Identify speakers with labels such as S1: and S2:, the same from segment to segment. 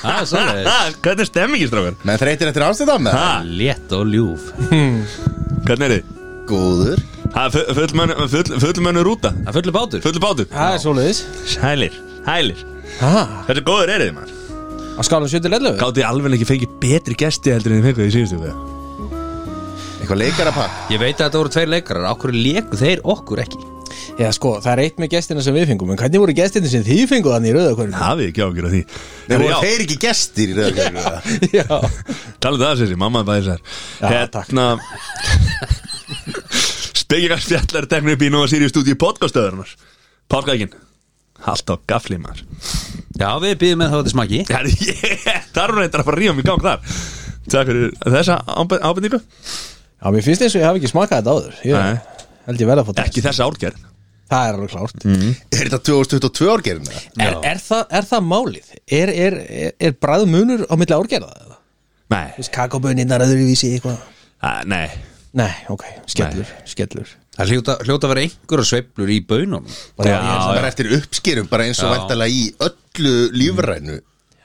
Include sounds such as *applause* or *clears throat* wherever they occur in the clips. S1: Það er svolítið
S2: *laughs* Hvernig er stemmingin, strákar?
S3: Menn þreytir eftir ástæðan með
S2: Ha,
S1: Létt og ljúf
S2: hvernig er þið?
S3: Góður
S2: Ha, fu- fullmönnu- full- Fullmönnu rúta
S1: Það fullur bátur
S2: Fullu bátur
S4: Það er svoleiðis
S2: Hælir, hælir
S4: Ha,
S2: Hversu góður er þið, maður?
S4: Á skálan 7 til 11
S2: Gátti alveg ekki fengið betri gesti heldur en þið fengið í síðustu við
S3: Eitthvað leikara pakk
S1: Ég veit að þetta voru tveir leikarar Okkur leiku þeir okkur ekki
S4: Já sko, það er eitt með gestina sem við fengum En hvernig voru gestina sem þið fenguð þannig í rauða hverju?
S2: Hafið ekki ágjör af því
S3: Þeir
S2: Herri,
S3: voru
S2: já,
S3: þeir ekki gestir í rauðakjörnum
S4: *laughs* Já
S2: Talandi það sér, mamma bæði sér
S4: Já,
S2: Hérna *laughs* Spekjara spjallar teknir upp í Nóa Sirius stúdíu podcastöðurnar Pálkækin Allt á gafli maður *laughs*
S1: Já, við býðum með það til smaki
S2: Herri, ég þarf reyndar að fara að ríða mig í gang þar Takk fyrir þessa ábe- ábendingu
S4: Já, mér finnst eins og ég hafi ekki smakað þetta áður
S2: Nei.
S4: Ég held ég vel að fá
S2: Ekki þessa árgerð
S4: Það er alveg klárt
S3: *laughs* Er þetta 2022 árgerðum það?
S4: er, er, það, er það málið? Er, er, er, er bræð munur á milli árgerða?
S2: Nei,
S4: Kakoböninnar öðruvísi eitthvað
S2: að, nei
S4: Nei, ok, skellur, skellur
S1: Það hljóta, hljóta að vera einhverja sveiflur í baunum
S2: Já,
S4: Bara, ég-
S3: Bara eftir uppskerum, bara eins
S1: Já.
S3: og væntalega í öllu lífrænu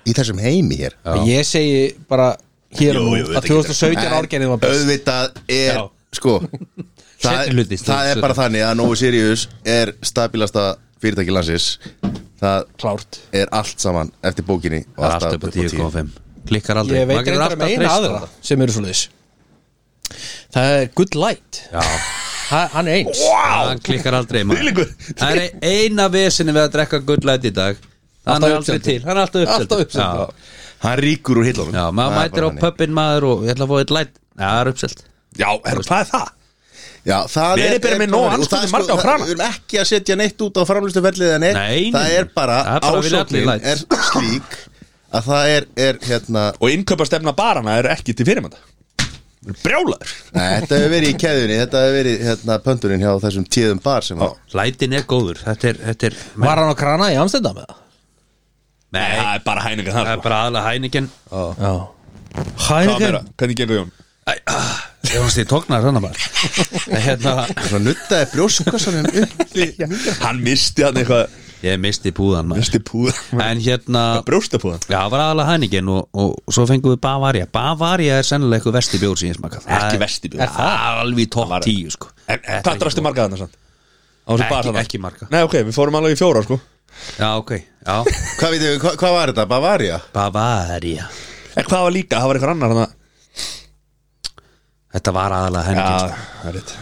S3: Í þessum heimi hér
S4: Ég segi bara hér og
S2: Jú, jú,
S4: nú að
S2: þetta getur-
S4: 2017 árgerðin var best
S3: Auðvitað er,
S1: Já.
S3: sko það,
S1: Seinni hluti,
S3: það er bara þannig að Novo Sirius er stabilasta fyrirtæki landsins Það
S4: Klárt
S3: er allt saman eftir bókinni og
S1: Það er alltaf upp á sko. 10.5 Klikkar aldrei
S4: Ég veit
S1: Maður getur
S4: reyndar um
S1: alltaf
S4: eina
S1: treyst á
S4: aðra sem eru svoleiðis Það er Good Light
S1: það. Já
S4: ha, Hann er eins
S1: hann klikkar aldrei maður
S2: Þvílíkur.
S1: það er eina vesinni við að drekka gullæti í dag hann
S4: Alltaf
S1: er aldrei
S4: uppseldur.
S1: til, hann er alltaf uppseldur
S4: Alltaf uppseldur.
S1: já,
S3: Hann ríkur úr hillunum
S1: já maður
S3: Það er
S1: mætir á
S3: bara þannig.
S1: pöppin maður og ég ætla að fá eitt læt já, það er uppselt
S2: Já, herru, hvað er það?
S3: Já, það
S2: Verið bara með nóg
S3: og
S2: alls konar
S3: það er
S2: marga á
S3: það-
S2: krana.
S3: Við erum ekki að setja neitt út á framlustuferlið en neitt
S1: Nei, nei,
S3: Það er
S1: nei.
S3: bara,
S1: Það er bara að vilja allir
S3: ásóknin
S1: læt.
S3: er slík að það er, er hérna
S2: Og innkaupastefna barana er ekki til fyrirmynda Brjálaður
S3: Nei, þetta hefur verið í keðunni, þetta hefur verið hérna pöndurinn hjá þessum tíðum bar sem að
S1: lætin er góður, þetta er, þetta er
S4: Var hann á krana í Amstendam með það?
S1: nei,
S2: Það er bara
S1: það
S2: hæninga þar sko.
S1: er bara aðalega hæningin
S4: Já
S2: Hvað meira?
S4: Hæneken
S2: Hvernig gengur Jón?
S1: ég hans því tóknar hann *laughs* bara ah. hérna,
S3: Svo nuttaði brjóskossanum upp
S1: *laughs*
S3: í-
S2: Hann misti hann eitthvað
S1: ég misti púðan maður
S2: Misti púða
S1: en hérna
S2: Brjóstapúðan
S1: Já, það var aðalega hæningin og, og svo fengum við Bavaria Bavaria er sennilega eitthvað vesti bjór sem ég smakað Það
S2: Ekki
S1: er-
S2: versti bjór.
S1: Það er alveg í topp
S2: var-
S1: 10 sko Þetta
S2: En
S1: er
S2: hvað
S1: ekki
S2: drastu
S1: gott.
S2: marga þarna sann? Á þessu
S1: Ekki-
S2: bar þarna?
S1: ekki marga.
S2: Nei, ok, við fórum alveg í fjóra sko
S1: Já, ok, já
S3: Hvað veitum við, hvað, hvað var þetta? Bavaria?
S1: Bavaria
S2: En hvað var líka? Það var eitthvað annar hann
S1: Þetta var aðalega hæningin sko.
S2: Já, það er rétt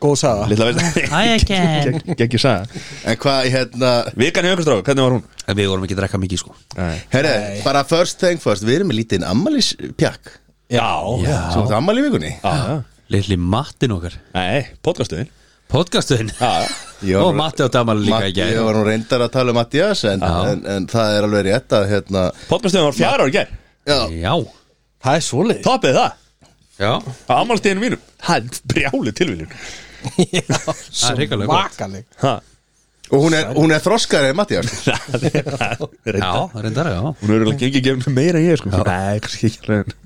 S4: Góð saga
S2: Lilla veist
S1: Hæningin
S2: Gekki saga
S3: En hvað, hérna,
S2: Vikan í aukastráku, hvernig var hún?
S1: En við vorum ekki að drekka mikið sko
S2: Nei.
S3: herre, bara first thing first, við erum með lítinn ammalispjakk
S2: Já
S3: Svo þetta ammali í vikunni
S2: Já.
S1: Lilli mattin okkar
S2: Nei, podcastuðin
S1: Podcastuðin
S3: Ég var
S1: Og
S3: nú-
S1: Matti átti afmæli líka í
S3: Matti,
S1: gær.
S3: Ég var nú reyndar að tala um Mattias en, en, en það er alveg rétt að hérna
S2: Podcastuðin var fjara ári gær
S3: Já,
S1: Já
S4: Það er svoleiðis *laughs*
S2: Topið það
S1: Já
S2: Á ammálstíðinu mínum Það er brjálu tilvílun
S1: Það er reikalega gott
S4: Vakaleg
S3: og hún er, hún er þroskari en Mattias
S2: Það er
S1: Já,
S2: reynda
S1: reyndar, já
S2: Hún er alveg gengið gefn meira en ég sko Nei, kannski ekki alveg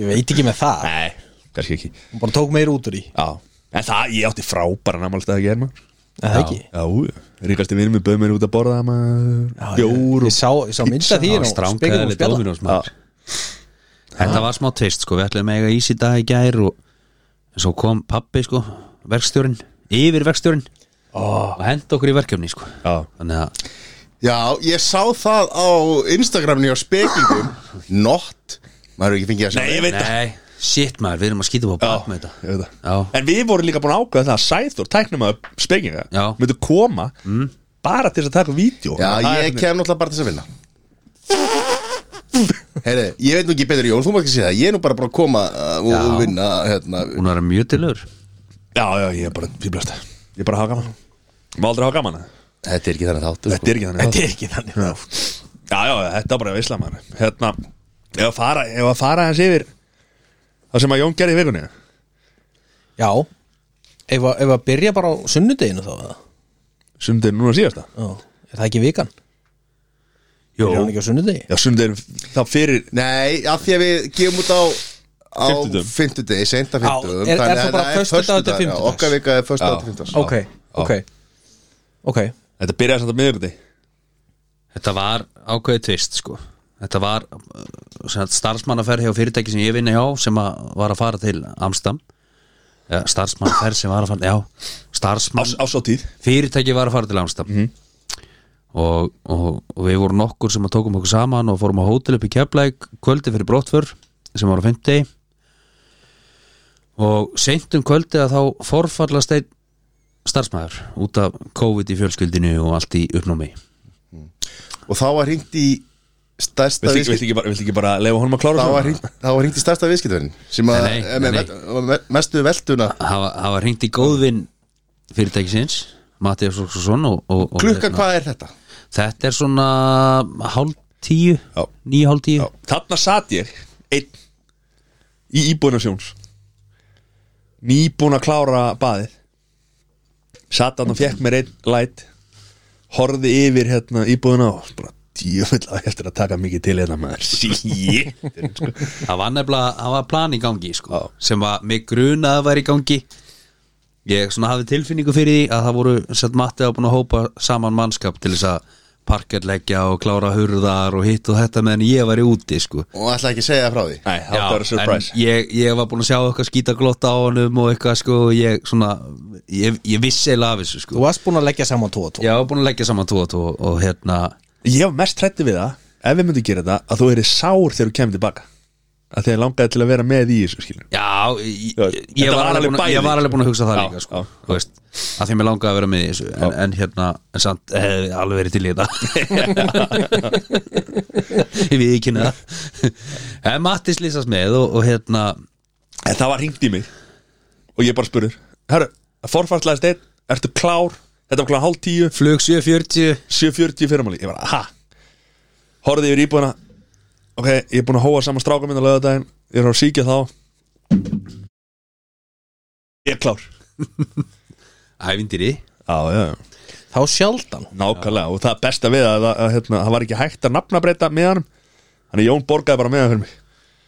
S4: Ég veit ekki með það
S2: Nei, kannski ekki
S4: Hún bara tók meir út úr í
S2: Já En það, ég átti frábæra námálstæð að gera maður
S4: Er Það ekki
S2: Já, ríkasti vinnum við bauð mér út að borða maður Bjór
S4: Ég
S2: og
S4: sá, ég sá mynda því
S1: Já,
S4: og
S1: stránkaði
S4: spekjum og
S1: alveg
S4: spjalla
S1: Dominos maður Þetta var smá tvist sko, við ætlum að eiga ís í dag í gær og en svo kom pappi sko, verkstjórin, yfir verkstjórin og henda okkur í verkefni sko
S2: Já.
S1: Þannig að,
S3: Já, ég sá það á Instagramni á spekingum Not Maður hefur ekki fengið að sjá
S2: Nei, ég veit það
S1: nei, shit maður, við erum að skýta upp á bak með þetta
S2: ég veit það.
S1: Já,
S2: En við vorum líka búin að ákveða það að Sæþór tæknum að spekinga
S1: Já.
S2: myndu koma bara til þess að taka vídeo
S3: Já, ég kem náttúrulega bara til þess að vinna Heyri, ég veit nú ekki betur Jón, þú maður ekki segja það Ég er nú bara bara að koma uh, og
S1: Já.
S3: og vinna hérna.
S1: hún var mjög tilur
S2: Já, já, ég er bara fýblast Ég er bara að hafa gaman Má aldrei hafa gaman að það
S3: Þetta er ekki þannig þáttu
S2: Þetta er ekki þannig sko.
S4: Þetta er ekki þannig þátt.
S2: Já, já, þetta er bara að veisla maður Hérna, ef að fara, ef að fara hans yfir Það sem að Jón gerði í vikunni
S4: Já Ef að, ef að byrja bara á sunnudeginu þá eða?
S2: Sundin núna síðasta
S4: Já. Er það ekki vikan?
S1: Jó,
S4: Byrja hann ekki á sunnudegi?
S2: Já, sundin þá fyrir
S3: Nei, af því að við gefum út á á
S2: Fimmtudögum.
S3: fimmtudegi, seinta fimmtudum
S4: er- er þá bara föstudagur til fimmtudags?
S3: Okkar vika er föstudag
S2: Já.
S3: til fimmtudags
S4: ok, ok ok,
S2: Þetta byrjaði samt að miðvikundi
S1: þetta var ákveðið tvist sko Þetta var uh, sem sagt, starfsmannaferð hjá fyrirtæki sem ég vinna hjá sem að var að fara til Amstam ja, starfsmannaferð sem var að fara já, starfsmann,
S2: Ás, ásáttíð
S1: fyrirtæki var að fara til Amstam
S2: Mhm.
S1: og, og, og við vorum nokkur sem að tókum okkur saman og fórum á hótel upp í Keflæk kvöldi fyrir brottför sem var á 50 og seint um kvöldi að þá forfallast einn starfsmæður út af COVID í fjölskyldinu og allt í uppnámi
S3: Og þá var hringt í stærsta
S2: Viltu ekki, viltu ekki
S3: viðskipt
S2: bara, vilt ekki bara leifa honum að klára
S3: Þá
S2: svona?
S3: var hringt- þá var hringt í stærsta viðskiptverðin sem að
S1: Nei, nei,
S3: eh, með-
S1: nei,
S3: með- með- mestu veltuna
S1: hafa, hafa hringt í góðvinn fyrirtækisins Mattias Róksson og, og, og
S3: Klukkan
S1: hérna,
S3: hvað er þetta?
S1: þetta er svona hálf tíu,
S2: Já.
S1: nýju hálf tíu
S2: Já, Þarna sat ég einn í íbúinu sjóns nýbúin að klára baðið sat þarna og fekk mér einn læt horfði yfir hérna íbúðuna og bara djöfull að eftir að taka mikið til hérna maður sí
S1: það var nefnilega, það var plan í gangi sko, sem var mig grunað að væri í gangi ég svona hafi tilfinningu fyrir því að það voru, sett Matti hafa búin að hópa saman mannskap til þess að parkerleggja og klára hurðar og hitt og þetta meðan ég væri úti sko
S3: Og ætla ekki að segja það frá því
S2: Nei, það var surprise
S1: en ég, ég var búin að sjá eitthvað skítaglotta á honum og eitthvað sko, ég svona ég, ég vissi eða af þessu sko
S4: Þú varst búin að leggja saman tvo og tvo
S1: Já, ég var búin að leggja saman tvo og tvo og hérna
S2: Ég var mest hrætti við það ef við myndum gera þetta að þú erir sár þegar þú kemur tilbaka að þið langaði til að vera með í þessu skilur
S1: Já, ég,
S2: Já,
S1: ég,
S2: þetta
S1: ég,
S2: var
S1: var alveg
S2: alveg
S1: búin, að-
S2: bæði.
S1: ég var alveg búin að hugsa það
S2: Já,
S1: líka sko,
S2: já.
S1: þú veist, að því mér langaði að vera með í þessu en, en hérna, en samt hefði alveg verið til í þetta *laughs* Ég við ekki neða En Matti slýsast með og, og hérna
S2: En það var hringt í mig og ég bara spurur Herru, forfarslæðist einn, ertu klár þetta var klár hálf tíu,
S1: Flug 740
S2: 7.40 fyrirmáli Ég bara, ha Horfði yfir íbúðina Ok, ég er búin að hóa saman stráka minn á laugardaginn Ég er að síkja þá Ég er klár
S1: Ævindýri
S2: Já, já, já
S4: Þá sjaldan
S2: Nákvæmlega, og það er besta við að, að, að hérna, það var ekki hægt að nafnabreita með hann Þannig Jón borgaði bara með hann fyrir mig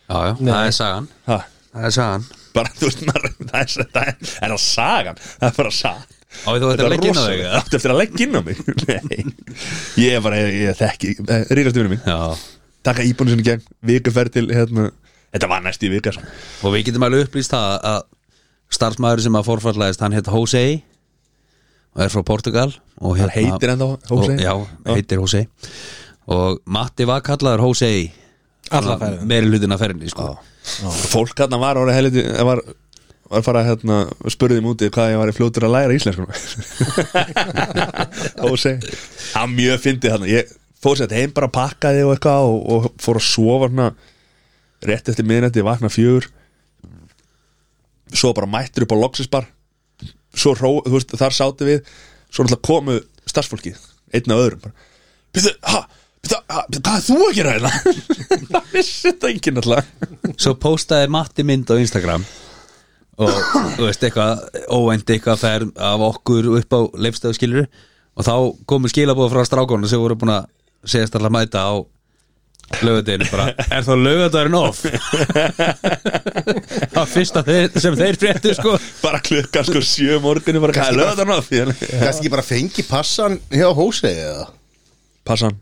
S1: Já, já, það er sagan
S2: ha,
S1: Það er sagan
S2: Bara, þú veist, maður, *laughs* það er, það er, er það sagan Það er bara sagan
S1: Á, þú ættir að leggja inn á þau
S2: rosalegt.
S1: eða?
S2: Áttu eftir að leggja inn á mig *laughs* Nei Ég er bara, ég, ég þekki eh, Rýrast vinur mín
S1: Já
S2: Taka íbúinu sinni í gegn, viku fer til hérna, Þetta var næst í vika sko.
S1: Og við getum alveg upplýst það að starfsmæður sem að forfallaðist, hann heit Jose og er frá Portugal og hérna-
S2: Hann heitir ennþá Jose?
S1: og, Já, heitir Jose og Matti var kallaður Jose
S4: Alla ferðina.
S1: meiri hlutin af ferðinni sko.
S2: Fólk hérna var orðið helviti var, var fara að hérna, spurði mig úti hvað ég var í fljótur að læra íslenskuna og segi það mjög fyndið þarna ég fór sér heim bara pakkaði og eitthvað og, og fór að sofa hérna rétt eftir miðnætti, vakna fjögur svo bara mættur upp á loksisbar svo ró, þú veist, þar sátti við svo náttúrulega komu starfsfólkið einn af öðrum bara, "Bíddu, ha, bíddu, ha, bíddu, hvað er þú að gera hérna? *laughs* það vissi þetta enginn alltaf
S1: Svo postaði Matti mynd á Instagram og þú veist eitthvað óvænt eitthvað ferð af okkur upp á leifstöðskilur og þá komu skilabóð frá strákonu sem voru búin að segjast alltaf mæta á lögadeginu bara, er þá lögadagurinn off? *laughs* það var fyrsta þeir, sem þeir fréttu sko
S2: bara klukkan sko sjö morgunni bara hvað er löðan á því
S3: Kannski ekki bara fengi passan hjá hósi eða
S2: passan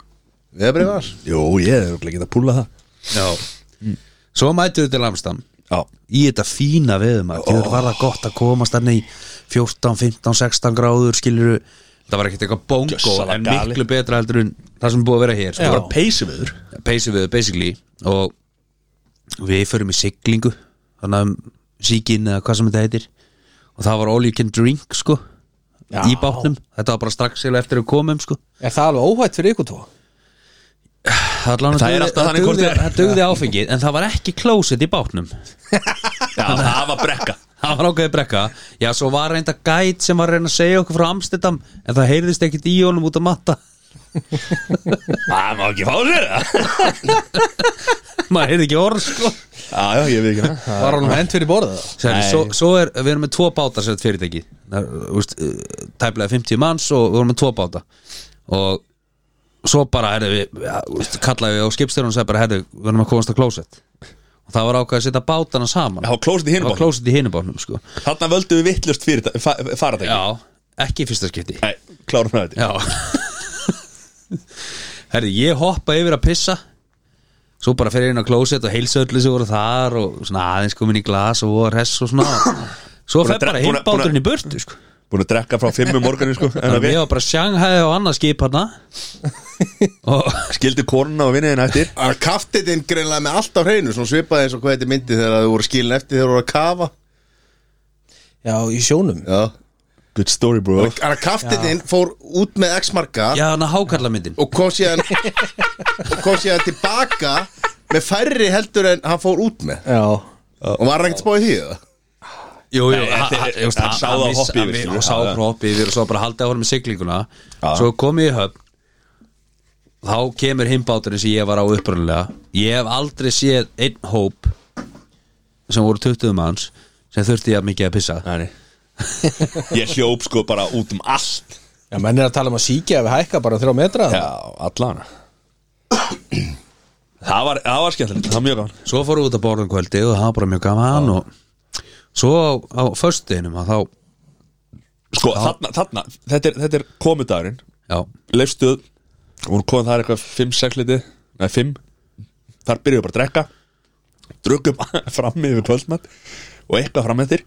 S3: Veðabrið var
S2: jú ég er örugglega ekki að púla það
S1: Já Svo mættu við til Amstam
S2: já
S1: í þetta fína veðum að oh. var það gott að komast þannig í 14, 15, 16 gráður skilur það var ekkert eitthvað bongo
S2: Gjössalega
S1: en
S2: gali.
S1: miklu betra heldur en það sem er búið að vera hér sko,
S2: bara peysi viður
S1: bara peysi við basically og við förum í siglingu þannig um síkin eða hvað sem þetta heitir og það var all you can drink sko
S4: Já.
S1: í bátnum, þetta var bara strax eiginlega eftir að við komum sko
S4: Er það alveg óhætt fyrir ykkur tvo?
S1: það, dugði,
S2: Það er alltaf þannig hvort
S1: dugði,
S2: er.
S1: það dugði áfengið en það var ekki closet í bátnum
S2: já það var brekka
S1: Það var ákveðið brekka Já, svo var reynda gæt sem var að reyna að segja okkur frá Amstendam En það heyrðist ekkit í honum út að matta
S2: *laughs*
S1: *laughs*
S2: það má ekki fá sér það
S1: Maður heyrði ekki orð, sko
S2: já já ég veit ekki það
S4: Var honum hend fyrir borðið? það?
S1: Sér,
S2: Nei.
S1: svo, svo er, við erum með tvo báta sem þetta fyrirtæki Það er, þú veist, eh, Tæplega 50 manns og við erum með tvo báta Og svo bara, herðu við ja, þú veist, Kallaði við á skipstjörnum og sagði bara, herðu, við erum að komast að klósett Og það var ákveðið að setja bátana saman
S2: það var klósið
S1: Það
S2: í
S1: var
S2: hinubótt
S1: klósett í hinubátnum, sko
S2: þarna völdum við vittlust fyrir fa faratæki
S1: Já, ekki í fyrsta skipti
S2: nei klárum það þetta
S1: Já Herri, ég hoppa yfir að pissa svo bara fer ég inn á klósett og heilsa öllu sem voru þar og svona aðeins komin í glas og voru hess og svona svo
S2: Búin að
S1: fer
S2: dre-
S1: bara
S2: búin að-
S1: heimbáturinn í burtu sko.
S2: Búin að drekka frá fimmu morganu sko En
S1: þannig að
S2: ok,
S1: ég var bara Shanghai og annað skip hana
S2: *laughs*
S1: og
S2: skildi konuna og vinniðin eftir
S3: Að kaftiðin greinlega með allt á hreinu Svona svipaði eins og hvað þetta myndi þegar þau voru skilin eftir þegar þau voru að kafa
S4: Já, í sjónum
S3: Já
S2: Good story bro
S3: Þannig að kaftiðin fór út með X-marka
S1: já hann að hákalla myndin
S3: og kom
S1: *laughs*
S3: síðan og kom síðan tilbaka með færri heldur en hann fór út með
S4: Já,
S3: og var hann ekkert spáið því það
S1: Jú, jú,
S2: Nei,
S1: ha-
S2: þetta
S1: ha-
S2: er-
S1: þú veist,
S2: hann
S1: hann-
S2: sá
S1: hann
S2: það á
S1: vissi-
S2: hoppi
S1: hann vi-
S2: yfir, skilur.
S1: hann sá
S2: Já, já.
S1: frá hoppi yfir og svo bara haldið á honum með siglinguna
S2: Já.
S1: svo komið í höfn þá kemur heimbáturinn sem ég var á upprunalega ég hef aldrei séð einn hóp sem voru 20 manns sem þurfti ég að mikið að pissa
S2: Þannig Ég hljóp sko bara út um allt
S4: já menn er að tala um að síkja ef við hækka bara um þrjá metra
S2: Já, allan Það var, það var skemmtilegt, það var mjög gaman
S1: svo fóru út að borðum kvöldi og það var bara mjög gaman og svo á, á föstuðinum að þá,
S2: Sko, þarna, þarna, þetta er, þetta er komudagurinn
S1: já,
S2: Leifstuð, hún komið þar eitthvað 5-6 liti, nei 5 Þar byrjuðu bara að drekka Drukkum *laughs* fram yfir kvöldmatt Og eitthvað fram eftir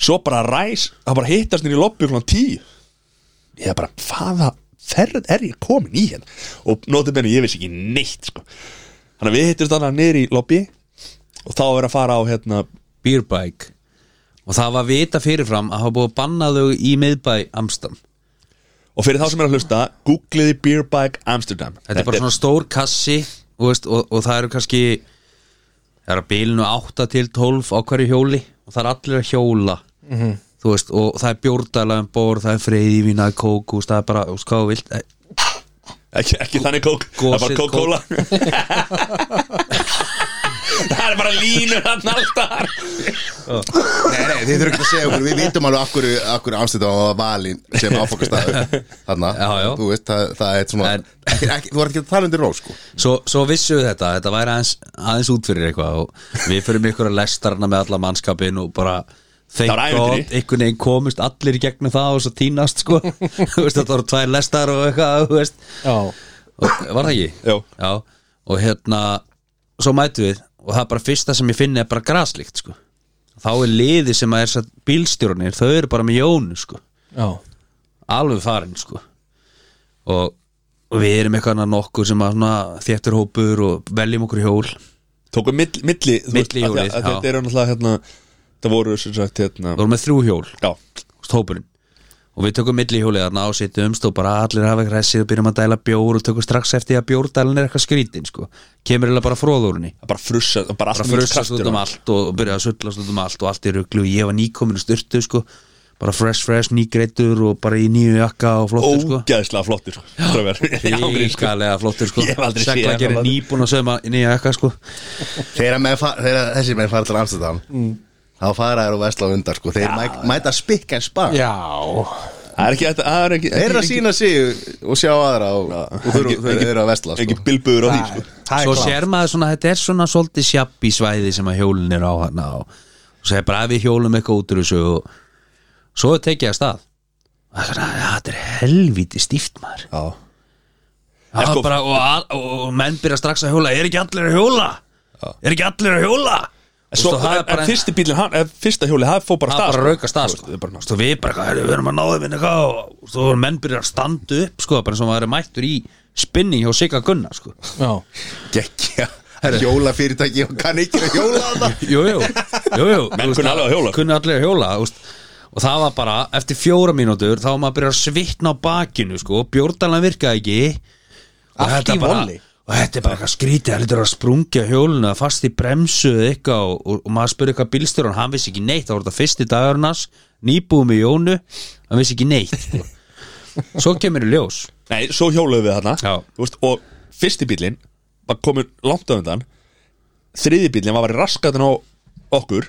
S2: Svo bara ræs, það bara hittast nýr í lobby Svona 10 Ég er bara, hvaða ferð er ég komin í hérna Og notið benni, ég vissi ekki neitt sko. Þannig að við hittumst þannig nýr í lobby Og þá er að fara á hérna
S1: beer bike og það var vita fyrirfram að hafa búið að banna þau í miðbæ Amstam
S2: Og fyrir þá sem er að hlusta, googliði Beer Bike Amsterdam
S1: Þetta er bara svona stór kassi og, veist, og, og það eru kannski það eru að bilinu 8 til 12 á hverju hjóli og það er allir að hjóla
S2: Mhm.
S1: þú veist, og það er bjórdæla um bor, það er freyðivína, kók þú veist, það er bara, þú veist, hvað þú vilt eh,
S2: ekki, ekki þannig kók, það er bara
S1: Gosið *laughs*
S2: kókóla Það er bara línur hann alltaf
S3: Nei, nei, þið þurfum ekki að segja okkur, við vitum alveg akkur, akkur afstættu á valin sem áfokastæður Þannig,
S1: Já, já.
S3: þú veist, það, það er svona
S1: En-
S3: ekki, ekki, Þú ert ekki að tala undir ró, sko
S1: Svo, svo vissu við þetta, þetta væri aðeins, aðeins út fyrir eitthvað og við fyrir með ykkur að lestarna með alla mannskapin og bara
S2: Það var
S1: þeim
S2: ævintýri.
S1: gott, einhvern veginn komist allir í gegnum það og svo tínast sko *laughs* Þú veist, þetta voru tvær lestar og eitthvað þú veist.
S4: Já,
S1: og, var það ekki?
S2: Jó.
S1: Já, og hérna svo mætu við og það er bara fyrsta sem ég finni er bara graslíkt sko þá er liði sem að þess að bílstjórnir þau eru bara með jónu sko
S4: já,
S1: alveg farin sko og, og við erum eitthvað annað nokkur sem að svona þéttur hópur og veljum okkur hjól
S2: Tókum milli, milli, þú veist,
S1: Milli
S2: af því að-
S1: hjólið,
S2: að
S1: já.
S2: Þetta eru náttúrulega hérna Það voru sem sagt hérna
S1: við vorum með þrjú hjól
S2: Já,
S1: veist, hópurinn og við tökum milli hjólið þarna og sittumst og bara allir hafa ekki hressið og byrjum að dæla bjór og tökum strax eftir að bjórdælin er eitthvað skrítin sko kemur eiginlega bara fróðurinn í
S2: það bara frussa Bara allt
S1: bara
S2: mikill
S1: frussast
S2: kraftur
S1: út um
S2: á.
S1: allt og byrjaði að sullast út um allt og allt í ruglu og ég var nýkominu styrtu sko bara fresh fresh nýgreitur og bara í nýju jakka og flottur sko
S2: Ógæðslega flottur sko. *laughs* strákar. Í ángríns, sko.
S1: Ríkalega flottur sko
S2: *laughs* Ég hef aldrei séð
S1: Segla
S2: hann
S1: gerir
S2: flottur.
S1: nýbúin að sögma nýja jakka sko
S3: Þegar, menn fa- þegar þessi menn fara til Amstættan
S1: Mm.
S3: Þá fara þær og vesla á undar, sko Þeir mæ, mæta spikk en spa
S4: já.
S2: Það er ekki þetta Það er ekki
S3: Þeir eru að sína sig og sjá aðra og, og þau eru- þau eru að vesla,
S2: Ekki
S3: sko
S2: bilbuður á því
S4: Það
S2: sko.
S4: er- það er
S1: Svo
S4: klárt.
S1: sér maður svona, þetta er svona svolítið sjabbi svæði sem að hjólin er á hana og og svo er bara að við hjólum eitthvað út úr þessu og svo er tekið að stað Það er svona, "Ja, þetta er helvíti stíft maður
S2: Já
S1: Það
S2: sko-
S1: var bara, og, al- og, og menn byrja strax að hjóla, er ekki allir að hjóla? Er ekki allir að hjóla?
S2: En Svo,
S1: Þú veist, og það
S2: en,
S1: er bara,
S2: en fyrsti bílinn, hann- en fyrsta hjóli, það fór bara
S1: það er
S2: stað
S1: bara að rauka stað
S2: Þú veist,
S1: sko.
S2: það er bara-
S1: Þú veist, og við bara, "Herru, við erum að náðum inn eitthvað og og svo voru menn byrja að standa upp sko, bara eins og maður er mættur í spinning hjá Sigga Gunna sko.
S4: já
S3: Gekkja Hjólafyrirtæki og kann ekki að hjóla þarna
S1: Jú, jú, jú, jú
S2: Menn
S1: þú veist,
S2: kunna alveg að hjóla.
S1: kunna allir að hjóla þú veist. og það var bara, eftir fjóra mínútur þá var maður að byrja að svitna á bakinu sko, bjórdalan virkaði ekki Og
S4: Allt
S1: þetta
S4: í
S1: bara-
S4: volli.
S1: og þetta er bara eitthvað skrítið, það lítur að sprungja hjóluna fast í bremsu eða eitthvað og, og, og maður spurði eitthvað bílstjóran, hann vissi ekki neitt það voru þetta fyrsti dagarinnars, nýbúum í Jónu hann vissi ekki neitt sko. svo kemur í ljós
S2: Nei, svo hjóluðum við þarna
S1: Já.
S2: Þú veist, Og fyrsti bílinn var komin langt á undan Þriði bílinn var bara raskatinn á okkur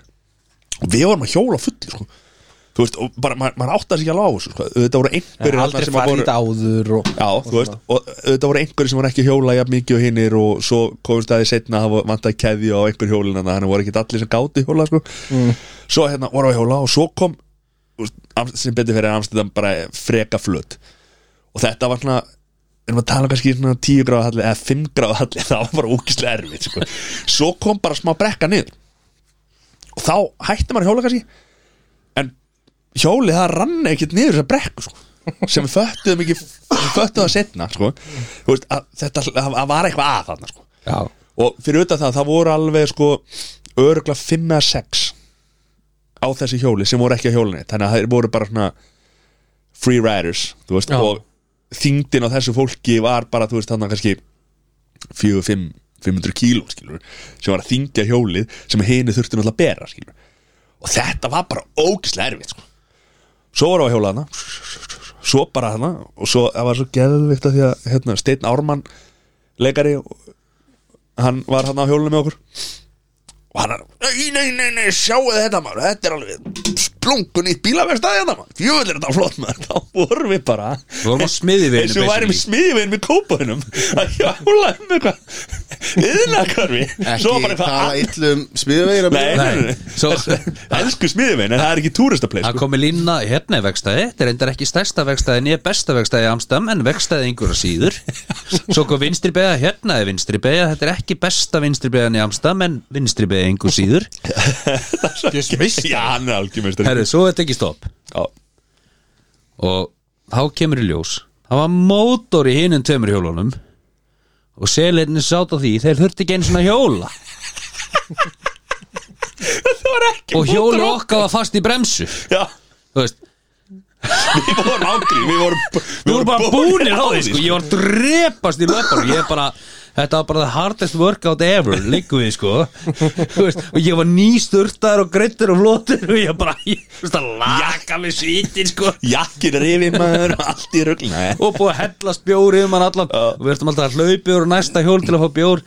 S2: Og við varum að hjóla á fulli sko. Þú veist, og bara, maður, maður átti að sig ekki alveg á þessu sko. Þetta voru
S4: Það er
S2: einhverjir þarna
S4: aldrei
S2: sem að
S4: farið
S2: voru
S4: áður og
S2: Já, þú veist, og þetta voru einhverjir sem voru ekki að hjóla jafn mikið og hinnir og svo komist að því setna að það vantaði keðju á einhver hjólin þannig að hann voru ekki allir sem gátu hjóla sko. svo hérna voru að hjóla og svo kom þú veist, Am- sem betur fyrir Amstæðan bara freka flut og þetta var svona erum að tala kannski svona 10 gráða halli eða 5 gráða halli, *laughs* það var bara ógislega erfitt sko. svo kom bara smá brekka niður og þá hætti maður að hjóla kannski en hjólið það rann ekkert niður þessa brekku sko. sem við föttuðum ekki sem við föttuðum að setna sko. Þú veist, að, þetta að, að var eitthvað að þarna sko.
S4: Já,
S2: og fyrir auðvitað það, það voru alveg sko örgla 5 eða 6 á þessi hjóli sem voru ekki á hjólinni þannig að þeir voru bara svona free riders, þú veist
S4: Já.
S2: og þingdin á þessu fólki var bara, þú veist, þannig kannski 4-5 500 kíló, skilur sem var að þingja hjólið sem hini þurfti náttúrulega að bera, skilur og þetta var bara ógislega erfitt, sko svo voru á hjóla hana svo bara hana og svo, það var svo geðvikt að því að, hérna, Steinn Ármann leikari hann var hann á hjólunum með okkur og hann er nei, nei, nei, nei, sjáu þetta maður þetta er alveg splungun í bílaverstaði þetta maður fjöður þetta flott maður þá vorum við bara
S1: Við vorum á smiðjuveginum,
S2: eins og við værum
S1: basically.
S2: smiðivinn með kópaðunum að hjála um eitthvað yðnakvarfi svo
S3: Ekki
S2: bara
S3: tala
S2: eitthvað
S3: um
S2: "Ah,
S3: illum smiðvegir
S2: Nei, nei, nei,
S1: Nei,
S2: nei.
S1: svo-
S2: Þessi- *laughs* Elsku smiðivinn, en það er ekki túristaplei
S1: Það
S2: sko.
S1: komi lína, hérna er vegstæði Þetta er endar ekki stærsta vegstæði, nýja besta vegstæði í Amstam, en vegstæði einhverja *laughs* síður Svo kom vinstri beða, hérna er vinstri beða Þetta er ekki besta vinstri beðan í Amstam, en vinstri beða einhver síður
S4: ég veist
S2: Já, hann er algjörmestari
S1: Herru, svo er þetta ekki stopp
S2: Já, *laughs*
S1: Og þá kemur í ljós Það var mótor í hinum tveimur hjólunum Og selirni sátt á því Þeir þurfti ekki einu svona hjóla
S2: Það var ekki
S1: Og hjóla
S2: mótor-
S1: okkar var fast í bremsu
S2: Já,
S1: Þú veist,
S2: við vorum ángri Við vorum, við
S1: Þú voru bara búnir á því
S2: því,
S1: sko. Ég var drepast í löpunum Ég bara, þetta var bara the hardest workout ever Liggum við sko Þú veist, Og ég var nýsturtaður og greittur og flottur Og ég bara, ég þú veist að laka með svítin sko
S2: Jakkin rifið maður og allt í rugluna ja.
S1: Og búið að hellast bjóri um hann allan Og við ertum alltaf að hlaupi úr næsta hjól til að fá bjór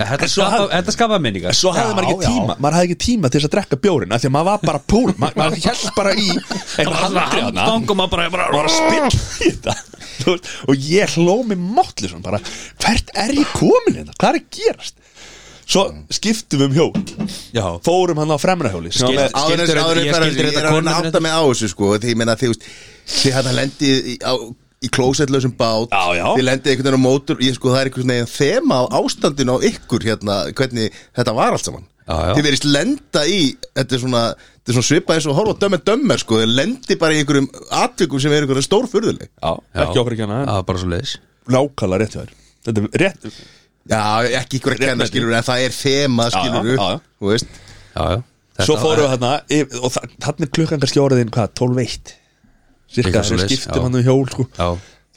S1: Ja, Þetta
S2: En svo
S1: skapa,
S2: hafði-
S1: þetta skapa minningar
S2: Svo hafði
S4: Já,
S2: maður ekki
S4: já.
S2: tíma Maður hafði ekki tíma til þess að drekka bjórin af Því að maður var bara púl Ma,
S1: *laughs*
S2: Maður held bara í eitthvað handrið hana
S1: handgang og maður bara, bara,
S2: Var að spilla í þetta Þú veist, Og ég hló mig mátli svona bara Hvert er ég komin hérna? Hvað er að gerast? Svo skiptum við um hjól
S1: Já,
S2: Fórum hann á fremrahjóli sem
S1: Skil-
S2: var með-
S1: Skildir
S3: Áður en
S1: þetta-
S3: áður
S1: ég
S3: en ferðar
S1: skildir
S3: Ég
S1: þetta
S3: er að reyna
S1: konuna
S3: að átta mig á þessu sko Því ég meina því, þú veist Þið hann lendið í, á, í klósettlausum bát
S2: Já, já.
S3: Þið lendið einhvern veginn á mótur Ég sko, það er einhvern veginn þema á ástandinu á ykkur hérna Hvernig þetta var allt saman
S1: Já, já.
S3: Þið verðist lenda í Þetta er svona, þetta er svona svipað eins og horfa á dömmer dömmer sko Þið lendi bara í einhverjum atvikum sem er einhverjum stórfurðuleg
S2: Já, ekki okkur ekki hana en
S1: Það var bara svo leiðis
S2: Nákvæmlega rétt hjá þér Þetta er rétt
S3: Já, ekki ykkur að kenna
S2: Réttmæti.
S3: skilur En það er þema
S2: Já, já,
S3: skilur
S2: já, já.
S3: Þú veist
S1: Já, já Þetta
S2: Svo
S1: var-
S2: fórum við þarna yfir- og þa- þarna er klukkan kannski orðin hvað, 12 eitt
S1: Eitthvað
S2: Cirka þessum
S1: svoleiðis, já.
S2: skiptum hann um hjól sko.
S1: Já,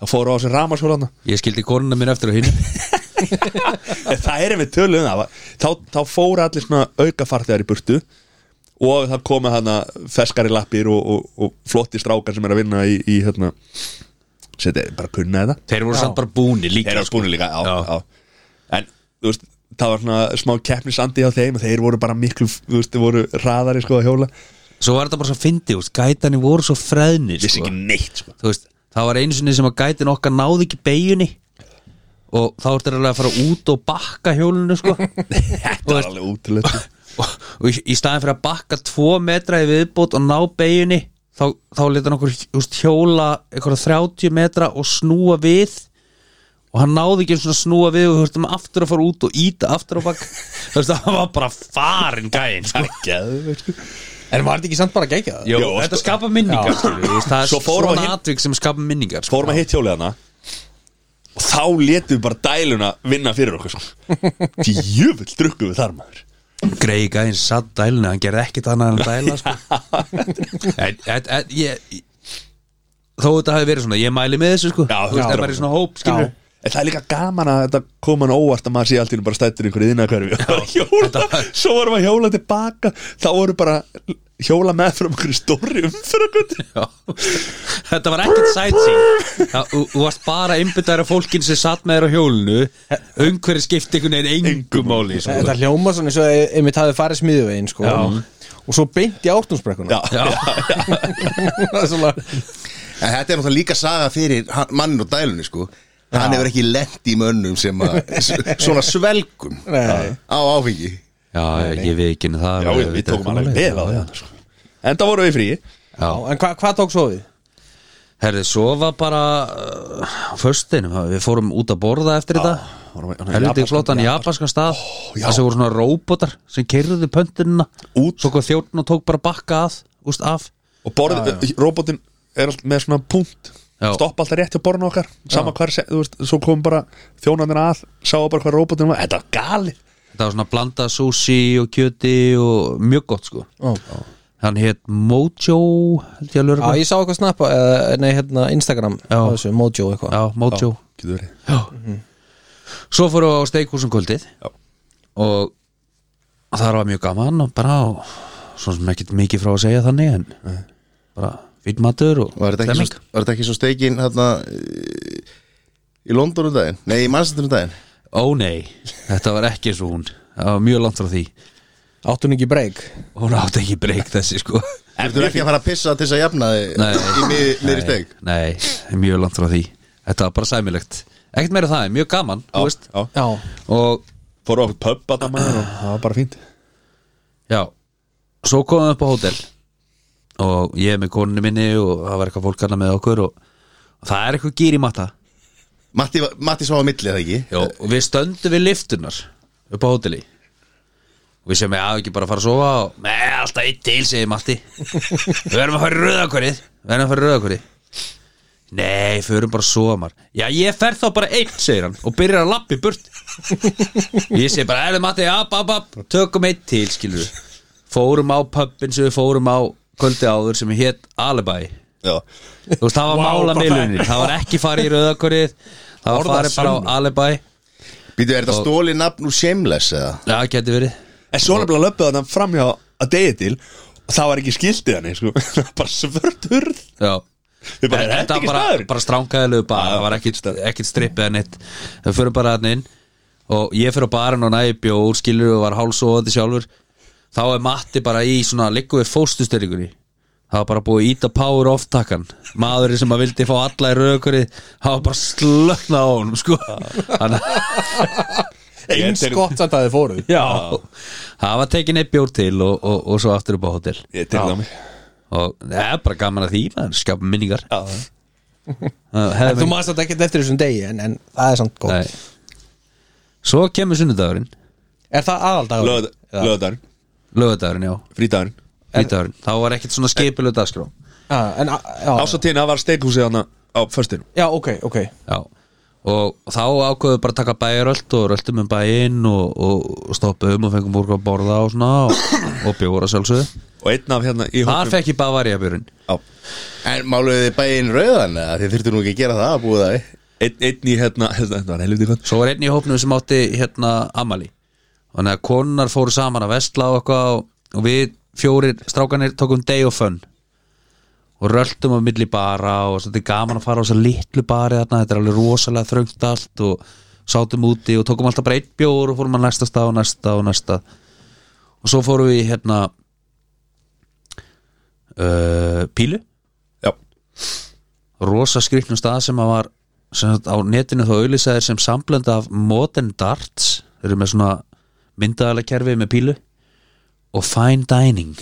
S2: Það fóru á þessu rámarshjól *laughs* hann
S1: ég skildi konuna mín eftir á hinn
S2: Það er einmitt tölum það Þá, þá fóru allir svona aukafarþegar í burtu og það komu hann feskari lappir og, og, og flotti strákar sem er að vinna í, í hérna Seti, bara kunna þetta
S1: Þeir voru samt bara búni líka sko.
S2: Þeir eru spúnir líka, já,
S1: Já.
S2: já. En, þú veist, það var svona smá keppnisandi á þeim og þeir voru bara miklu, þú veist, þeir voru hraðari sko að hjóla
S1: Svo var þetta bara svo fyndi, úst, gætani voru svo freðnir
S2: Vissi
S1: sko.
S2: ekki neitt sko
S1: Þú veist, Það var einu sinni sem að gætin okkar náði ekki beigjunni Og þá ertu alveg að fara út og bakka hjólinu
S2: *laughs*
S1: sko.
S2: Þetta var alveg útilegt sko.
S1: og, og í- í staðin fyrir að bakka tvo metra í viðbót og ná beigjunni Þá, þá leta hann okkur úst, hjóla einhverja 30 metra og snúa við Og hann náði ekki einu sinni að snúa við og þurftum aftur að fara út og íta aftur
S2: *laughs*
S1: á bakk Þú veist, það var bara farin gæin sko.
S2: *laughs* Geðveikt, sko.
S4: En var þetta ekki samt bara að gegja það?
S1: Jó,
S2: Jó,
S1: þetta
S2: sko.
S1: skapa minningar
S4: Já.
S1: skilur, við, það er
S2: Svo fórum
S1: svona
S2: við hin-
S1: atvik sem skapa minningar sko.
S2: Fórum að hitt hjólið hana Og þá letum við bara dæluna vinna fyrir okkur sko. Því jöfull drukkum við þar maður
S1: Grey gæðin satt dælinu, hann gerði ekkit annað en að dæla sko.
S2: *laughs*
S1: en, en, en, ég, Þó þetta hafi verið svona, ég mæli með þessu sko.
S2: Já,
S1: Þú veist,
S2: já.
S1: það er bara í svona hóp skilur
S4: Já.
S2: En það er líka gaman að þetta kom hann óvart að maður sé allt í einu bara stættur í einhverju innakverfi og hjóla, svo vorum við að hjóla tilbaka þá voru bara hjóla með frá einhverju stóri umfyrragut
S1: Já. Þetta var ekkert sightseeing Já, Þú þú varst bara einbyttaður af fólkin sem satt með þér á hjólinu Umhverju skipti einhvern veginn engum máli sko.
S4: Þetta hljóma svona eins og að einmitt hafði farið smiðuvegin sko. og svo beint í ártúnsbrekkuna
S2: Já,
S1: Já.
S4: *laughs* Það er svona-
S3: En þetta er náttúrulega líka saga fyrir hann- mannin og dælunni sko Hann hefur ekki lent í mönnum sem að Svona svelgum
S4: Nei.
S3: Á áfengi
S1: Já, ég veit ekki það
S2: já við, við tókum alveg vel á því
S1: það
S2: hann sko. En það voru við frí
S4: Já, En hva, hvað tók svo við?
S1: Herði, svo var bara uh, Föstinum, við fórum út að borða eftir
S2: vorum við-
S1: þetta Helviti
S2: Japanskan-
S1: flottan japanskan stað
S2: já.
S1: Það sem voru svona róbótar sem keirðu pöntunina
S2: Út.
S1: Svo hvað þjóttun og tók bara bakka að Úst af
S2: og borðið, robotin er allt með svona punkt
S1: Já.
S2: stoppa alltaf rétt hjá borðinu okkar sama hvar, se- þú veist, svo kom bara þjónandir að sá bara hvað robotin var, þetta var gali
S1: Þetta var svona blanda sushi og kjöti og mjög gott sko
S4: Já,
S1: Hann hétt Mojo held ég að lörgum
S4: ég sá eitthvað snappa eða, Nei, hérna Instagram
S1: Já.
S4: á þessu, Mojo eitthvað
S1: Já, Mojo
S2: getur verið
S3: Mhm.
S1: Svo fórum við á steikhúsum kvöldið
S2: Já.
S1: og þar var mjög gaman og bara á, svona sem ekkert mikið frá að segja þannig en bara fýtt matur og
S3: Mhm. Var þetta ekki, svo, var þetta ekki svo steikin hérna, í London um daginn? Nei, í Manchester um daginn
S1: Ó nei, þetta var ekki svo hún það var mjög langt frá því
S4: Áttu hún ekki breyk
S1: hún átti ekki breyk þessi sko
S3: Þú er ekki að fara að pissa til þess að jafna
S1: Nei.
S3: þig í mið- miðri *laughs* steik
S1: Nei, mjög langt frá því þetta var bara sæmilegt ekkert meira það, mjög gaman þú veist.
S2: já.
S4: Já,
S1: og
S2: fóru á pub að maður og það var bara fínt
S1: Já, svo komum við upp á hótel og ég með konunni minni og það var eitthvað fólk annað með okkur og, og það er eitthvað gýr í matta
S3: Matti, Matti svá á milli eða ekki
S1: Jó, Eh, og við stöndum við liftunar upp á hóteli og við sem ég að ekki bara fara að sofa og með alltaf eitt til, segir Matti við verðum að fara í rauðakvarið við verðum að fara í rauðakvarið Nei, við verðum bara að sofa mar Já, ég fer þá bara einn, segir hann og byrjar að lappi burt Ég segi bara, erðu Matti, app, app, app tökum eitt til, skilur við fórum á pöppin sem við fórum á kvöldi áður sem hétt Alibi
S2: já.
S1: Þú veist, það var wow, mála meilunni Það var ekki farið í rauðakvarið Það var farið bara á Alibi
S3: Býtu, er þetta stóli nafn úr Shameless eða?
S1: Já, geti verið
S2: en svo nefnilega löpuðu þannig framhjá að degi til og það var ekki skildið hann sko. *laughs* Það var bara svörtur
S1: Já
S2: við
S1: En
S2: bara, er
S1: Þetta
S2: þetta
S1: var
S2: ekki
S1: bara,
S2: staður
S1: bara stránkaðilegu bar
S2: Já,
S1: Það var ekkit, ekkit strippið en eitt Það fyrir bara hann inn Og ég fyrir á barinn og næði bjór Skilur og var hálsóðandi sjálfur Þá er Matti bara í svona Liggu við fóstustöringunni Það var bara búið að íta power off takkan Maðurinn sem að vildi fá alla í rauðakverið Það var bara slöknað á honum sko Þannig
S2: eins
S4: eins gott samt að þið fóru
S1: *laughs* Já Það var tekin eitt bjór til og, og, og svo aftur upp á hótel
S2: ég til það mig
S1: Og það er bara gaman að því Það skapum minningar
S2: Já.
S1: *laughs* Það
S4: En
S1: hefði
S4: þú maður satt ekki eftir þessum degi en, en það er samt gott
S1: Nei. Svo kemur sunnudagurinn
S4: Er það aðaldagur?
S2: Lögð- lögðardagurinn,
S1: Lögudagurinn, já
S2: frítagurinn
S1: Vítagurinn Þá var ekkert svona skipilu dagskrá
S4: Já, Ah, en, a- já,
S2: ásatíðin það var steikhúsið hann á föstinu
S4: já, ok, ok
S1: Já Og þá ákveðu bara að taka bæjaröld og röldum um bæinn og, og stoppum og fengum úr að borða og svona og, og bjóra sjálfsögðu
S2: og einn af hérna í
S1: Þar
S2: hópnum
S1: fekk ég Bavaria björun
S2: Já.
S3: En máluðu þið bæinn rauðan eða? Þið þurftu nú ekki að gera það að búið það í.
S2: einn, einn í hérna, *laughs* hérna þetta var helviti gott
S1: Svo var einn í hópnum sem átti hérna Amali Þannig að konunar fóru saman að vestla og eitthvað og- og við fjórir strákanir tókum day og fun og röltum á milli bara og þetta er gaman að fara á þess að litlu bari þarna, þetta er alveg rosalega þröngt allt og sátum úti og tókum alltaf bara einn bjór og fórum að næsta stað og næsta og næsta og svo fórum við í, hérna uh, pílu
S2: já,
S1: rosa skriknum stað sem að var sem sagt, á netinu þá auðlýsaðir sem samblenda af Modern Darts þeir eru með svona myndaðalega kerfi með pílu og Fine Dining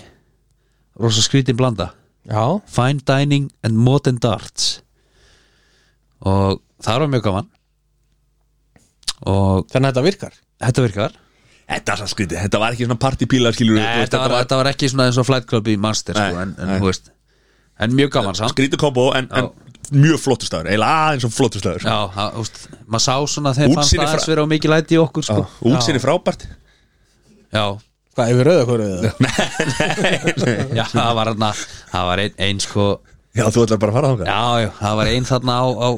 S1: rosa skrítin blanda
S4: Já,
S1: Fine Dining and Modern Darts og það var mjög gaman og
S4: þannig að þetta virkar
S1: þetta virkar
S2: þetta var svo skrítið, þetta var ekki svona partypíla skilur
S1: Nei, þetta, var, þetta var ekki svona eins og Flight Club í Master
S2: Nei,
S1: sko, en, en,
S2: nei. Sko-
S1: þú veist, en mjög gaman samt
S2: skrítið kombo en, en mjög flottur staður, eiginlega aðeins og flottur staður
S1: Já, það, úst, maður sá svona þegar fannst
S2: Útsýni
S1: það aðeins
S2: frá-
S1: vera á mikið læti í okkur sko.
S2: útsinni
S1: *laughs*
S2: frábært
S1: Já,
S4: Hvað, yfir rauða hverju það?
S1: já, það var hérna það var einn ein, sko
S2: já, þú ætlar bara að fara þá
S1: já, já, það var einn þarna á, á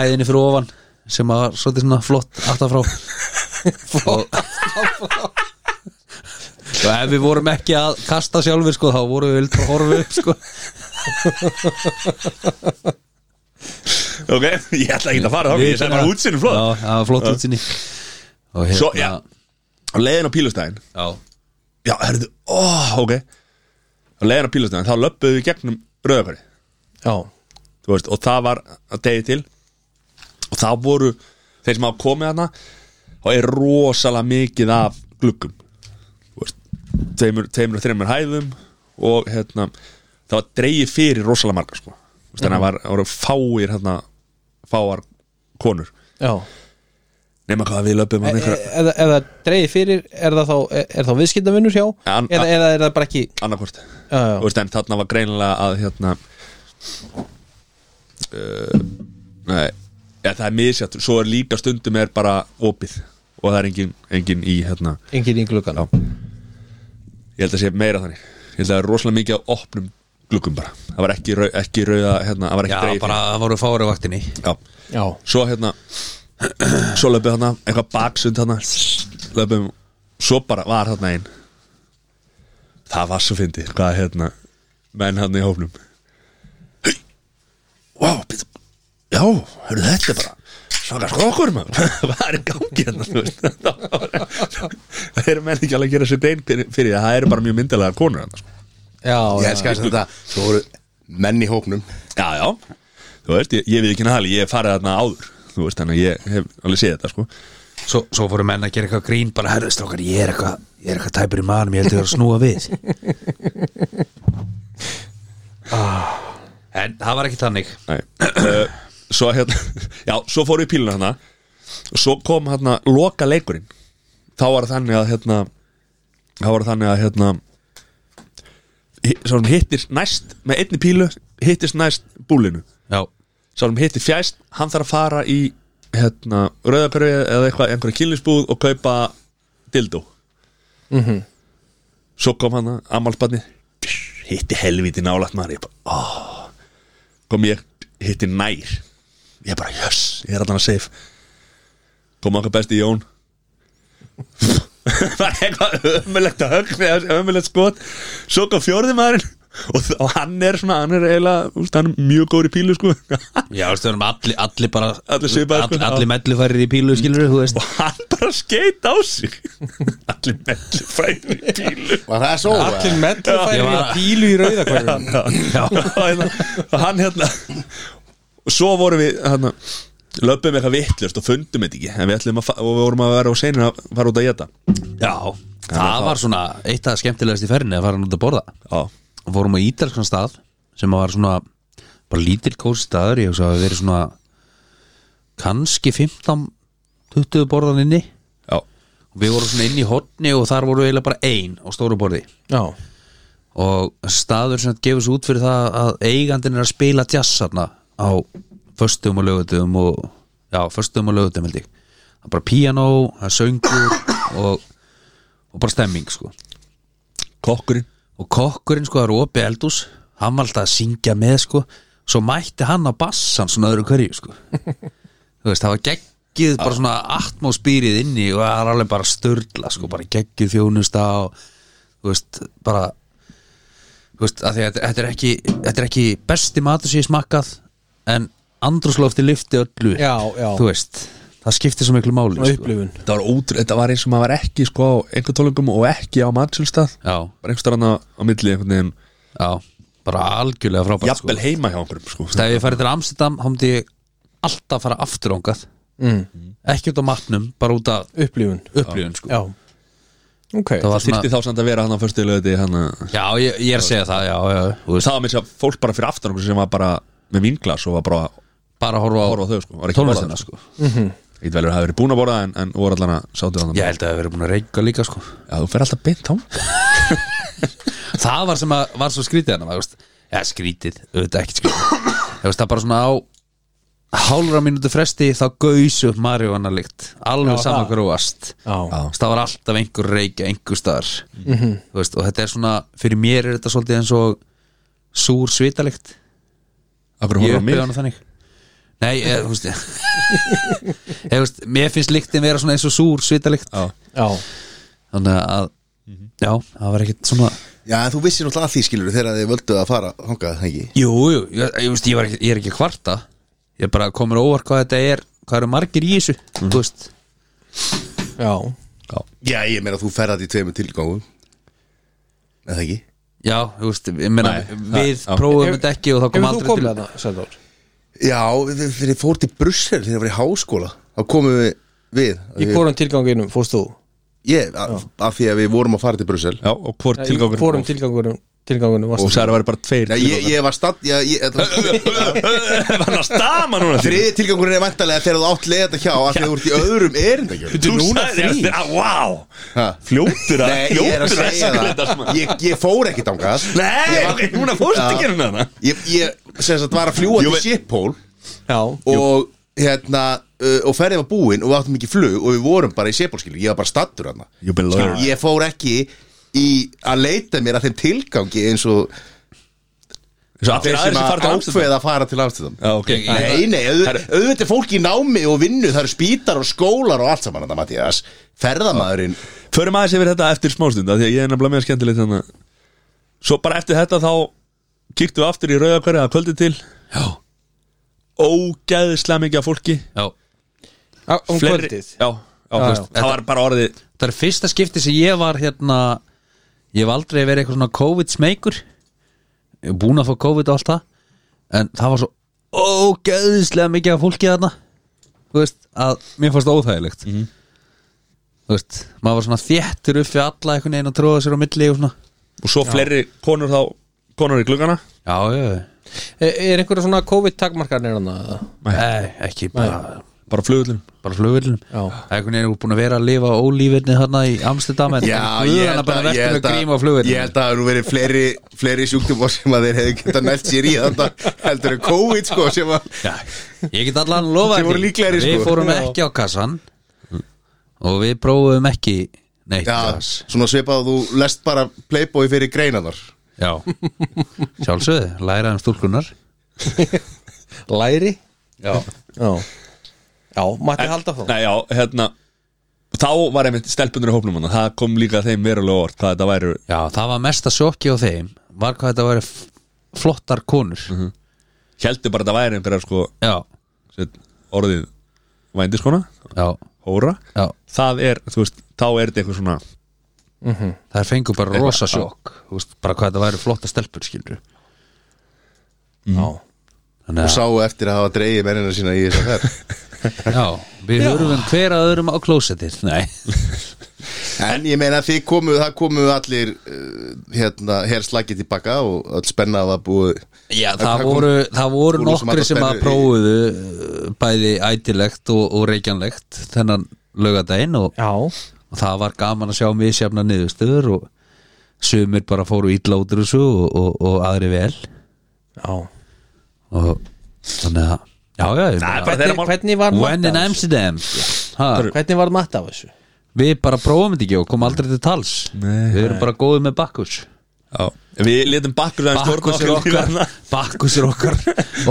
S1: hæðinni fyrir ofan sem að var svolítið svona flott aftafrá flott og ef við vorum ekki að kasta sjálfur sko, þá vorum við vildur að horfa upp sko.
S2: ok, *laughs* ég ætla ekki að fara þá ég segi bara útsinni flott
S1: já, það var flott útsinni og hérna
S2: Svo, já. á leiðin á pílastæðin
S1: já,
S2: já, herðu, ó, ok á leiðin á pílastæðin, þá löppuðu við gegnum rauðakari
S4: Já,
S2: þú veist, og það var að degi til og það voru þeir sem hafa komið hana og er rosalega mikið af gluggum Þú veist, tveimur, tveimur og þreimur hæðum og hérna það var dreigið fyrir rosalega marga sko Þú Þú veist, þannig að var, það voru fáir hérna, fáar konur
S4: já
S2: nema hvað við löpum
S4: E-
S2: hann
S4: e-
S2: einhverja
S4: eða, eða dreigði fyrir er það þá, e- er- er þá viðskiptavinnur hjá
S2: An-
S4: eða, eða er það bara ekki
S2: annarkvort
S4: já, já.
S2: Þú veist, en þarna var greinilega að hérna uh, nei, ja, það er misjátt svo er líka stundum er bara opið og það er engin, engin í hérna
S4: engin í gluggan
S2: Já. ég held að sé meira þannig ég held að það er rosalega mikið á opnum gluggum bara það var ekki, rau, ekki rauða hérna, það var ekki
S1: Já,
S2: dregið
S1: bara það voru fári á vaktinni
S2: fyrir. Já.
S4: já,
S2: svo hérna svo löpum þarna, eitthvað baksund þarna löpum, svo bara var þarna einn það var svo fyndið, hvað hérna menn hann í hófnum Hey, wow, býttu já, hörðu þetta er bara svaka skrokkur maður, *laughs* hvað er í gangi hérna þú veist *laughs* það eru menn ekki alveg að gera sér dein fyrir fyrir það, það eru bara mjög myndilegar konur hérna, sko.
S4: já,
S3: Ég
S4: já,
S3: elska þess að þetta, svo voru menn í hópnum
S2: já, já, þú veist, ég, ég við ekki næli ég hef farið þarna áður, þú veist þannig að ég hef alveg séð þetta sko
S1: Svo, svo fóru menn að gera eitthvað grín bara herðu strókar, ég er eitthvað, ég er eitthvað tæpur í manum ég held ég er að snúa við
S2: *laughs*
S1: ah. En það var ekki þannig
S2: Nei uh, Svo hérna *laughs* Já, svo fóru í píluna hérna Og svo kom hérna loka leikurinn Þá var þannig að hérna Þá var þannig að hérna hi- Sá hann hittir næst Með einni pílu hittist næst búlinu
S1: Já,
S2: Sá hann hittir fjæst Hann þarf að fara í hérna Rauðaperfið eða eitthvað einhverja kynlisbúð Og kaupa dildó Svo kom hann Amalsbarni Hitti helviti nálægt maður Ég bara, ó Kom ég, hitti nær Ég bara, jöss, ég er allan að safe Kom okkar besti Jón *laughs* Var eitthvað ömulegt að högg Ömulegt skot Svo kom fjórði maðurinn Og, þ- og hann er svona, hann er eiginlega úst, Hann er mjög góður í pílu sko Og
S1: já veistu, erum allir, allir bara
S2: Allir svipaðir, sko.
S1: all, Allir mellufærir í pílu, skilur þú veist
S2: hann bara skeit á sig Allir mellu fræður í pílu
S3: Var það svo?
S4: allir
S3: eða?
S1: Já, ég
S4: mellufæri
S1: var-
S4: pílu í rauðakværum
S2: Já. og hérna- og hann hérna og svo vorum við hérna, löpum eitthvað vittlust og fundum þetta ekki en við ætlum að fa- og við vorum að vera á senin að fara út að geta
S1: Já, það var svona eitt af skemmtilegast í ferðinni að fara út að borða
S2: já,
S1: og fórum á ítalskan stað sem var svona bara lítill kósi staður ég hugsa að við verið svona kannski 15 20 borðan inni
S2: já,
S1: og við vorum svona inn í hotni og þar voru eiginlega bara ein á stóru borði
S4: já,
S1: og staður sem gefur svo út fyrir það að eigandinn er að spila jazz þarna á föstum og lögutum og já, föstum og lögutum held ég það er bara piano, það er söngur og, og bara stemming sko
S2: kokkurinn
S1: og kokkurinn sko, það er opið eldús hann var alltaf að syngja með sko svo mætti hann á bassan svona öðru hverju sko *laughs* þú veist, það var geggið bara svona atmosfýrið inni og það er alveg bara störla sko, bara geggið þjónusta og þú veist, bara þú veist, að því að þetta- þetta er ekki þetta er ekki besti matur sem ég smakkað en andrúslofti lifti öllu upp,
S4: Já, já.
S1: þú veist, það skiptir svo miklu máli
S4: svona
S1: sko.
S4: upplifun
S2: þetta var, ótrú, þetta var eins og maður var ekki sko, á einhver tólingum og ekki á mannsjölstað
S1: já,
S2: bara einhver starf á, á milli einhvern veginn
S1: já, bara algjörlega frábært sko.
S2: jafnvel heima hjá einhverjum sko.
S1: Þú veist, ef ég farið til Amsterdam, þá myndi ég alltaf fara aftur ángað
S4: mm.
S1: ekki út á matnum, bara út af
S4: upplifun,
S1: upplifun sko.
S4: já ok,
S1: Það var
S2: þyrfti
S1: svona,
S2: þá samt að vera hann á förstu löði hann að
S1: já, ég, ég er að segja það já, já, þú veist,
S2: það var með þess að fólk bara fyrir aftan okkur sem var bara með vinglas og var bara að
S1: bara að horfa á,
S2: horfa á þau sko, var ekki að borða
S1: tónlistina
S2: þarna,
S1: sko.
S2: Ít velur hafi verið búin að borða en, en voru allan að sátu þannig
S1: ég held að það verið búin að reyka líka sko.
S2: Já, þú fer alltaf beint á
S1: það var sem að, var svo skrítið hérna, hann ja, skrítið, auðvitað ekkert skrítið Ég veist, það bara svona á hálfra mínútu fresti þá gaus upp Marjóna líkt, alveg
S4: Já,
S1: saman
S4: það.
S1: gróast
S4: já,
S1: Þú veist, það var alltaf einhver reykja einhver staðar Þú veist, og þetta er svona, fyrir mér er þetta svolítið eins og súr svitalikt
S2: Akkur
S1: ég
S2: horfður á mig
S1: upplifði hana þannig nei, ég, þú veist *laughs* ég, ég, veist, mér finnst lyktin vera svona eins og súr svitalikt
S2: Já,
S4: já,
S1: þannig að, já, það var ekkit svona
S3: Já, en þú vissir náttúrulega að því skilur þegar þið völdu að fara þangað, það ekki?
S1: jú, jú, ég, ég, veist, ég, var ekki, ég er ekki að kvarta ég bara komur óvart hvað þetta er hvað eru margir í þessu,
S4: Mhm.
S1: þú veist
S4: já
S3: Já, ég meina þú ferðat í tveimur tilgangum Eða ekki?
S1: já, þú veist, ég meina
S2: Nei,
S1: við
S2: það- já.
S1: prófum þetta ekki og þá kom
S4: hefur þú
S1: aldrei til
S4: komið þarna, Sæþór?
S3: Já, þegar þegar ég fór til Brussel þegar ég var í háskóla þá komum við við
S4: í hvorum tilganginum fóst þú?
S3: Ég, af af því að við vorum að fara til Brussel
S2: já og hvort
S4: Nei, í
S2: tilgangur
S4: hvorum tilganginum tilgangunum varst
S2: og
S4: að-
S2: særi væri bara tveir
S3: um Já,
S2: *laughs*
S3: ég, ég var stadd já, ég- *laughs* þetta-
S2: var hann að stama núna
S3: Þriði tilgangurinn er vantarlega þegar þú átt leið þetta hjá Af því að þú ert í öðrum erindakjörn
S2: Þú
S4: núna
S2: sagðir
S4: þrír.
S2: að- Vá
S3: Ha?
S2: Fljótur að
S3: Nei, ég er að
S2: Fljótur að
S3: segja
S2: segja þetta
S3: það
S2: svona.
S3: Ég, ég fór ekki dangað
S2: Nei, ok, núna fórstu
S3: Já.
S2: ekki hérna
S3: Ég, ég sem sagt var að fljúa
S2: Jú,
S3: til
S2: en-
S3: Shiphol
S4: Já,
S3: Og hérna uh, Og ferðið var búin og við áttum ekki flug Og við vorum bara í Shiphol skilur, ég var bara stattur hann
S2: You've been
S3: Skilur,
S2: loyal.
S3: Ég fór ekki í að leita mér að þeim tilgangi Eins og
S2: Svo allir
S3: þeir
S2: aðeins
S3: sem
S2: sem fara
S3: að
S2: til Amsterdam
S3: ákveða að fara til Amsterdam
S2: Já, ok.
S3: Nei, nei, auð, auðvitað er fólk í námi og vinnu Það eru spítar og skólar og allt saman þetta, Mattias Ferðamaðurinn
S2: Förum aðeins yfir þetta eftir smástund af Því að ég er nefnilega með skemmtilegt þannig að- Svo bara eftir þetta þá Kíktu við aftur í rauðakverja að kvöldi til
S1: Já,
S2: Ógæðislega mikið af fólki
S1: já
S4: á, um
S2: Fleiri-
S4: kvöldið
S2: Já, já,
S4: Já,
S2: já, já.
S1: já.
S2: Það var bara orðið
S1: Það er fyrsta skipti sem ég var hérna Ég hef aldrei verið eitthvað svona COVID-smeikur Ég er búin að fá COVID og allt það En það var svo ógeðislega mikið af fólki þarna Þú veist, að mér fannst það óþægilegt
S4: Mhm.
S1: Þú veist, maður var svona þéttur upp við alla einhvern veginn að tróða sér á milli og svona
S2: Og svo fleiri konur þá Konur í gluggana
S1: Já, já, já
S4: Er, E, er einhverja svona COVID-takmarkarnir hann að
S1: Nei, ekki bara,
S2: Bara flugullin
S1: bara flugvillin
S4: Já.
S1: Einhvern veginn er búin að vera að lifa ólífinni þarna í Amsterdam en
S3: held
S1: guðana bara
S3: að-
S1: verður
S3: held
S1: með
S3: að-
S1: grím á
S3: Ég
S1: flugvillin
S3: held að það eru verið fleiri, fleiri sjúkdómar sem að þeir hefðu geta nælt sér í Þetta heldur en COVID sko sem að
S1: Já, ég get allan lofa
S3: Þeir voru líklegri,
S1: Við
S3: sko.
S1: fórum
S4: Já.
S1: ekki á kassan og við prófum ekki neitt
S3: Já,
S1: gas.
S3: svona svipað að þú lest bara playboy fyrir greinanar
S1: Já. sjálfsögðu, læra um stúlkunar
S4: læri?
S1: Já,
S4: Já, já mætti halda þá
S2: Nei, já, hérna Þá var einmitt stelpunur í hópnum hana Það kom líka þeim verulega orð Hvað þetta væri
S1: Já það var mesta sjokki á þeim var hvað þetta væri f- flottar konur
S3: Mhm.
S2: Hjældi bara að þetta væri einhverjar sko
S1: Já,
S2: set, Orðið Vændiskona
S1: já,
S2: Hóra
S1: já
S2: Það er, þú veist Þá er þetta eitthvað svona
S1: Það fengur bara rosa sjokk Þú veist, bara hvað þetta væri flotta stelpur skilur
S4: Já,
S1: Þannig
S3: og sáu eftir að hafa dreigið mennina sína í þess að fer *laughs*
S1: að, já, við hörfum hver að öðrum á klósetið Nei,
S3: En ég meina þið komu, það komu allir uh, hérna, herslagið tilbaka og öll spennað að búið
S1: já,
S3: Hvað-
S1: það
S3: hvað kom-
S1: voru, það voru
S3: voru sem
S1: nokkri sem
S3: allar
S1: að
S3: spennu í-
S1: prófuðu uh, bæði ætilegt og, og reykjanlegt þennan laugardaginn og,
S4: já,
S1: og það var gaman að sjá misjafna niðurstöður og sumir bara fóru ítla út úr þessu og, og, og aðri vel
S4: já.
S1: og þannig að já, já, ég
S2: Það er
S1: meina-
S2: bara þeirra
S4: Hvernig,
S2: mál
S4: hvernig var
S1: When
S4: matt
S1: in
S4: af þessu?
S1: Amsterdam ha,
S4: Hvernig var matt af þessu?
S1: Við bara prófum þetta ekki og komum aldrei til tals
S2: Nei.
S1: Við erum bara góðið með bakkus
S2: Já Við letum bakkur aðeins
S1: Bakkus er
S2: stjórna okkur
S1: okkar
S2: hérna.
S1: Bakkus er okkar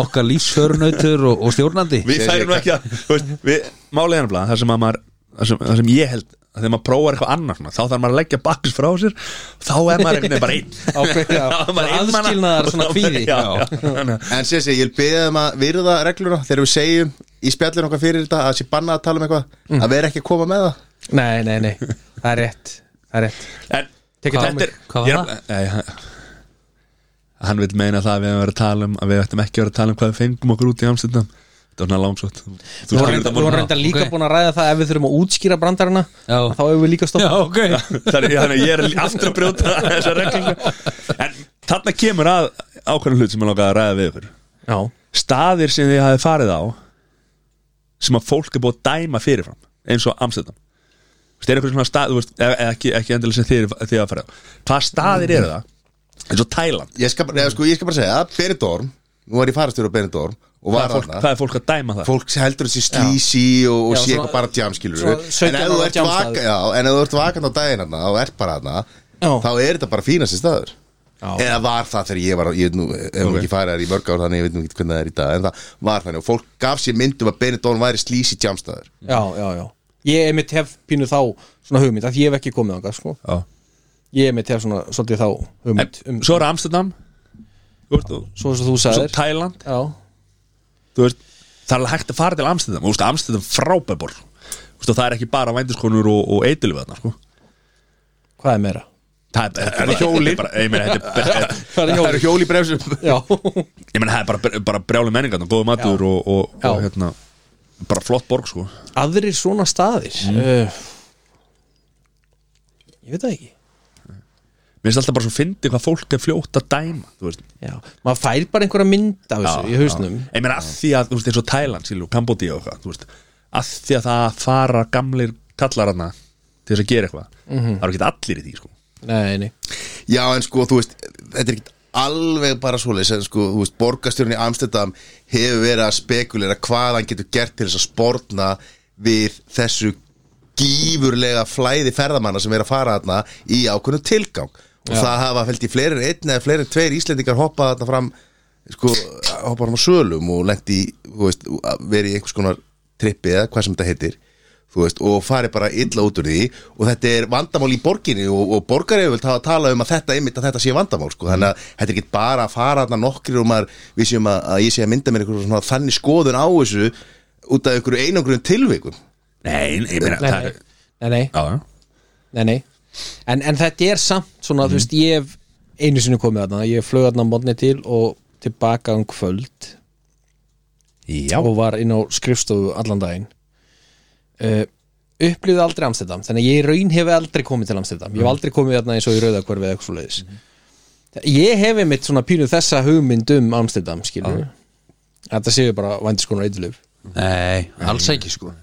S1: Okkar lífsförunautur og, og stjórnandi
S2: Við
S3: Ég-
S2: færum nú
S3: ég-
S2: ekki að þú veist, við, Málið er nefnilega Það sem að maður Það sem, það sem ég held að Þegar maður prófar eitthvað annars svona, Þá þarf maður að leggja bakkus frá sér Þá er maður einhvern veginn bara einn
S4: Á hverju- já,
S2: *laughs* Þá er maður
S4: svona
S2: einn manna-
S4: aðskilnaðar, svona kvíði.
S2: *laughs* Já,
S4: Já.
S2: já, þannig að-
S3: En sé sé, ég vil beða um að virða regluna þegar við segjum í spjallin okkar fyrir þetta að það sé bannað að tala um eitthvað að vera ekki að koma með það
S4: Nei, nei, *laughs* nei, það er rétt Það er rétt
S2: En
S4: Tekið
S1: Hvað-
S4: það
S2: þetta er
S1: hvað var
S2: ég er- Nei, hann- Hann vil meina það að við hefum verið að tala um að við ættum ekki að vera að tala um hvað við fengum okkur út í Amstendam Þetta var svona langsótt Þú
S4: Við
S2: skilur þetta
S4: vorum
S2: mál.
S4: reynda líka
S1: ok.
S4: búin að ræða það ef við þurfum að útskýra brandarana
S1: Já.
S4: þá hefur við líka
S1: Já,
S4: stoppað
S1: ok
S2: Þannig þannig að ég er lí- aftur að brjóta *laughs* þessa reglingu En þarna kemur að ákveðnum hlut sem ég langaði að ræða við ykkur
S4: Já,
S2: Staðir sem þið hafið farið á sem að fólk er búið að dæma fyrirfram eins og Amstendam Það er eitthvað svona stað, þú veist, eða eða ekki, ekki endilega sem þið, þið að farið á Hvaða staðir eru það? Eins og Tæland
S3: Ég skal, neða, sko, ég skal bara segja, Benidorm Nú var ég farastur á Benidorm og
S2: Hvað
S3: var
S2: er fólk,
S3: þarna
S2: hvað er fólk að dæma það?
S3: Fólk heldur þessi slísi og, og
S4: Já,
S3: sé
S4: svona-
S3: eitthvað bara tjamskilur
S4: svona
S3: En
S4: 17
S3: ef þú
S4: ára
S3: ert
S4: djamstaður.
S3: vaka- já, en ef þú ert vakant á daginn hana og ert bara hana
S4: Já.
S3: þá er þetta bara fínasti staður
S4: Já.
S3: Eða var það þegar ég var, ég veit nú, hefum okay. ekki farið þar í mörg ár þannig ég veit nú ekki hvernig það er í dag En það var þannig og fólk gaf sér myndum að Benidorm væri slísi tjamstaður
S4: já, já, já Ég er mitt hef pínu þá svona hugmynd að ég hef ekki komið ánga sko.
S2: Já.
S4: Ég er mitt hef svona svolítið þá
S2: En,
S4: hugmynd um,
S2: svo er Amsterdam Þú veist, og-
S4: Svo sem þú
S2: svo
S4: sagðir
S2: Tæland
S4: Já,
S2: Þú veist, það er alveg hægt að fara til Amsterdam Þú veist, Amsterdam frábær borg Þú veist, og það er ekki bara vændiskonur og, og eitilvið þarna, sko
S4: hvað er meira?
S2: Það er, er, er hjólir Ég meina, þetta er bara-
S4: Hvað er
S3: Það
S4: hjólið?
S3: eru hjól í bremsum
S4: Já,
S2: ég meina, það er bara, bara brjáli menningar Góðu matur og, og,
S4: Já.
S2: og hérna, bara flott borg, sko
S4: *laughs* aðrir svona Mm. Eh, staðir uh, Ég veit það ekki
S2: finnst alltaf bara svo fyndi hvað fólk er fljótt að dæma þú veist
S4: já, maður fær bara einhverja mynd af þessu í hausnum
S2: Ég meina að því að, þú veist, eins og Thailand, sílu, Kambodí og eitthvað, þú veist að því að það fara gamlir kallarana til þess að gera eitthvað það eru ekki allir í því, sko
S4: nei, nei,
S3: Já, en sko, þú veist, þetta er ekkert alveg bara svoleiðis en sko, þú veist, borgarstjórn í Amsterdam hefur verið að spekulera hvað hann getur gert til þess að sporna við þessu gífurlega flæði ferðamanna sem er að fara þarna í ákveðnum tilgang og það hafa fælt í fleiri en einn eða fleiri en tveir Íslendingar hoppað þarna fram sko, hoppað fram á sölum og lent í, þú veist, verið í einhvers konar trippi eða hvað sem þetta heitir þú veist, og farið bara illa út úr því og þetta er vandamál í borginni og, og borgareiföld hafa talað um að þetta einmitt að þetta sé vandamál, sko, þannig að þetta er ekki bara að fara þarna nokkrir og maður við séum að, að ég sé að mynda mér einhverjum svona þannig skoðun á þessu út af einhverju einangrum tilvikum
S2: Nei, ég meina,
S4: nei,
S2: það
S4: nei,
S2: er
S4: nei, nei.
S2: Já, já
S4: Nei, nei En, en þetta er samt svona,
S2: Mhm.
S4: þú veist, ég hef einu sinni komið þarna, ég flög þarna mótni til og tilbaka um kvöld
S2: Já,
S4: og var inn á skrifstofu allan daginn uh, upplýði aldrei Amsterdam þannig að ég í raun hef aldrei komið til Amsterdam ég
S2: Mhm.
S4: hef aldrei komið þarna eins og í Rauðakvarfi eða eitthvað svo leiðis ég hef einmitt svona pínu þessa hugmynd um Amsterdam skilur þetta séu bara vændiskonar eitthvað
S1: Nei, alls ekki sko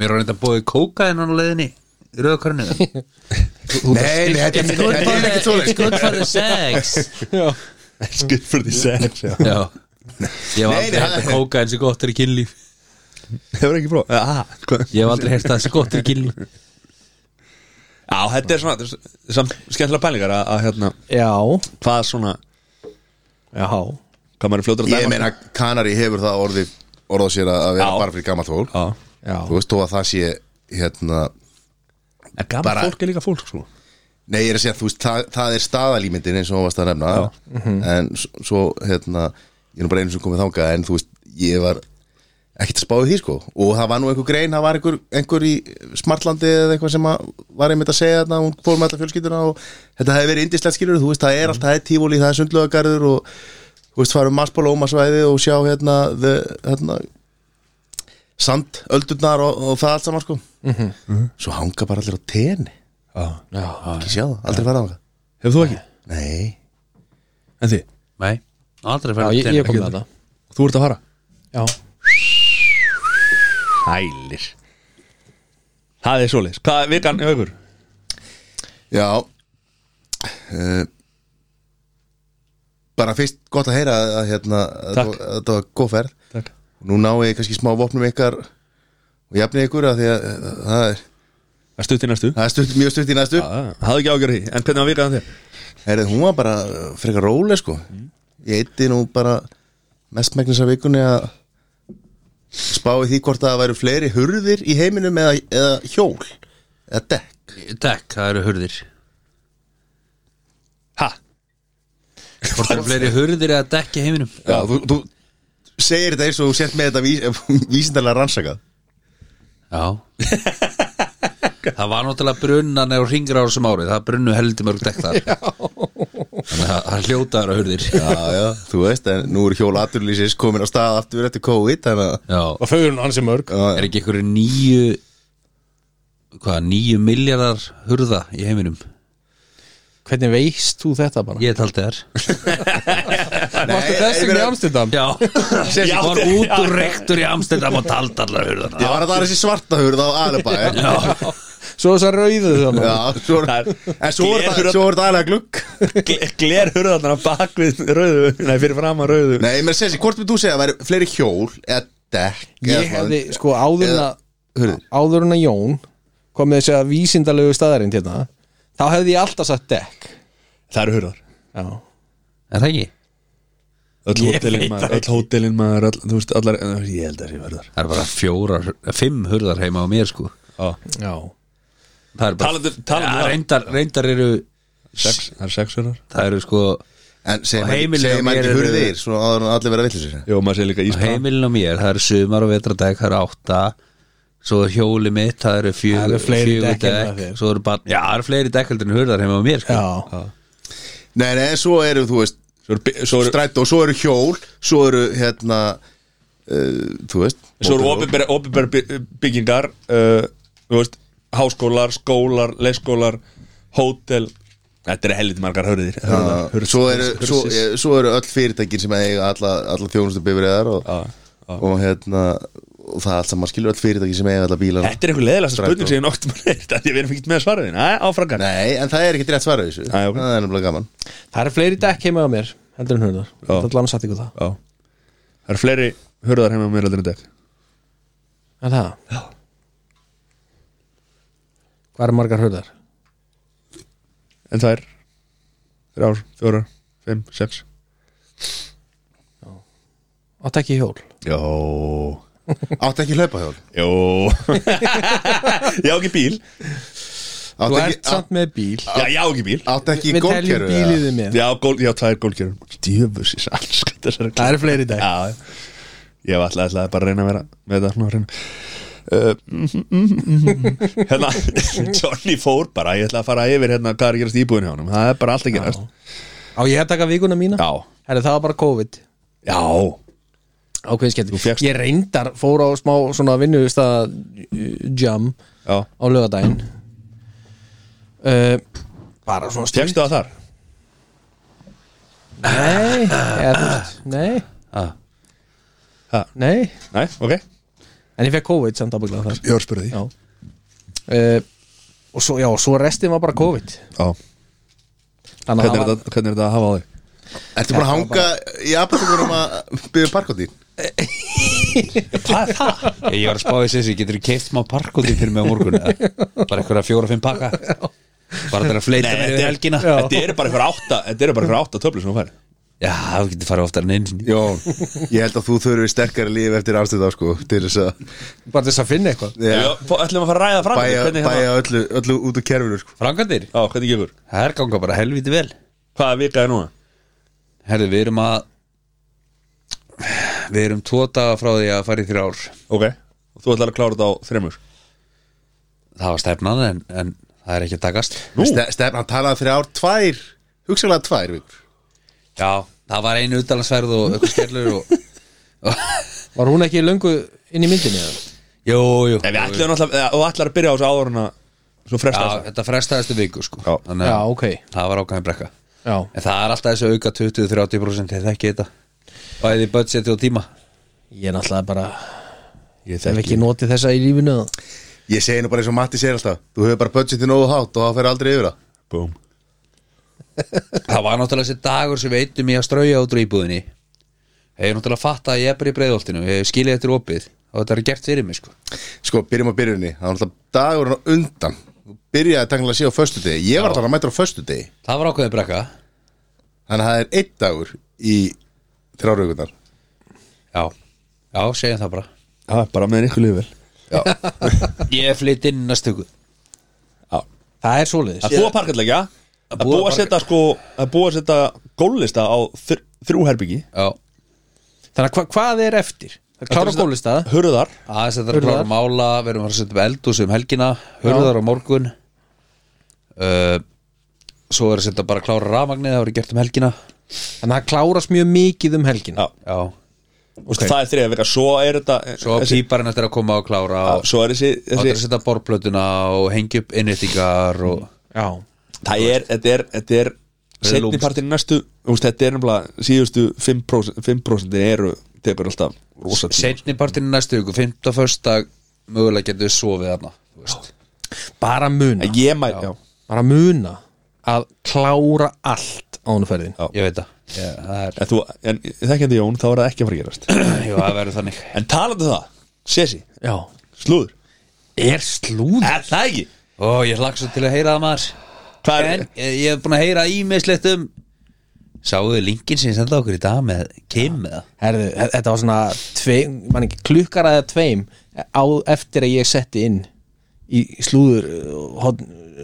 S1: Mér var reynda að bóði kóka en hann á leiðinni í rauðakörnu
S3: Nei, nei, þetta er- þetta er ekki
S1: Good
S3: svoleiðis sko.
S1: for the sex
S4: já,
S2: good for the sex já.
S1: Já Ég hef
S3: Nei,
S1: aldrei
S3: nei,
S1: hægt að
S3: það-
S1: kóka en sér gott er í kynlíf
S2: Hefur ekki próf Ah, Já,
S1: Ég hef aldrei hægt að sér gott er í kynlíf
S2: já þetta er svona þetta er samt skemmtilega pælingar að, að hérna,
S4: já,
S2: hvað svona
S4: já
S2: hvað maður er fljótur að dæma
S3: Ég meina, Kanari hefur það orðið orðað sér að að vera
S2: Já.
S3: bara fyrir gamalt fólk
S2: Já
S4: já,
S3: þú veist, þó að það sé hérna,
S2: En gaman
S3: Bara-
S2: fólk er líka fólk, sko
S3: Nei, ég er að segja, þú veist, það, það er staðalímyndin eins og þú varst að nefna En s- svo, hérna, ég er nú bara einu sem komið þangað En þú veist, ég var ekkert að spáði því, sko Og það var nú einhver grein, það var einhver, einhver í Smartlandi eða eitthvað sem að var einmitt að segja þarna Hún fór með alla fjölskylduna og þetta hefði verið indislegt skilur Þú veist, það er allt, það er tífóli, það er sundlögagarður Og, þú veist, fara um Marsból og Ómasvæði og sjá, hérna, the, hérna Sandöldurnar og, og það allt saman, sko Svo hanga bara allir á tenni
S4: já,
S3: ekki sjá það, aldrei fara á það
S2: Hefur þú ekki?
S3: Nei,
S2: En þið?
S1: Nei, aldrei
S4: já
S1: fyrir
S4: ég, ég komið þetta
S2: Þú ert að fara?
S4: já,
S2: Hælir Það er svoleiðis Hvað er vikan hjá ykkur?
S3: já uh, Bara fyrst gott að heyra að, að, hérna, að
S2: Takk.
S3: að þetta var góð ferð
S2: Takk
S3: Nú náu ég kannski smá vopnum ykkar og jafnið ykkur að því að eh, það er,
S2: Það stutt í næstu
S3: það er stutt, mjög stutt í næstu
S2: hafði ekki ágjörði, en hvernig var vikaðan þér?
S3: Herið, hún var bara eh, frekar róleg sko
S2: Mm.
S3: Ég eitti nú bara mestmægnis af vikunni að spá í því hvort að það væru fleiri hurðir í heiminum eða, eða hjól eða dekk
S1: Dekk, það eru hurðir
S2: Ha?
S1: Hvort eru fleiri hurðir eða dekki heiminum
S3: Já, þú, þú segir þetta eins og þú sért með þetta vís, *laughs* vísindalega rannsakað
S1: Já *laughs* Það var náttúrulega brunnan eða ringur á þessum árið Það brunnu heldur mörg dekk
S4: *laughs*
S1: þar Þannig að það hljótaður að hurðir
S3: Já, já, þú veist, en nú er hjól aturlýsis komin á stað aftur eftir COVID þannig að
S1: Já
S4: og föður hún ansi mörg
S1: er ekki einhverju nýju hvað, nýju miljardar hurða í heiminum
S4: hvernig veist þú þetta bara?
S1: ég taldi þær
S4: Varstu
S3: ég
S4: þess vegna í
S3: meina-
S4: Amsterdam?
S1: já, þessi var út úr rektur í Amsterdam og taldi allar hurðana
S3: Já, var þetta þessi svarta hurð á Alibæ Já,
S4: Svo þess að rauðu þannig
S3: já svo,
S2: Það er-
S3: en svo er
S2: Glerhurð-
S3: þetta svo er þetta aðlega glugg
S2: Gler hurðarnar á bakvið rauðu, nei fyrir fram að rauðu
S3: Nei, menn sessi, hvort við þú segja að væri fleiri hjól eða dekk eða
S4: Ég
S3: svona-
S4: hefði, sko, áður en að
S3: Hurðir.
S4: áður en að Jón kom með þess að vísindalegu staðarind hérna þá hefði ég alltaf sagt dekk
S2: Það eru hurðar
S4: Já,
S1: er það ekki?
S2: Öll hótelin maður, öll hótelin maður, öll, þú veist, allar, en ég held að það séu hurðar
S1: það er bara fjórar, fimm hurðar heima á mér sko
S4: já,
S1: það er bara
S2: Talandi- talandi
S1: ja,
S2: um-
S1: reyndar, reyndar eru
S2: Sex, það eru sex hurðar
S1: það eru sko
S3: En segir
S1: Og
S3: maður ekki-
S1: heimilið á
S3: segir maður
S1: mér
S3: ekki
S1: eru-
S3: hurðir svo áður en allir vera villisir
S2: Jó, maður sé líka
S1: á
S2: íspæð
S1: heimilin á mér, það eru sumar og vetradekk það eru átta svo er hjóli mitt, það eru
S4: Það eru
S1: fjögur
S4: fleiri
S1: fjögur
S4: dekk en það
S1: dekk,
S4: þér.
S1: svo eru bara já, það eru fleiri dekk heldur en hurðar heima á mér sko.
S4: já,
S3: Nei, nei, en svo eru, þú veist
S2: Svo eru bi- svo eru-
S3: Strætó, svo eru hjól, svo eru, hérna uh, Þú veist
S2: svo eru opinbera, opinbera by- byggingar uh, Þú veist, háskólar, skólar, leikskólar, hótel Þetta er helviti margar hörðir
S3: Já, svo, eru, svo, eh, svo eru öll fyrirtækin sem eiga alla, alla þjónustu bifriðar og, og hérna og það allt saman skilur öll fyrirtækin sem eiga alla bílana
S2: Þetta er einhver leðilegsta
S3: Strætó.
S2: spurning sem ég nokkuð maður eitt Því við erum ekkert með svaraðin Æ, áfrakkar
S3: Nei, en það er ekkert rétt svara þessu
S2: Æ, ok.
S3: Það er nefnilega gaman
S4: Það er fleiri dekk heima á mér heldur en hurðar,
S2: Já.
S4: þetta er allan satt ykkur það
S2: Já Það eru fleiri hörðar heima með heldur en dekk
S4: Er það? Já Hvað eru margar hurðar?
S2: En það er Þrjár, fjórar, fimm, sex
S4: Átt ekki hjól
S2: Jó
S3: Áttu ekki hlaupa hjól
S2: Jó *laughs* Ég á ekki bíl
S4: Þú
S3: Áttu
S4: ert
S3: ekki,
S4: samt með bíl
S2: Já, ég á ekki bíl
S3: áttu ekki
S4: Við teljum
S3: gólkeru
S4: bílið við með
S2: Já, gól, já það er gólkerun Djöfus í salskvæmt þessari
S4: Það eru fleiri dekk
S2: Já, ég var alltaf, alltaf bara að reyna að vera með þetta svona að reyna Uh, mm, mm, mm, mm, mm. *laughs* hérna Johnny fór bara, ég ætla að fara yfir hérna hvað er að gerast í íbúðinu hjá honum, það er bara allt að gerast
S4: Á ég að taka vikuna mína?
S2: Já,
S4: Herri, það var bara COVID
S2: já,
S4: Ákveðin skemmt
S2: Þú fékkst-
S4: Ég reyndar fór á smá svona vinnu stað, jam
S2: já
S4: á lögadaginn uh, Bara svona stund
S2: Fjækstu það þar?
S4: Nei, eða, þú veist, nei,
S1: ah.
S2: Ha,
S4: nei
S2: nei, ok
S4: En ég fekk COVID samt ábygglega það
S2: Ég var spurði
S4: Já uh, Og svo, já, svo restin var bara COVID
S2: Já,
S4: Þannig
S2: hvernig er
S4: að það var
S2: þetta, hvernig er þetta að hafa á þig?
S3: Ertu búin að hanga í apatökunum að byrja parkot í?
S4: Hvað er það?
S1: Ég var að spá í sessi, getur þú keift smá parkóti fyrir mig á morgun eða? Bara eitthvað fjóra-fimm pakka Bara þetta er að fleita
S2: Nei,
S1: með
S2: þetta er-
S1: helgina Já,
S2: Þetta eru bara fyrir átta, þetta eru bara fyrir átta töflu sem þú fær
S1: þú getur farið oftar en einu sinni
S3: Jó, ég held að þú þurfi sterkari líf eftir afstöða sko til þess að
S4: Bara til þess að finna eitthvað
S3: Já,
S2: Já, fó- Ætlum að fara að ræða fram
S3: bæja,
S2: hvernig hérna-
S3: bæja öllu, öllu út úr kerfinu sko
S1: Frangandir,
S2: Já, hvernig gefur?
S1: það er ganga bara helviti vel
S2: Hvaða vika er núna?
S1: Herðu, við erum að Við erum tvo daga frá því að fara í þrjár
S2: Ok, og þú ætlar að klára þetta á þremur
S1: Það var stefnan en, en það er ekki að takast
S2: Nú?
S3: Ste, Stefn, hann talaði þrjár, tvær hugsalega tvær vikur
S1: Já, það var einu utalansverð og eitthvað skellur og
S4: Var hún ekki löngu inn í myndinni? eða?
S1: Jú, jú
S2: Nei, við ætlum náttúrulega, eða, og ætlar að byrja á þessu áður en að Svo fresta
S1: Já,
S2: þessu
S1: þetta frestaðist viku sko
S2: Já.
S1: Þannig,
S4: Já,
S1: að
S4: ok.
S1: Það var ákvæðin brekka
S4: Já
S1: En það er alltaf þessu auka 20-30% Þeir þekki þetta Bæði budgeti og tíma
S4: Ég er náttúrulega bara
S2: Ég
S4: Hef ekki notið þessa í lífinu eða?
S3: Ég segi nú bara eins og Matti segir alltaf Þú hefur bara budgetið nógu hátt og það fer aldrei yfir það
S2: Búm
S1: Það var náttúrulega þessi dagur sem við eittum í að strauja út úr íbúðinni Ég er náttúrulega fatt að ég er bara í breiðoltinu Ég hef skilið þetta er opið og þetta er gert fyrir mig sko
S3: Sko, byrjum á byrjunni, það var náttúrulega dagurinn á undan Þú Byrjaði tanglega að sé á föstudegi Ég var þarna mættur á föstudegi
S1: Það var ákveðin brekka
S3: Þannig að það er einn dagur í þrjáraugunar
S1: Já, já, segjum það bara
S2: Já, bara meðan ykkur liður vel
S3: Já,
S1: Ég flytt inn næstu viku
S2: Já
S4: Það er svoleiðis
S2: Að búa parkallega Að búa að setja sko Að búa að setja gólista á þr, þrjú herbyggi
S1: Já,
S4: Þannig að hva, hvað er eftir? Það klára gólistaða
S2: Hurðar
S1: aðeins þetta er að
S4: Hurðar.
S1: klára mála Við erum að setja upp eldús um helgina Hurðar á morgun uh, Svo er að setja bara að klára rafmagnið Það voru gert um helgina
S4: Þannig að það klárast mjög mikið um helgina
S2: Já.
S1: Já,
S2: Og það er þrið að vera Svo er þetta eh,
S1: svo að
S2: þessi,
S1: píparinn eftir að koma og klára
S2: á,
S1: og
S2: Svo er þessi,
S1: Það er að
S2: þessi
S1: setja borplötuna og hengja upp innréttingar og
S4: Já.
S2: Það er Þetta er Þetta er
S1: er
S2: Setni
S1: lúmskt.
S2: partin næstu þú veist, Þetta er nefnilega Síðustu 5%, 5 eru Tekur alltaf Rosa tíma
S1: Seinni partinu næstu viku, 51. dag Mögulega getur við sofið þarna þú veist.
S4: Bara muna
S2: En Ég mæ Já,
S4: Bara muna Að klára allt á hún ferðin
S2: Já.
S1: Ég veit það Ég- Það er,
S2: En þú En þekkjandi Jón Þá er það ekki að fara að gerast
S1: *clears throat*
S2: *clears throat*
S1: jú, það verður þannig
S2: En talandi um það Sessi
S4: Já
S2: Slúður
S4: Er slúð
S2: Er það ekki?
S1: Ó, ég hlaksa til að heyra það maður
S2: Hvað er
S1: En ég, ég hef búin að heyra ímislegt um Sáuðu linkin sem ég senda okkur í dag með Kim eða?
S4: Herðu, þe- þetta var svona tveim, man ekki, klukkar eða tveim á, eftir að ég setti inn í slúður uh,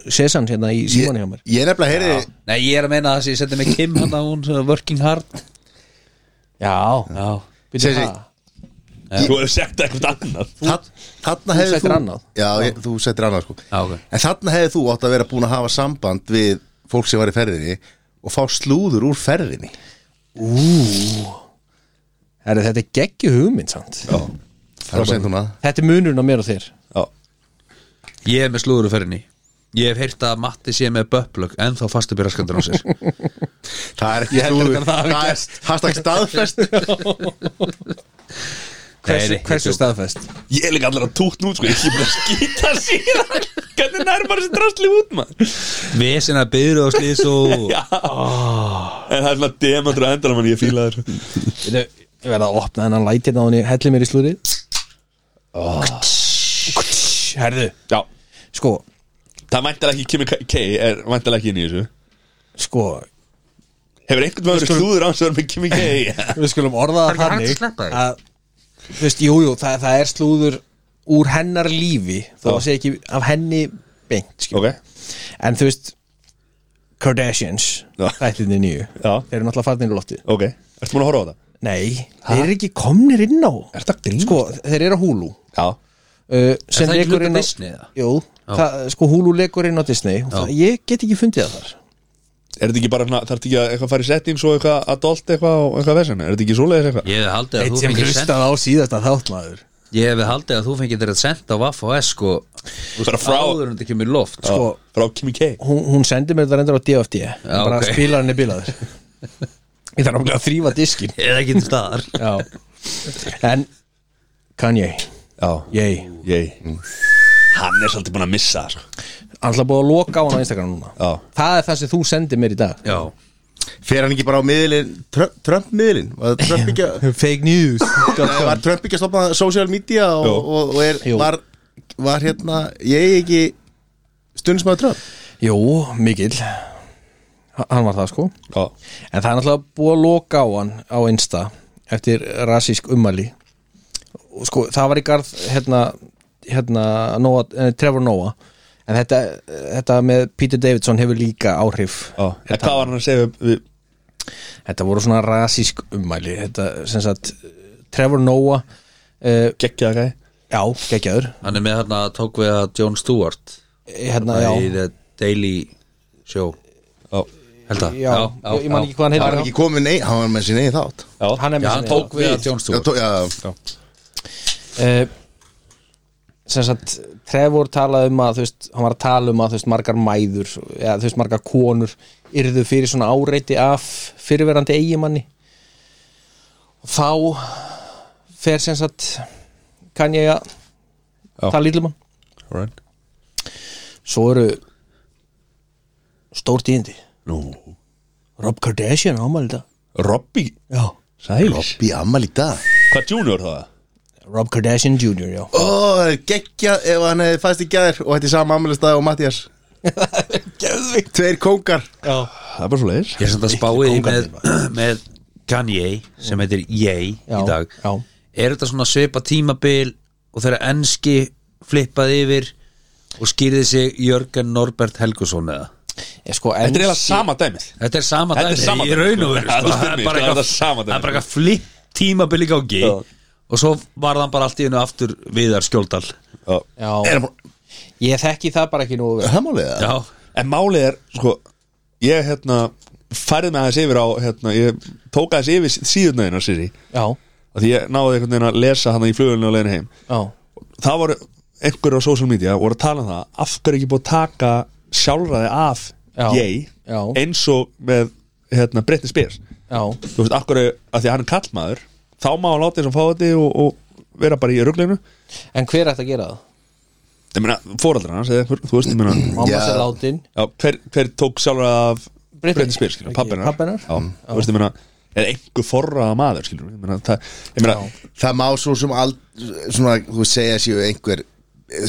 S4: sesan hérna í
S3: ég,
S4: síman hjá mér
S3: ég nefnilega heyri
S1: Nei, ég er að meina það sem ég sendi með Kim hann að hún svona working hard
S4: Já,
S1: Já,
S4: byrju
S3: Sessi,
S4: það
S2: Þú hefur sagt eitthvað annað
S3: þa- Þarna hefði
S4: settir annað.
S3: Já, ég, þú settir annað sko
S1: Já, ok.
S3: En þarna hefði þú átt að vera búin að hafa samband við fólk sem var í ferðinni og fá slúður úr ferðinni
S4: Herðu, þetta er geggju hugmynd samt
S3: Það var sent núna
S4: Þetta er munurinn á mér og þér
S2: Já
S1: ég er með slúðurferðinni Ég hef heyrt að Matti sé með böpplögg En þá fastu byrja skandur á sér *laughs*
S3: Það er ekki
S1: Ég held
S3: trúið.
S1: að það hafi
S3: Það er hashtag staðfest
S1: Nei,
S4: Hversu,
S1: nei,
S4: hversu
S1: ég-
S4: staðfest?
S2: Ég er líka allar að tótt nút sko Ég er bara að skýta síðan Hvernig nærmar þessi drastli út maður
S1: Vesina byrðu og slýs *laughs* og
S2: Já En það er svona demantur að endala mann Ég fíla þér
S4: Veitu, Ég verða að opna þennan lætið á henni Helli mér í slúrið Herðu,
S2: Já
S4: sko
S2: Það væntar ekki Kimi K- K er væntar ekki inn í þessu
S4: Sko,
S2: Hefur einhvern veginn verið slúður án sem er með Kimi K
S4: við skulum orða það
S1: Það er ekki hægt að
S4: þannig
S1: sleppa því.
S4: að, Þú veist, jú, jú, það, það er slúður úr hennar lífi þó að segja ekki af henni beint
S2: *laughs* Ok
S4: okay. en þú veist Kardashians,
S2: Já.
S4: þættinni nýju
S2: Já.
S4: þeir eru náttúrulega farnir í loftið
S2: Ok Ertu múin að horfa á það?
S4: Nei, þeir eru ekki komnir inn á
S2: Ertu að grínast?
S4: Sko, þeir eru á Hulu
S2: Já
S4: uh, sem
S1: það ekki
S4: leikur
S1: hluti
S4: inn á
S1: Disney, eða?
S4: Jú, það, sko Hulu leikur inn á Disney og það, ég get ekki fundið það þar
S2: Er þetta ekki bara svona- Þarf þetta ekki að eitthvað fara í settings og eitthvað adult eitthvað og eitthvað vesina? Er þetta ekki svoleiðis eitthvað?
S1: Ég hef haldið að þú fengir sent
S4: á síðasta þáttmaður
S1: Ég hef haldið að þú fengir þetta sent á Vaff og S sko
S2: Bara frá-
S1: Áður en þetta kemur í loft sko.
S4: Sko-
S2: Já, Frá Kimi K
S4: Hún, hún sendi mér það endur á DFD Já, bara
S1: ok.
S4: okay. spilarinn er
S1: *laughs*
S4: bilaður Ég þarf náttúrulega að þrýfa diskin
S1: Eða ekki til staðar
S4: Já En Kanye,
S2: Já
S4: yey
S2: Ég Hann er svolítið búin að missa það sko.
S4: Alltaf búið að loka á hann á Instagram núna
S2: Já.
S4: Það er það sem þú sendir mér í dag
S1: Já
S3: Fer hann ekki bara á miðlin Trump, Trump miðlin Var Trump ekki að
S4: Fake news
S3: Nei, var Trump ekki að stopna social media og,
S2: Jú.
S3: og, og er,
S4: Jú.
S3: var, var hérna ég ekki stundismæður Trump
S4: Jú, mikill Ha- Hann var það sko
S2: Já,
S4: En það er náttúrulega búið að loka á hann á Insta eftir rasísk ummæli og sko, það var í garð hérna, hérna Noah, eh, Trevor Noah en þetta, þetta með Peter Davidson hefur líka áhrif
S2: já En hvað var hann að segja við, við,
S4: þetta voru svona rasísk ummæli þetta, sem sagt, Trevor Noah uh,
S2: geggjaða gæði?
S4: já, geggjaður
S1: Hann er með hérna að tók við að John Stewart
S4: hérna,
S1: Það í
S4: já,
S1: The Daily Show
S2: Já,
S1: Held að
S4: já, ég, ég man ekki hvað hann
S3: hann var
S4: heitir
S3: ekki komin nei, hann var með sín eigin þátt
S2: já,
S4: já, hann er
S1: Já,
S4: með
S1: hann
S4: sinni-
S1: tók við að John
S3: Já,
S1: Stewart
S3: tó, já,
S4: Eh, sem sagt Trevor talaði um að þú veist hann var að tala um að þú veist margar mæður eða þú veist margar konur yrðu fyrir svona áreiti af fyrirverandi eigimanni og þá fer sem sagt kann ég að tala lítlum hann
S2: right.
S4: svo eru stór tíðindi
S2: Nú,
S4: Rob Kardashian ámæli þetta
S2: Robby
S4: já.
S2: Sælis
S3: bí ammal í dag
S2: Hvað junior það?
S4: Rob Kardashian Jr. já
S3: ó, geggja ef hann hefði fæst í gæðir og hætti sama ammalistað og Mattias
S4: Geðvikt
S3: tveir kóngar
S4: já.
S2: Það er bara svo leiðis
S1: Ég er samt að spáði því með, *coughs* með Kanye sem heitir Ye
S4: Já,
S1: í dag
S4: já.
S1: Er þetta svona svipa tímabil og þegar enski flippaði yfir og skýrði sig Jörgen Norbert Helgusson eða
S4: Ég, sko,
S2: Þetta er eiginlega
S4: enski-
S2: sama dæmið
S1: Þetta er sama
S2: Þetta er
S1: dæmi
S2: sama
S1: í
S2: dæmi,
S1: raun og
S2: sko.
S1: veru
S2: Já,
S1: sko.
S2: þú
S1: Það er
S2: skilur
S1: bara
S2: mig, sko,
S1: eitthvað-
S2: þetta er sama dæmi.
S1: það er bara eitthvað flipp tímabil í gangi
S2: Já.
S1: og svo varð hann bara allt í hennu aftur viðar skjóldal
S2: já.
S4: já. ég þekki það bara ekki nú vel
S3: það málið það
S1: Já,
S2: En málið er, sko Ég hérna, færði mig aðeins yfir á hérna, Ég tók aðeins yfir síðunnaðina Siri
S4: já,
S2: af Því ég náði einhvern veginn að lesa hann í flugulinu og leiðin heim
S4: já
S2: Það voru einhverju á social media voru að tala um það, af hverju er ekki búið að taka sjálfræði af
S4: Já. Já.
S2: ég eins og með hérna, Britney Spears
S4: Já,
S2: þú veist, akkur að því að hann er kallmaður þá má hann láta þess að fá þetta og, og vera bara í ruglinu
S4: en hver ætti að gera það?
S2: ég meina, fóreldrar hans eða einhver, þú veist, ég meina
S4: Mamma
S3: Já.
S4: yeah. sér látin
S2: já, hver, hver tók sjálfur af
S4: Britney.
S2: Britney Spears, skilur,
S4: Ekki,
S2: pappinar
S4: pabbi hennar.
S2: já, þú veist, ég meina er einhver forraða maður, skilur ég meina, það, ég meina,
S3: það má svo sem ald, svona, þú veist, segja séu einhver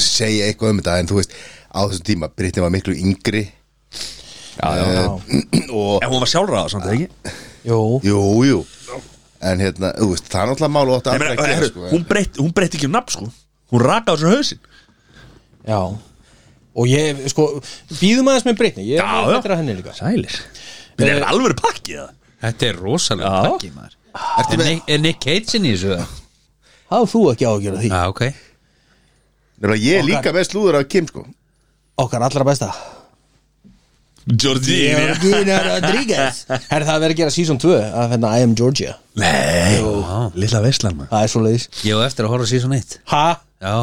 S3: segja eitthvað um þetta en þú veist á þessum tíma Brittin var miklu yngri
S2: já, já, já.
S3: og
S2: en hún var sjálfræða samt, eða ekki
S4: Jú,
S3: jú, jú en hérna, þú veist, það er náttúrulega mál og átt
S2: ég
S3: að
S2: meina,
S3: að
S2: er,
S3: gera sko, en-
S2: hún breytti hún breytti ekki um nafn, sko hún rakaði þessu hausinn
S4: já Og ég, sko, býðum aðeins með Britni Ég
S2: Já,
S4: er
S2: já.
S4: betra henni líka
S2: sælir þetta er alveg pakkið það
S1: þetta er rosalega
S2: Já.
S1: takki maður er, Nick, er Nick Cage inn í þessu? eða?
S4: Hafðu þú ekki á að gera því
S1: Já, ok
S3: Nefnilega, ég er líka með slúður af Kim sko
S4: Okkar allra besta
S2: Georgina
S4: Georgina Rodriguez Herri, það er verið að gera season 2 að finna I am Georgia
S2: Nei, lilla veislan maður
S4: Það er svo leiðis
S1: Ég á eftir að horfa síðan eitt
S4: Ha?
S1: Já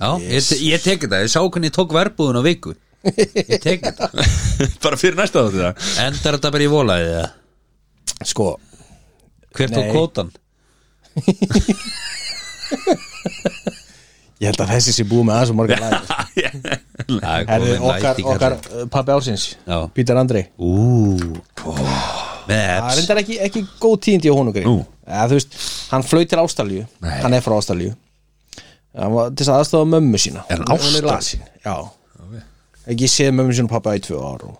S1: Já, ég, ég tek þetta, ég sá hvernig ég tók verbúðun á viku Ég tek þetta
S2: *laughs* bara fyrir næsta þáttu það
S1: Endar þetta bara í volaðið það
S4: Sko,
S1: Hver tók
S4: Nei.
S1: kvótan?
S4: ég held að þessi sé búið með aðeins og margar lagir
S1: *laughs* Það er
S4: Herði,
S1: komin
S4: okkar,
S1: læti,
S4: okkar
S1: kallar.
S4: uh, pappi ársins
S1: Já.
S4: Pítur Andri
S1: Ú, með
S4: Það
S1: eps
S4: reyndar ekki, ekki góð tíðindi á honum
S2: Nú.
S4: greið Þú veist, hann flög til Ástallíu Hann er frá Ástallíu Hann var til þess að aðstofa mömmu sína
S2: Er hann
S4: Hún- hún
S2: Ástralíu?
S4: lasin, Já Ekki séð mömmu sína og pappa í tvö ára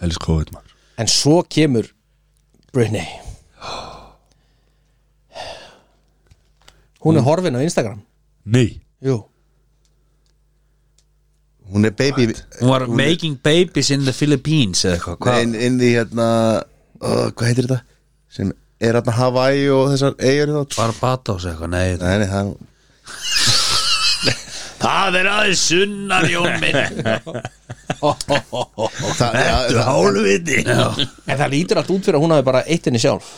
S2: helst COVID maður
S4: En svo kemur Britney Hún er horfin á Instagram
S2: nei
S4: Jú
S3: Hún er baby
S1: Hún var making babies in the Philippines eða eitthvað, hvað?
S3: inn, inn í hérna uh, Hvað heitir þetta? Sem er hérna Hawaii og þessar eigur þá
S1: Barbados eða eitthvað, nei
S3: Nei, nei, það er
S1: Það er aðeins sunnar, Jón *laughs* minn
S3: það, það, það,
S2: hálfviti
S4: En það lítur allt út fyrir að hún hafi bara eitt henni sjálf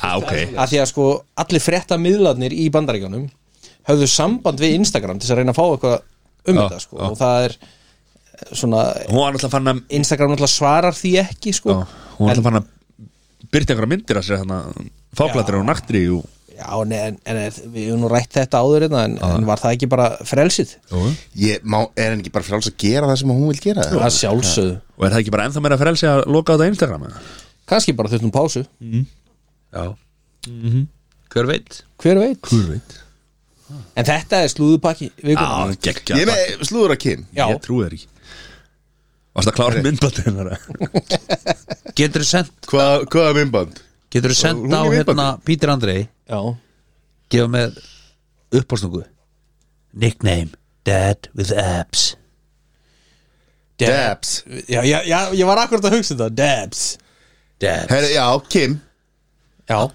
S2: ah, ok
S4: Af því að sko allir frétta miðlarnir í bandaríkjanum höfðu samband við Instagram til þess að reyna að fá eitthvað um
S2: Já,
S4: þetta sko
S2: já.
S4: og það er eh, svona
S2: hún var alltaf fann að
S4: Instagram náttúrulega svarar því ekki sko
S2: já, hún var alltaf fann að byrta einhverja myndir að sér þannig fáklættir og naktri og
S4: Já, en, en, en við höfum nú rætt þetta áður hérna, en, en var það ekki bara frelsið?
S2: og
S3: ég, má, Er hann ekki bara frjáls að gera það sem hún vil gera?
S4: Það sjálfsögðu
S2: er það ekki bara ennþá meira frelsi að loka á þetta Instagram eða?
S4: Kannski bara þurftum pásu
S1: Já
S3: Mhm.
S1: Hver veit?
S4: Hver veit?
S2: hver veit
S4: En þetta er slúðupakki
S2: já,
S4: vikunum
S2: geggja
S3: Ég er með slúður að kyn
S4: Já,
S2: ég trúi þér ekki varst að klára myndbandið *laughs* hennar
S1: Getur þú sendt,
S3: Hvað, hvað er minnband?
S1: getur þú
S3: Hún
S1: sendt
S3: er
S1: á
S3: í
S1: hérna Pítur Andrei
S4: já
S1: gefa með uppástungu Nickname Dad with abs
S3: Dabs
S4: Já, já, já, ég var akkurat að hugsa um þetta Dabs
S1: Dad
S3: Herri, já, Kim
S4: Já,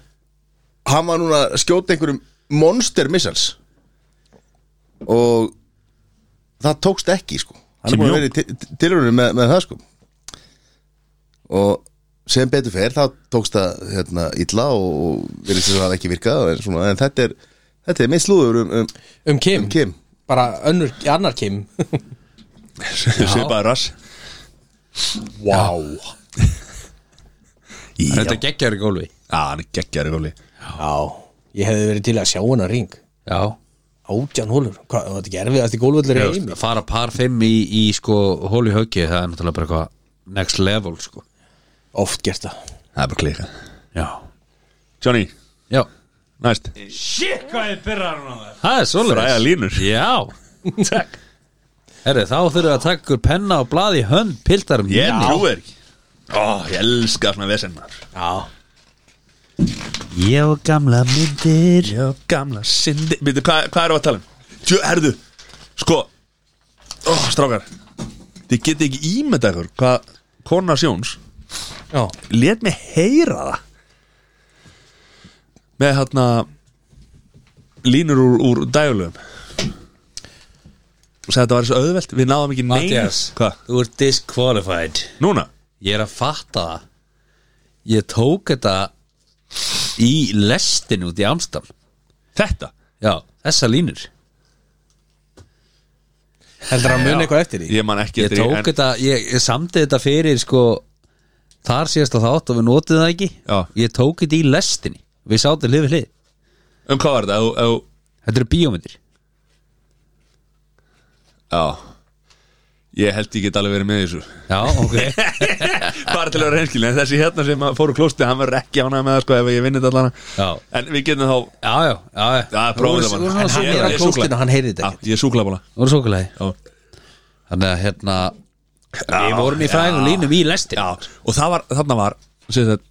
S3: Hann var núna að skjóta einhverjum monster missiles Og Það tókst ekki, sko Hann
S2: Kim
S3: er búin
S2: Jong.
S3: að vera í tilhörunum með, með það, sko Og sem betur fer, þá tókst það hérna, illa og, og verið þess að það hafi ekki virkað en, svona, en þetta er, þetta er mitt slúður um, um,
S4: um Kim,
S3: um Kim
S4: Bara önnur, annar Kim
S2: svipaði rass
S4: Vá wow.
S2: já,
S1: Þetta geggjari gólfi
S2: Já, hann er geggjaður í góli
S4: Já, ég hefði verið til að sjá hennar ring
S1: Já
S4: Átján hólur, hvað, var þetta gerfið að þetta gólvöldur er
S1: Að
S4: eimi
S1: fara par 5 í, í sko hóli höggi það er náttúrulega bara eitthvað next level sko
S4: Oft gert það
S2: Það er bara klika
S1: Já
S2: Johnny,
S1: Já
S2: næst
S5: Shit, hvað ég byrjar hún á það
S1: Það er svolítið
S2: Fræga línur.
S1: Já
S4: *laughs*
S1: Takk Herri þá þurfum við að taka ykkur penna og blaði hönd piltarum
S2: Ég trúi þér ekki Ó, ég elska svona vesen maður
S4: Já
S1: Ég og gamla myndir
S2: Já, gamla syndi Býtu, hvað hva erum við að tala um? Tjö, herðu, sko Ó, strákar Þið geti ekki ímynda ykkur Hvað kona Sjóns
S4: Já,
S2: Lét mig heyra það Með hérna Línur úr, úr dægulegum Og sagði að þetta var svo auðvelt Við náðum ekki neinu
S1: Mattias
S2: Hvað?
S1: Þú ert disqualified
S2: Núna?
S1: Ég er að fatta það Ég tók þetta í lestin út í Amstam
S2: Þetta?
S1: Já, þessa línur
S4: heldur hann muni eitthvað eftir því
S2: Ég man ekki
S1: Ég
S2: eftir því,
S1: tók
S2: en-
S1: þetta, ég, ég samdi þetta fyrir sko Þar síðast að þátt og við notið það ekki
S2: Já.
S1: Ég tók þetta í lestinni Við sáttum hlið við hlið
S2: Um hvað var þetta? Ef- ef-
S1: Þetta eru bíómyndir
S2: Já Ég held ég get alveg verið með þessu
S1: Já, ok
S2: Bara til að vera reynskilin En þessi hérna sem að fóru klósti Hann verður ekki ánægð með það sko Ef ég vinnit allan
S1: *laughs* Já.
S2: En við getum þá
S1: Já, já, já, já
S2: Já, prófum það bara.
S4: En hann
S2: Ég- ég
S4: er að
S2: er súkkulaði.
S4: klóstinu, hann heyrði þetta
S2: Já,
S4: ekki
S2: Ég er súklabóla
S1: Það voru svokulæði
S2: Já.
S1: Þannig að hérna Við vorum í fræðum línum í lestin
S2: Já Og það var Þarna var sem sagt,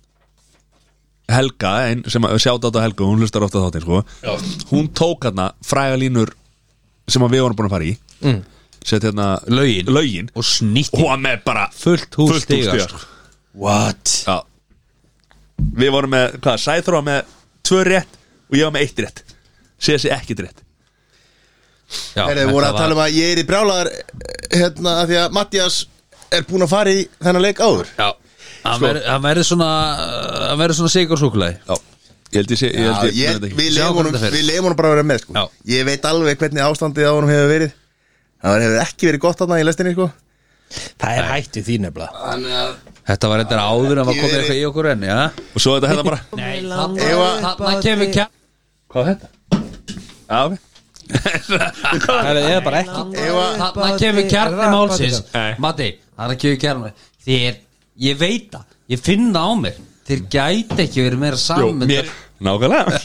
S2: Helga ein, Sem að sjáta á Helga Hún hlustar ofta þáttin sko Já. Hún tók hérna Fræga línur Sem að við vorum búin að fara í mm. Sett hérna
S1: Lögin.
S2: Lögin
S1: Og snýtti
S2: Hún var með bara
S1: Fullt hús
S2: Fullt hús
S1: stiga,
S2: stiga
S1: sko.
S2: sko.
S4: What?
S2: Já Við vorum með, hvað, Sæþró var með tvö rétt og ég var með eitt rétt Sér sér ekkit rétt
S1: Já,
S3: Herri, voru að tala um að ég er í brjálaðar hérna, af því að Mattias er búin að fara í þennan leik áður
S1: Já, hann verður- hann verður svona Hann verður svona sigur svokulæði
S2: Já Ég held ég sé, ég held
S3: Já,
S2: ég,
S3: ég,
S2: ég,
S3: við
S1: Sjáum
S3: leifum honum,
S1: hvernig það fer.
S3: við leyfum honum bara að vera með sko.
S1: Já.
S3: ég veit alveg hvernig ástandið á honum hefur verið það hefur ekki verið gott þarna í lestinni sko
S4: Það er hættu því nefnilega
S3: Þannig að
S1: Þetta var eitthvað áður en var
S3: Ég
S1: komið
S3: verið-
S1: eitthvað í okkur enn, já
S2: Og svo þetta hérna bara
S1: Nei,
S3: Eva-
S1: þannig kemur kjá
S2: Hvað er þetta? Já, ok
S4: Það er eða bara ekki
S1: Þarna kemur kjarni málsins
S2: Nei.
S1: Matti, þarna kemur kjarni Þér, ég veit það, ég finn það á mér Þér gæti ekki verið meira
S2: Jú,
S1: saman
S2: mér Nákvæmlega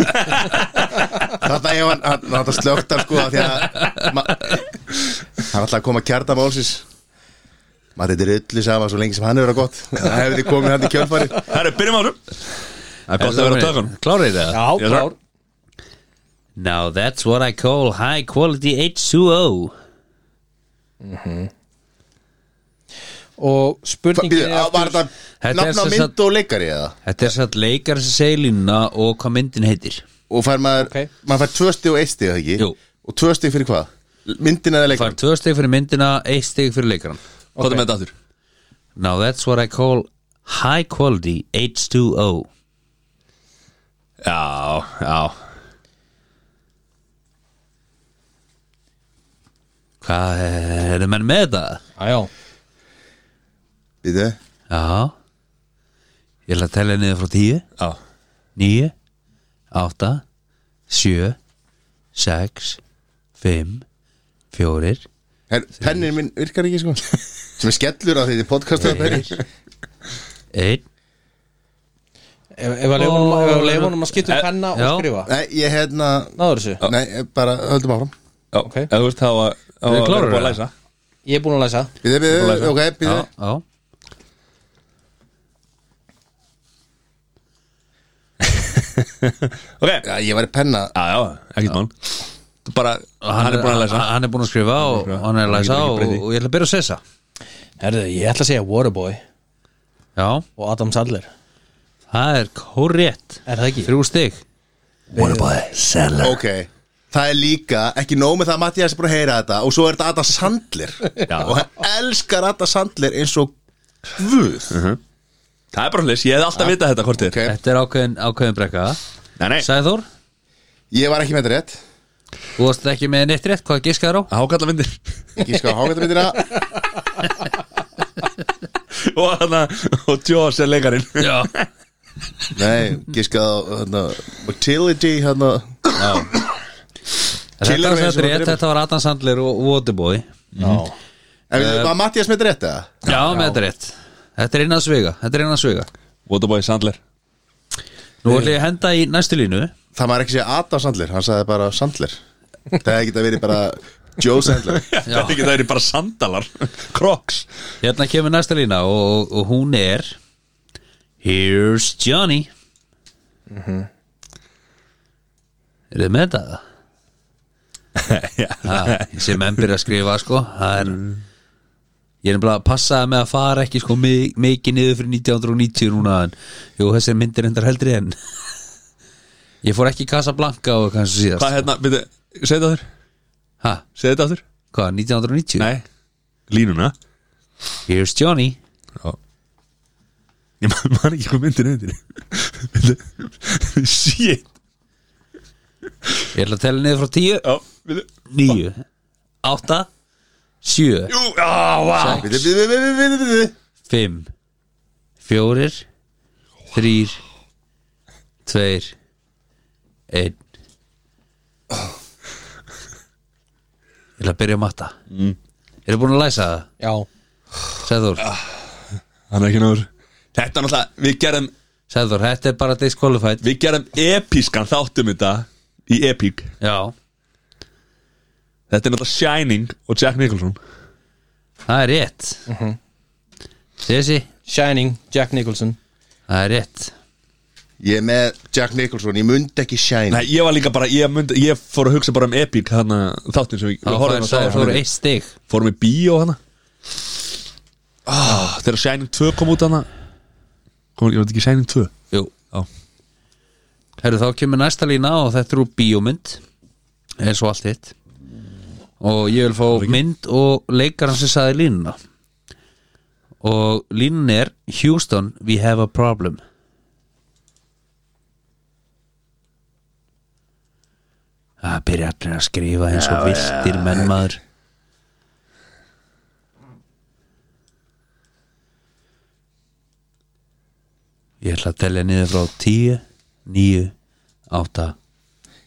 S3: Þarna ef hann, hann, hann slögt hann sko af því að ma- hann ætlaði að koma að kjarta málsins maður þetta er öllu sama svo lengi sem hann hefur það gott það hefur þið komið hann í kjölfarið
S2: Herru, byrjum á þessum Það er gott að vera á tökunum
S1: Klárið það?
S4: Já,
S2: Ég
S4: klár
S2: þarf-
S1: Now that's what I call high quality H2O
S4: Og
S3: Hva-
S4: spurningin
S3: býðu,
S4: er
S3: á- var
S4: aftur
S3: þetta
S1: Þetta er
S3: nafn á
S1: sem sagt-
S3: mynd og leikari eða
S1: Þetta er satt leikar sem segir línuna og hvað myndin heitir
S3: og fær maður,
S4: Ok.
S3: maður fær tvö stig og eitt stig eða ekki
S1: Jú.
S3: og tvö stig fyrir hvað? myndin eða
S1: Fær
S3: leikarin?
S1: tvö steg fyrir myndina, eitt steg fyrir leikaran
S2: Hvað er með þetta aftur?
S1: Now that's what I call high quality H2O
S2: Já, já
S1: Hvað er það menn með það?
S4: Já, já
S3: Býtu,
S1: Já Ég ætla að tella niður frá tíu
S2: Já
S1: Níu Átta Sjö Sex Fimm Fjórir
S3: Her, pennin minn virkar ekki sko sem er skellur af því þið podcastu
S1: Tveir Einn
S4: Ef ef að leifunum
S1: Ó,
S4: ef að leyfa honum að skipta
S2: eh,
S4: um penna og
S1: já.
S4: skrifa
S3: nei, ég hérna
S4: Náður þessu
S3: nei, bara höldum áfram
S2: Já,
S4: Ok.
S2: ef þú veist þá að þá
S1: Við
S2: að
S1: klárar
S2: vera búin að
S1: það?
S2: læsa
S4: Ég er búin að læsa
S3: Býðu, býðu, ok, býðu
S1: Já, já
S2: Ok
S3: Já, ég var í penna
S2: Já, já, ekkert mál Þú Bara, hann er búin að læsa
S1: hann- Hann er búin að skrifa og
S2: skrifa.
S1: hann er að
S2: Hann
S1: læsa
S2: getur ekki
S1: og,
S2: breytt því.
S1: og ég ætla að byrja að sessa
S4: Herðu, ég ætla að segja Waterboy
S1: Já,
S4: og Adam Sandler
S1: það er korrétt
S4: Er það ekki?
S1: Þrjú stig
S3: Ok, það er líka ekki nóg með það að Mattias er búin að heyra þetta og svo er þetta Ada Sandler og hann elskar Ada Sandler eins og guð
S2: Það er bara hlýs, ég hef alltaf vitað þetta hvort þér
S3: Ok.
S1: Þetta er ákveðin, ákveðin brekka
S2: Nei, nei
S1: Sæður,
S3: Ég var ekki með þetta rétt
S1: þú varst ekki með neitt rétt Hvað giskaður á?
S2: Hákalla myndir
S3: Ég skal háka þetta myndina
S2: *laughs* Og hann og Joss er leikarinn Já
S3: Nei, ég skal hérna, Motility hérna
S1: Þetta var,
S3: Killer eins og
S1: þetta, rétt,
S3: drepur.
S1: þetta var Adam Sandler og Waterboy
S4: Já Eh,
S3: En við- Var Mattias með þetta rétt eða?
S1: Já, með þetta rétt Þetta er innan svega Þetta er innan svega
S2: Waterboy Sandler
S1: Nú ætlum ég að henda í næstu línu
S3: Það maður ekki segja Ada Sandler, hann sagði bara Sandler Það hefði ekki að verið bara Joe Sandler
S2: Þetta er ekki það eru bara sandalar *laughs* Crocs
S1: Hérna kemur næsta lína og, og, og hún er Here's Johnny
S2: Mhm.
S1: Er þið með þetta?
S2: *laughs* Já, Mm.
S1: Ha, sem enn byrja að skrifa sko það er ég er nefnilega að passa með að fara ekki sko mi- mikið niður fyrir 1990 núna en jú þessi myndir endar heldri en ég fór ekki í Casablanca og kannski síðast
S2: Hvað hérna, byrju, segðu þetta aftur
S1: ha,
S2: Segðu þetta aftur
S1: hvað 1990?
S2: Nei, línuna
S1: Here's Johnny
S2: Já Ég man, man ekki hvað myndir nefndir Shit
S1: ég ætla að tella niður frá 10
S2: Já, byrju
S1: 9 8 7
S2: Jú, á, vá
S3: Við, við, við, við, við, við, við
S1: 5 4 3 2 1 Ég ætla að byrja að matta mm. Eru búin að læsa það?
S4: Já
S1: Sæður,
S2: Ah. Hann er ekki náður Þetta er náttúrulega, við gerðum
S1: Sæður, þetta er bara disqualified
S2: Við gerðum episkan þáttum þetta Í epík
S1: Já,
S2: Þetta er náttúrulega Shining og Jack Nicholson
S1: það er rétt
S2: Mhm.
S1: Sessi,
S4: Shining, Jack Nicholson
S1: það er rétt
S3: Ég er með Jack Nicholson, ég mundi ekki Shine
S2: Nei, ég var líka bara, ég, mynd, ég fór að hugsa bara um epík Þannig að þáttum sem við
S1: Þá
S2: við
S1: fær
S2: horfðum á
S1: Sæður
S2: þá
S1: eitt stig
S2: Fórum í bíó hana oh, Þegar Shining 2 kom út hana kom, Ég veit ekki Shining 2
S1: Jú
S2: Já.
S1: Herru, þá kemur næsta lína og þetta er úr bíómynd eins og allt hitt og ég vil fá mynd og leikarann sem saði línuna og línan er Houston, we have a problem Það byrja allir að skrifa eins og viltir mennmaður Ég ætla að telja niður frá 10 9, 8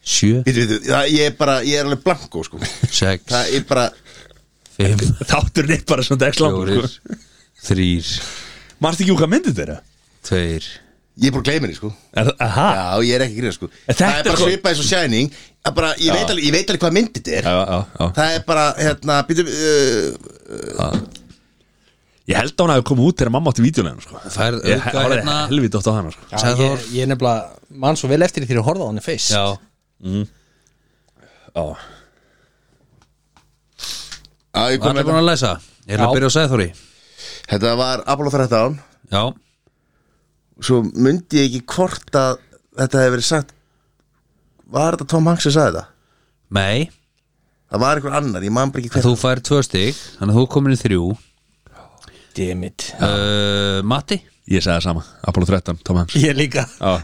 S1: 7,
S3: Bíddu, bíddu, það- Ég er bara, ég er alveg blanko sko
S1: 6,
S3: Það er bara,
S1: 5
S2: *laughs* Þátturinn er bara svona ekki langur
S1: 4
S2: sko.
S1: 3,
S2: Marst ekki úr hvað myndið þeirra?
S1: 2
S3: ég er bara gleymið sko
S2: Er, aha,
S3: Já, ég er ekki að grína sko
S2: þetta
S3: Það er bara
S2: er sko-
S3: svipað eins og Shining Það er bara, ég, veit alveg, ég veit alveg hvað myndið þetta er
S2: já, já, já.
S3: Það er bara, hérna, býtum uh,
S2: Ég held að hún hafi komið út þegar mamma átti vídjulegin sko.
S1: Það er
S2: Ég
S1: auka
S2: horfði
S1: hérna-
S2: helvítið átt á hana sko.
S4: Já,
S1: Sagði
S4: ég, ég er nefnilega mann svo vel eftir því að horfa á hann í face
S1: Já,
S2: Já,
S3: að, ég
S1: hann
S2: hérna.
S3: kom
S1: er
S3: með
S1: búin að læsa Ég ætla
S4: Já.
S1: að byrja á Sæðþóri
S3: þetta. þetta var Apollo 13
S1: Já,
S3: Svo myndi ég ekki hvort að Þetta hefur verið sagt Var þetta Tom Hanks sem sagði þetta?
S1: mei
S3: Það var einhver annar, ég man bara ekki hver
S1: Þú fær tvö stig, þannig að þú er komin í þrjú
S4: Dammit
S1: uh, Matti
S2: ég segi það sama Apollo 13, Tom Hanks
S4: Ég líka
S2: Já,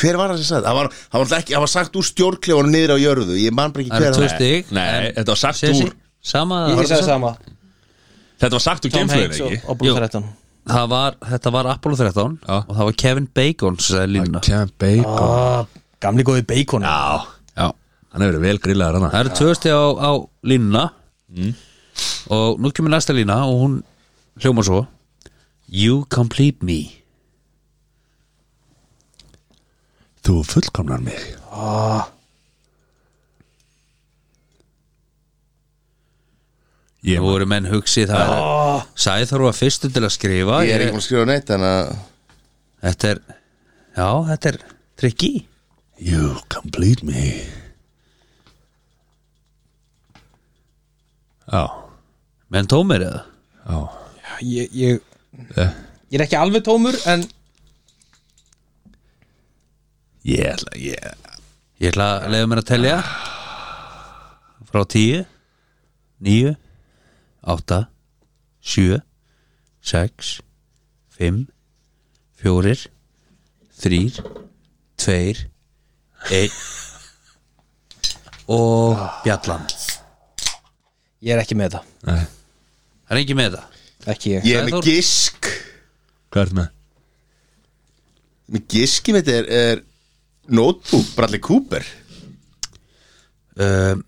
S3: Hver var það sem sagði þetta? Það var, það var, náttúrulega ekki, það var sagt úr stjórnklefunum niður á jörðu Ég man bara ekki
S1: Það
S3: hver
S1: eru tvö
S3: það
S1: stig
S2: Nei,
S1: en-
S2: þetta var sagt
S1: Sessi,
S2: úr-
S1: Sama
S4: Ég sagði sama
S2: þetta var sagt úr
S4: Tom
S2: geimflöðin
S4: Hanks
S2: ekki?
S4: og Apollo
S1: Jú.
S4: 13
S1: Það var, þetta var Apollo 13
S2: Já.
S1: og það var Kevin Bacon sem sagði línuna
S2: Kevin Bacon
S4: Ah, Gamli góði bacon
S2: Já,
S1: Já.
S2: hann hefur verið vel grillaður hann
S1: Það eru tvö stið á, á línuna og nú kemur næsta lína og hún hljóma svo You complete me
S2: Þú fullkomnar mig Ég Ah.
S1: Nú eru menn hugsið það oh. Sæþór var fyrstu til að skrifa
S3: Ég er ekki búin að skrifa neitt, þannig að
S1: Þetta er, já, þetta er tricky
S2: You complete me Já,
S1: menn tómir eða
S2: já
S4: ég, ég, ég er ekki alveg tómur en
S2: Ég ætla, ég
S1: Ég ætla að leiða mér að telja frá 10 9 8 7 6 5 4 3 2 1 og bjallan Það
S4: ég er ekki með þetta
S2: Nei,
S1: er ekki með það
S4: ekki ég
S3: Ég
S1: Sagði
S3: er með
S1: Þór.
S3: gisk
S2: hvað ertu með?
S3: Með giski mitt er, er Notebook, Bradley Cooper
S1: um,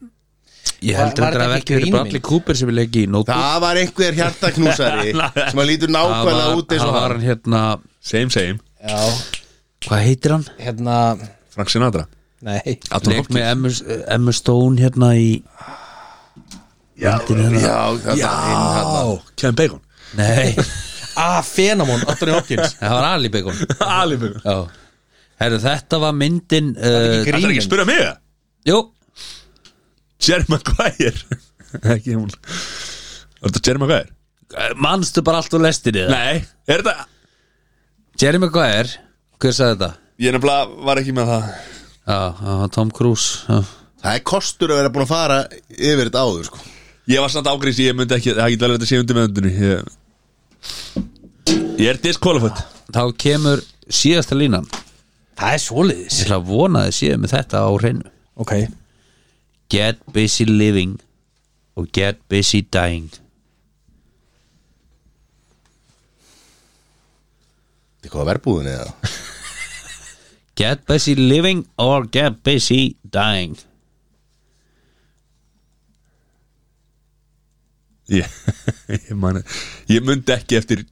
S1: Ég
S4: Var-
S1: held að
S4: var
S1: það er
S4: þetta ekki
S1: ekki verið
S4: grínmynd?
S1: Bradley Cooper sem við leggi í nótbúk
S3: Það var einhver hjartaknúsari
S1: *laughs*
S3: sem að lítur nákvæmlega út eins og
S1: var
S3: hann
S1: hann hérna
S2: Same, same
S4: já,
S1: Hvað heitir hann?
S4: hérna,
S2: Frank Sinatra
S4: nei
S2: Anton
S1: Leik
S2: Hopkins
S1: með Emma, Emma Stone hérna í hérna.
S3: Já, já, það var einn hann
S2: Já, Kevin Bacon
S1: *laughs* Nei,
S4: ah, Fenamon, Anthony Hopkins
S1: það var Ali Bacon
S2: *laughs* Ali Bacon
S1: Já Herru, þetta var myndin uh,
S2: Það er ekki að
S4: grínmynd
S2: spura mig það
S1: Jú,
S2: Jerry Maguire *laughs* Ekki hún Var þetta Jerry Maguire?
S1: manstu bara allt úr lestinni það
S2: Nei, er þetta
S1: Jerry Maguire, hver sagði þetta?
S2: Ég nefnilega var ekki með það
S1: Já, það var Tom Cruise já.
S3: Það er kostur að vera búin að fara yfir þetta áður sko.
S2: Ég var samt ágrísi, ég myndi ekki Það getur alveg þetta sé undir með undinu Ég, ég er disqualified
S1: Þá kemur síðasta línan Ég
S4: það er svoleiðis
S1: ætla að vona þið síðan með þetta á hreinu
S4: ok,
S1: Get busy living og get busy dying
S3: Þetta er hvað verbúðin eða
S1: Get busy living or get busy dying
S2: Ég, *laughs* ég, man, ég myndi ekki eftir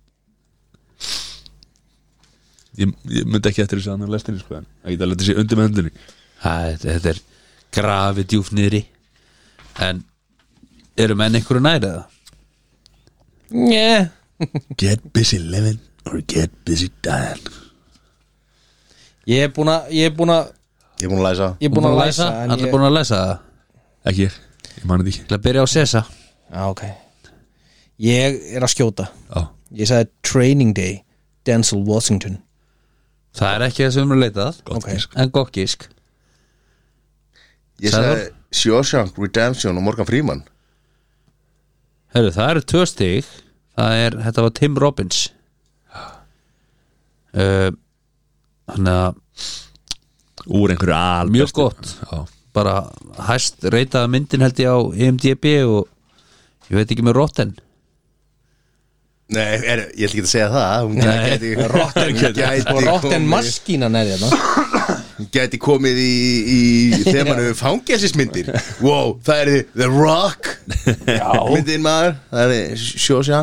S2: Ég, ég myndi ekki eftir þessi annar lestinni sko en Það getur alveg þetta sé undir með undinu
S1: Það, þetta er grafið djúft niðri En eru menn einhverju nærið það?
S4: njæ
S2: Get busy living or get busy dying
S4: ég er búin að, ég er búin að
S3: Ég er búin að læsa
S4: ég er búin að læsa en
S1: Allir
S4: ég-
S1: búin að læsa það?
S2: Ekki ég, ég man þetta ekki
S1: Til að byrja á Sessa
S4: já, ok ég er að skjóta
S2: Á,
S4: ég sagði Training Day Denzel Washington
S1: Það er ekki það sem við erum leitað
S2: gott
S4: Ok.
S2: okay.
S1: En gott gísk
S3: Ég
S1: Sagði
S3: sagði Shawshank, Redemption og Morgan Freeman
S1: Hörru, það eru tvö stig Það er, þetta var Tim Robbins Uh, Þannig að
S2: Úr einhverju alveg
S1: mjög gott
S2: Já,
S1: Bara hæst reytaða myndin held ég á IMDB og ég veit ekki með Rotten
S3: Nei, er, ég ætla ekki að segja það Hún
S4: Nei.
S3: gæti, rotten,
S4: og
S3: gæti,
S4: rotten
S3: komið,
S4: maskínan hérna. er þetta
S3: hún gæti komið í, í þemanu fangelsismyndir Wow, það er The Rock myndin maður Það er Sjósja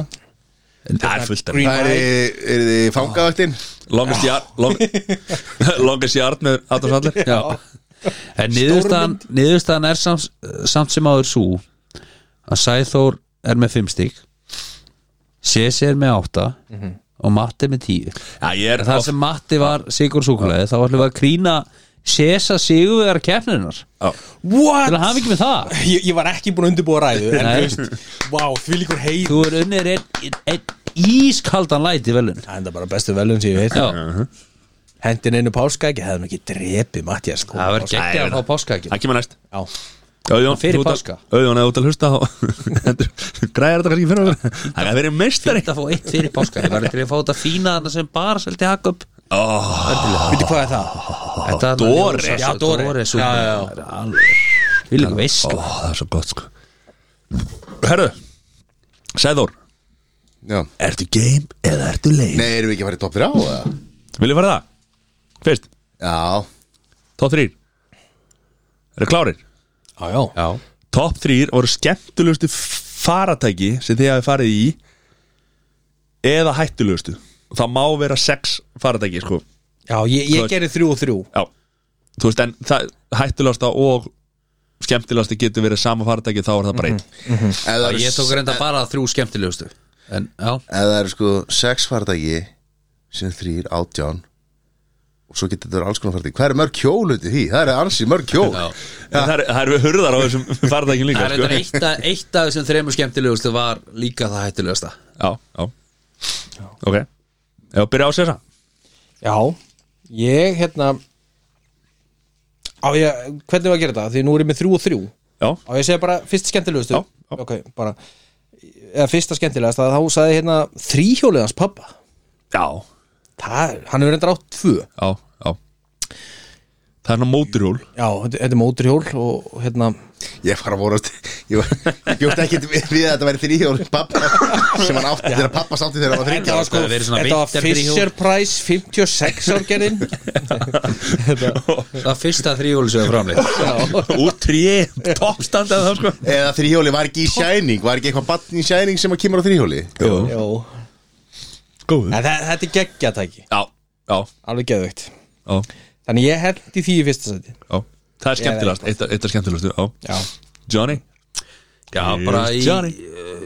S2: Það er fullt af
S3: Það er, er þið fangavaktin
S2: Longest yard long, Longest yard með Adam Sandler
S1: *laughs* Já. En niðurstaðan, niðurstaðan er samt, samt sem áður svo að Sæþór er með 5 stík Sesi er með 8 og Matti með 10
S2: Já, ég er
S1: En það sem Matti var Sigur Súkulegði þá ætlum við að krýna Sesa Sigurvegar keppnirinnar
S4: What?
S1: til að hafa ekki með það
S4: Ég, ég var ekki búin að undirbúa ræðu En
S1: Nei.
S4: þú veist, vá, því líkur heið
S1: Þú er unnir einn ein, ein ískaldan læti velun
S4: Það er enda bara bestu velun sem ég veit
S1: Já,
S4: Hendin einu páskaæki, hefðum ekki drepið Mattias sko.
S1: það verður
S4: Páska-
S1: geggja að fá páskaækin
S2: Það kemur næst
S4: Já.
S2: Auðjón,
S1: Fyrir
S2: þú ert að-
S1: páska.
S2: Auðjón, eða út að hlusta þá- *laughs* hendur- Græðir þetta kannski fyrir okkur Það er að vera meistari
S1: Þetta að fá eitt fyrir páskaækin Það er til að fá þetta fína þarna sem bara seldi hakk upp
S4: Veitu hvað er það?
S1: Þetta er Jónas-
S2: Dóri.
S4: Já, Dóri.
S1: Dóri
S4: Já, já, já.
S1: Það er alveg Vilja veist
S2: Ó, það er svo gott sko Herðu Sæður,
S3: Já.
S2: ertu game eða ertu leið?
S3: Nei, erum við ekki að fara í topp 3 á það?
S2: Viljið fara það? Fyrst,
S3: Já,
S2: top 3 Eru klárir?
S4: Já, já,
S1: Já
S2: Top 3 voru skemmtulegustu faratæki sem þið hafi farið í eða hættulegustu og það má vera 6 faratæki sko.
S4: já ég, ég
S2: Hvað-
S4: gerði þrjú og þrjú
S2: Já, þú veist en það, hættulegasta og skemmtilegasta getur verið sama faratæki þá er það bara einn
S3: ef það
S1: Já,
S3: eru
S1: Ég tók reynda bara þrjú skemmtilegustu En já,
S3: ef það eru sko sex fardagi sem þrýr, átján og svo getur þetta verið alls konar fardagi hvað er mörg kjól undir því? það er ansi mörg kjól
S1: Já.
S2: En það, er, það eru hurðar á þessum *laughs*
S1: það
S2: faratækjum líka
S1: er
S2: sko.
S1: eitthvað eitt, að- eitt af þessum þremur skemmtilegustu var líka það hættulegasta
S2: Já, já, ok Ef að byrja á sér það
S4: Já, ég hérna Á ég, hvernig var að gera þetta? Því nú er ég með þrjú og þrjú
S2: Já,
S4: Á ég að segja bara fyrst skemmtilegustu
S2: Já, já.
S4: Ok, bara eða fyrsta skemmtilegast að þá sagði hérna þríhjólið hans pappa
S2: já,
S4: Það, hann hefur reyndar átt tvö
S2: já, já Það er nú móturhjól
S4: Já, þetta þetta er móturhjól og og hérna
S3: ég var að vorast ég, var, ég bjóst ekki við við að þetta væri þrýhjól pappa sem hann átti þegar pappa sátti þegar hann var
S4: Þetta
S3: þrýhjól
S4: var sko,
S1: verið svona
S4: þetta var
S1: vinterþríhjól.
S4: Fisher Price 56 *laughs* árgerðin
S1: Það var fyrsta þrjúhjóli sem er framleitt
S2: Úr trí, toppstand eða það sko
S3: eða þrýhjóli var ekki í Shining var ekki eitthvað batn í Shining sem að kemur á þrýhjóli
S2: Jú,
S4: Jó,
S2: góð
S4: en þa- þetta er geggjatæki
S2: Já, já,
S4: Alveg geðveikt
S2: já,
S4: Þannig ég hendi því í fyrsta seti
S2: já Það er skemmtilegast, eitt, eitt er skemmtilegast, já
S4: Já,
S2: Johnny
S1: Já, bara í
S2: Johnny.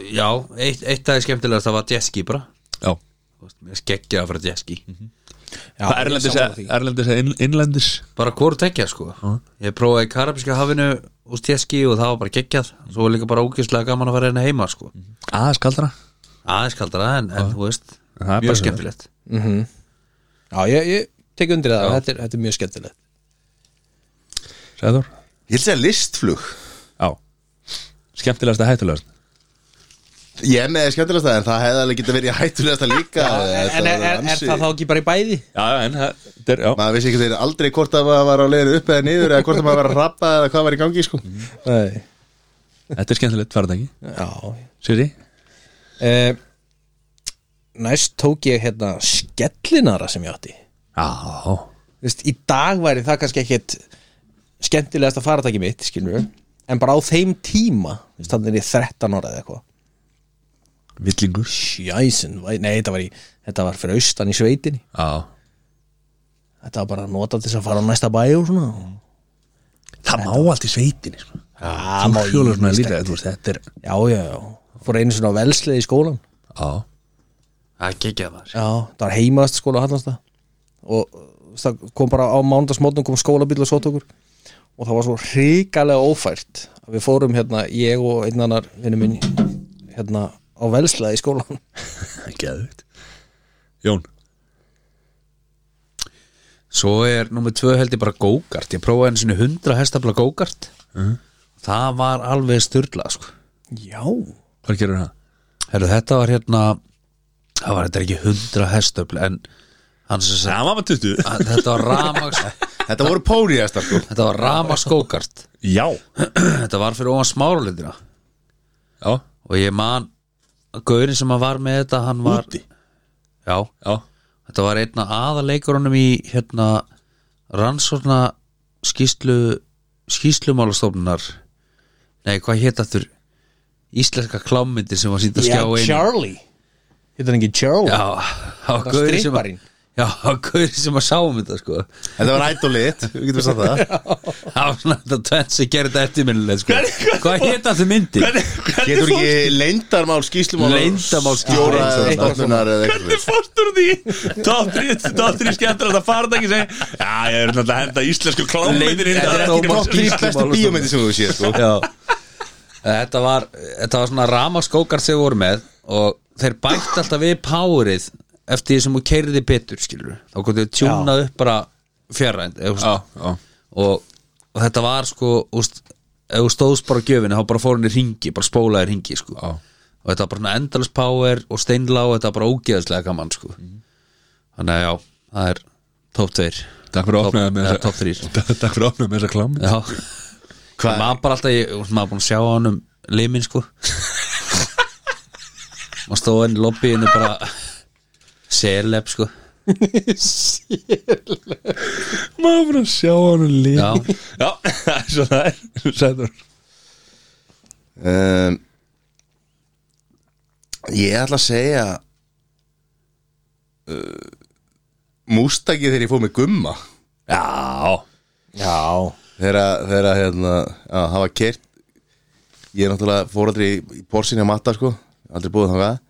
S1: Já, eitt, eitt af því skemmtilegasta var jetski bara
S2: Já,
S1: Þú veist, Mér skeggja að fara jetski
S4: já
S2: það
S4: ég er
S2: erlendis
S4: sammála
S2: eða-
S4: því.
S2: Erlendis eða inn- innlendis
S1: Bara hvort tekja sko Ég prófaði í Karabíska hafinu úr jetski og það var bara geggjað Svo var líka bara ógeðslega gaman að fara henni heima sko
S2: Aðeins kaldara
S1: Aðeins kaldara en, en þú veist
S2: Það er bara
S1: Mjög
S2: svo.
S1: skemmtilegt
S4: Já, ég, ég tek undir það, þetta er, þetta er mjög skemmtilegt
S2: Sæður
S3: ég held að segja listflug
S2: Já Skemmtilegast að hættulegast
S3: ég er með skemmtilegast það en það hefði alveg getið verið hættulegasta líka
S4: Eh,
S3: Þetta
S4: En er,
S3: var
S4: er, er
S3: ansi-
S4: það þá ekki bara í bæði?
S2: Já, já, en það það er, já
S3: maður vissi ekki þeir aldrei hvort að maður var á leiðinu upp eða niður eða hvort að maður var að rappa eða hvað var í gangi sko.
S4: Nei
S2: Þetta er skemmtilegt faratæki
S4: Já
S2: Siri
S4: Eh, Næst tók ég hérna skellinara sem ég átti
S2: Já
S4: Vist, Í dag væri það kannski ekkit skemmtilegasta faratæki mitt skilur en bara á þeim tíma Vist, þannig er ég 13 ára eða eitthvað
S2: Villingur
S4: Jæsin, nei þetta var, í, þetta var fyrir austan í sveitinni
S2: Já
S4: Þetta var bara að nota til þess að fara á næsta bæ og svona
S2: Það má allt í sveitinni sko.
S4: Já, má
S2: Fjólur svona
S4: ýmislegt.
S2: líka þú veist, Þetta er
S4: Já, já, já Fór einu svona á velslið í skólan
S2: Já
S1: Það er geggjað maður
S4: Já, það var heimast skóla Hallansta og uh, það kom bara á mándagsmótnum kom skólabíl og sót okkur og það var svo hrikalega ófært að við fórum hérna, ég og einn annar vinnu minn hérna á velslaði í skólan
S2: Geðvitt Jón
S1: Svo er nummer tvö heldur bara go-kart Ég prófaði einu sinni 100 hestafla go-kart Það var alveg styrla sko
S4: Já
S2: Hvað gerir það?
S1: Herru, þetta var hérna það var þetta ekki 100 hestöfl en hann sem sagði
S2: Það var maður 20
S1: þetta var ramags
S3: *laughs* þetta voru póniðasta sko.
S1: þetta var ramaskókart
S2: Já *laughs*
S1: þetta var fyrir ofan smáralindina
S2: Já
S1: og ég man Gaurin sem að var með þetta hann var
S2: Úti?
S1: Já,
S2: Já,
S1: þetta var einna aðaleikurunum í hérna rannsókna skýslu skýslumálastofnunar Nei, hvað hétt aftur Íslenska klámyndir sem var sýnt að skjá einu
S4: Charlie Hittar ekki Charlie
S1: Já, á
S4: var
S1: gauri sem að
S4: stripparinn.
S1: Já, á gauri sem að sáum þetta sko
S3: Þetta var ædolið, við getum sagt það
S1: Það var svona þetta tvenn sem gerði þetta eftirminnileg sko Hvað hétt aftur myndi?
S3: Getur ekki leyndarmál skýslumál
S1: Leyndarmál, já,
S3: Stjóra eða
S1: eitthvað
S3: stofnunar eða eitthvað
S2: Hvernig fórstur því? Dóttir í skemmtur að það fara ekki segja Já, ég er náttúrulega að henda íslensku klámyndir inn í
S1: Þetta er
S2: þetta.
S1: ekki
S3: Top 3 bestu bíómyndi sem þú séð sko
S1: Já Eh, Þetta var, þetta var svona ramaskókar þegar voru með og þeir bætt alltaf við párið eftir því sem þú keirði betur skilur þá komið þau tjúnað upp bara fjarrænd
S2: Já,
S1: og,
S2: já
S1: og þetta var sko úst, ef þú stóðst bara á gjöfinu þá bara fór hann í ringi, bara spólaði ringi sko.
S2: Já.
S1: og þetta var bara svona endalus power og steinlá og þetta var bara ógeðslega gaman sko.
S2: Mhm.
S1: þannig að já, það er top 2
S2: Takk fyrir að opnaði með
S1: ja,
S2: þessa
S1: top 3
S2: Takk fyrir að opnaði með þessa klámynd
S1: Já Hvað? Maður bara alltaf, ég, maður búin að sjá hann um limin sko Maður stóð hann í lobbyinu bara Seleb sko
S2: Maður bara að sjá hann og líka
S1: Já.
S2: Já, *laughs* það er svo það er Sæður
S3: um, Ég ætla að segja uh, Mústakið þegar ég fóð með gumma
S2: Já
S4: Já
S3: Þegar þegar að, hérna Já, það var kert Ég er náttúrulega fór aldrei í- í borsinni að matta sko Aldrei búið þangað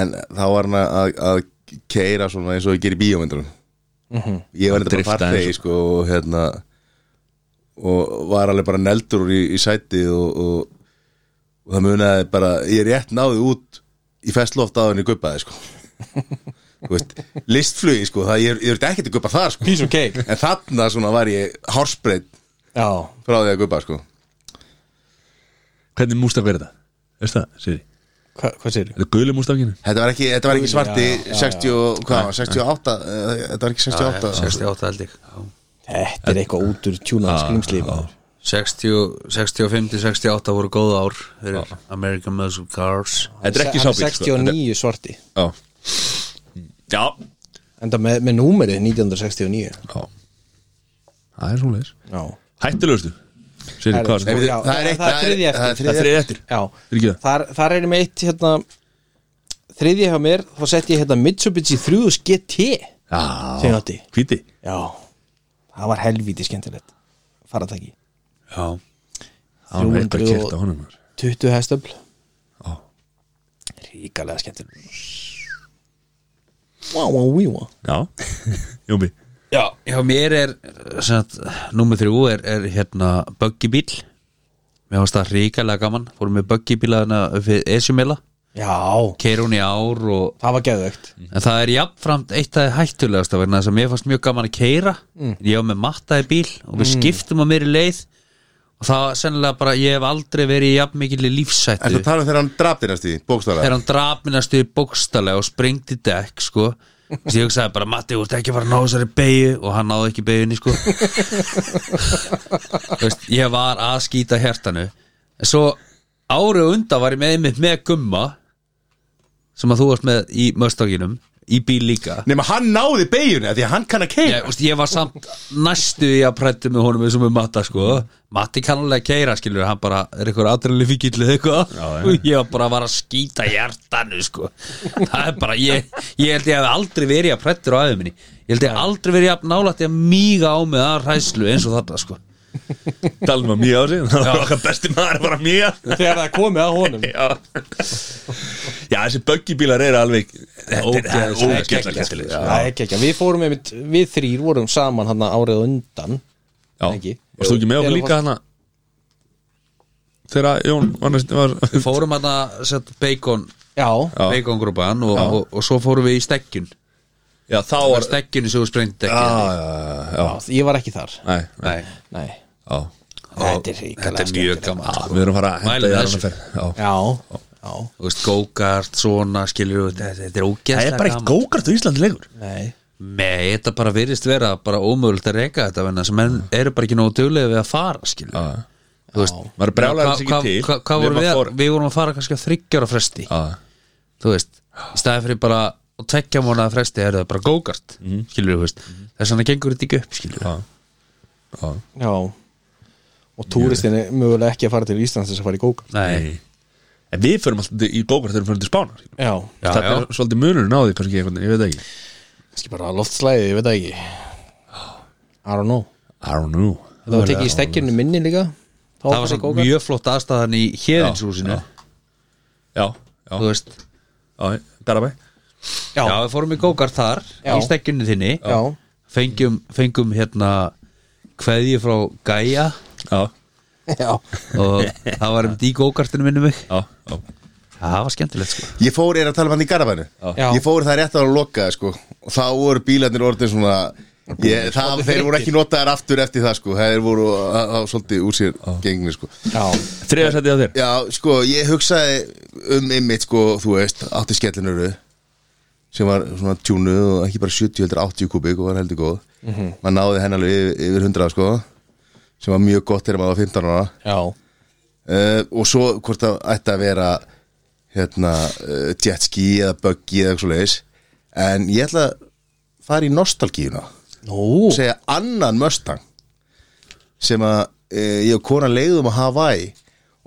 S3: En þá var hann að, að keira svona eins og ég gerir í bíómyndunum Ég var þetta
S2: Mhm.
S3: bara
S2: Drifta
S3: fartegi
S2: eins
S3: sko og hérna og var alveg bara neldur úr í, í sætið og, og, og það munaði bara ég rétt náði út í festloft á henni guppaði sko
S2: *laughs*
S3: Þú veist, listflugi sko það ég, ég er ekkert að guppa þar sko
S4: Piece of cake
S3: en þarna svona var ég hársbreytt
S4: Já
S3: frá því að guppa sko
S2: Hvernig mústaf er þetta? Veist það, Siri?
S4: Hva, Hvað sér?
S2: Þetta er guli mústafkinu?
S3: Þetta var ekki, þetta var ekki svarti
S4: Já, já, já.
S3: 60, og- hvað, var, 68 eh, Þetta var ekki 68
S1: 68 held ég Já.
S4: Þetta er eitthvað út úr
S2: Ah,
S4: tjúnaða skrýmsli
S1: 60, 65 til 68 voru góð ár fyrir American Muscle Cars
S2: Þetta er ekki sko. sábíl
S4: 69 svarti
S2: Já Já
S4: Enda með, með númerið 1969
S2: Já Það er svo leis
S4: Já
S2: Hættulegustu Siri,
S4: Herri,
S2: hvað er
S4: sko,
S2: þetta?
S4: já,
S3: það er eitt-
S4: það er þriðja
S3: það er
S4: eftir.
S3: þriðja-
S2: Það er eftir
S4: Já,
S2: Fyrirgefðu.
S4: þar, þar er ég með eitt hérna, þriðja hjá mér þá setti ég hérna Mitsubishi 3 GT
S2: Já
S4: sem ég átti
S2: Hvíti
S4: Já, það var helvíti skemmtilegt faratæki
S1: Já,
S2: Það var eitthvað kert á honum maður.
S4: 20 hestöfl
S2: Já.
S4: Ríkalega skemmtilegt Vá, vá, vá,
S2: *laughs*
S4: vá
S2: Já Jómi
S1: Já, hjá mér er sagt, Númer þrjú er, er hérna Buggy bíl Mér varst það ríkalega gaman Fórum með Buggy bíla þarna upp við Esjumela
S4: Já,
S1: Keir hún í ár og
S4: það var geðvögt
S1: En það er jafnframt eitt af því hættulegasta vegna þess að mér fannst mjög gaman að keira ég var með mattaði bíl og við skiptum á mér í leið og það var sennilega bara, ég hef aldrei verið í jafn mikil í
S3: Ertu
S1: lífsættu
S3: að tala um þegar hann draf þér næstu í bókstara?
S1: þegar hann draf minna stuði bókstallega og sprengdi dekk sko Þess ég hugsaði bara, Matti, þú ert ekki að fara að ná þessari beigju og hann náði ekki beigjunni sko Þú veist, ég var að skýta hjartanu en svo árið undan var ég með einmitt með gumma sem að þú varst með í möstókinum í bíl líka
S3: Nefnum hann náði beigjunni af því að hann kann að keira
S1: ég, úst, ég var samt næstu í að prættu með honum eins og með Matta sko Matti kannulega keira skilur hann bara er eitthvað aðræðlega fíkillið eitthvað og ég var bara að var að skýta hjartanu sko það er bara ég, ég held ég hef aldrei verið að prættur á aðeim minni ég held ég aldrei verið að nálætti að míga á mig að hræslu eins og þetta sko
S2: Talum að mjög á sig Það var okkar besti maður að fara mjög
S4: Þegar það komið að honum
S2: Já Já, þessi böggibílar eru alveg Þetta er
S1: ógeðslega
S2: ógætla
S1: skemmtilegt.
S2: kættileg
S4: Það er ekki ekki, við fórum einmitt, við þrýr vorum saman hann árið á undan
S2: Já,
S4: Ekki.
S2: varst þú ekki með okkur
S4: Eða
S2: líka hana Þegar Jón var næst var,
S1: við fórum hann að setja bacon
S4: Já,
S2: Já.
S1: bacongrúpan og, og, og svo fórum við í stekjun
S2: Já, þá
S1: það
S2: var
S1: var stekjunni sem við sprengdi
S2: Já,
S1: ekki
S2: já, já, já
S4: ég var ekki þar
S2: Nei, nei,
S1: Nei,
S4: Nei,
S2: já
S4: þetta
S1: þetta
S4: er ríkalega
S1: er mjög gaman
S2: Já,
S1: sko.
S2: Við erum að fara að
S1: Mælum
S2: henda í
S1: með
S2: aðra
S1: þessu.
S2: ferð Já
S4: Já, já,
S1: Þú veist, go-kart, svona, skilur við, þetta, þetta er ógæslega
S2: Það er bara eitt gókart á Íslandi leikur
S4: nei
S1: Nei, þetta bara virðist vera bara ómögulegt að reyka þetta venna sem menn eru bara ekki nógu duglega við að fara skilur
S2: Já,
S1: þú veist
S2: Maður brjálar
S1: Hvað
S2: þess
S1: hva,
S2: ekki til
S1: hva, hva vorum
S2: nema
S1: við,
S2: fór-
S1: fór... við vorum að fara kannski að þryggjara fresti
S2: Já.
S1: þú veist, í staði fyrir bara og tekja mánaða fresti er það bara gókart mm. skilur þú veist, þess vegna gengur þetta ekki upp skilur
S2: Já. Já.
S4: Já Og túristin er mögulega ekki að fara til Íslands þess að fara í kóka
S1: nei,
S2: En við förum alltaf í gókvart þegar við förum til Spánar
S4: Já,
S1: Já,
S2: Það
S1: já.
S2: er svolítið munurinn á því kannski einhvern veginn, ég veit það ekki
S4: kannski bara loftslæði, ég veit það ekki I don't know
S2: I don't know
S4: Það var tekið í stekkjunum minni líka Þá
S1: það var
S4: fara í
S1: svo
S4: go-kart.
S1: mjög flott aðstæðan í hérðinshúsinu,
S2: Já, Já, já,
S1: þú veist
S2: já, Garabæ
S1: já. við fórum í gókart þar
S4: Já.
S1: í stekkjunni þinni
S4: Já,
S1: fengjum, fengum hérna kveðju frá Gæja
S2: Já,
S4: já
S1: og það var um í gókartinu minni mig
S2: já, já
S1: það var skemmtilegt sko
S3: Ég fór, ég er að tala um hann í Garabænu
S4: Já.
S3: Ég fór það rétt að hann lokaði sko Og þá voru bílarnir orðin svona ég, það, Þeir voru ekki notaðar aftur eftir það sko Þeir voru á, á, svolítið úr sér gengni sko
S4: Já,
S2: Þriða setið á þér
S3: Já, sko, ég hugsaði um einmitt sko, þú veist, átti skellinuru sem var svona tjúnu og ekki bara 70 heldur 80 kubik og var heldur góð maður náði henn alveg yfir, yfir 100 sko sem var mjög gott þegar maður var 15 ára
S4: já,
S3: uh, og svo hvort það ætti að vera hérna, uh, jetski eða buggy eða eitthvað svo leiðis en ég ætla að fara í nostalgíuna
S4: nú
S3: og segja annan Mustang sem að uh, ég og konan leiðum á Hawaii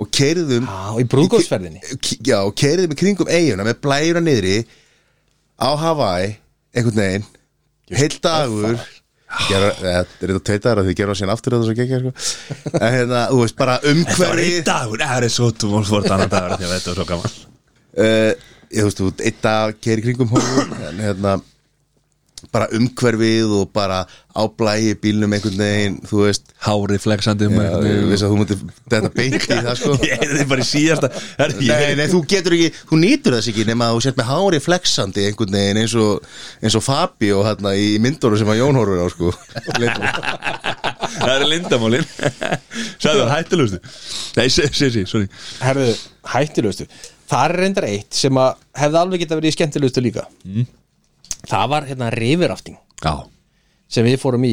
S3: og keiriðum
S4: Já, í brúðgóðsferðinni
S3: K- já, og keiriðum í kringum eiguna með blæjuna niðri á Hawaii einhvern veginn, heill dagur gera, eða, þetta er þetta tveitaðar að þið gera það síðan aftur þetta svo gekk sko. en hérna, þú veist, bara umhverfi
S2: dagur, það er svo tumál svort annan dagur Þegar þetta var svo gaman
S3: uh, ég þú veist, þú eitt dag keri kringum hóðum, en hérna bara umhverfið og bara áblægi bílnum einhvern veginn, þú veist
S2: Hári flexandi um
S3: Já, ég veist að þú mútið þetta beint í það sko
S2: *laughs* Ég er þið bara í síðasta Herri,
S3: Nei,
S2: ég-
S3: nei, þú getur ekki, þú nýtur þess ekki nema að þú sért með hári flexandi einhvern veginn eins og, eins og Fabi og hérna í myndunum sem að Jón horfur á sko Leifur.
S2: Það er lindamálin Sæðu það, hættilegustu Nei, sé, sé, sé, sorry
S4: Herðu, hættilegustu Það er reyndar eitt sem að hefði alveg geta verið í skemmtilegustu líka Það var hérna rifirafting
S2: Mm. Já,
S4: sem við fórum í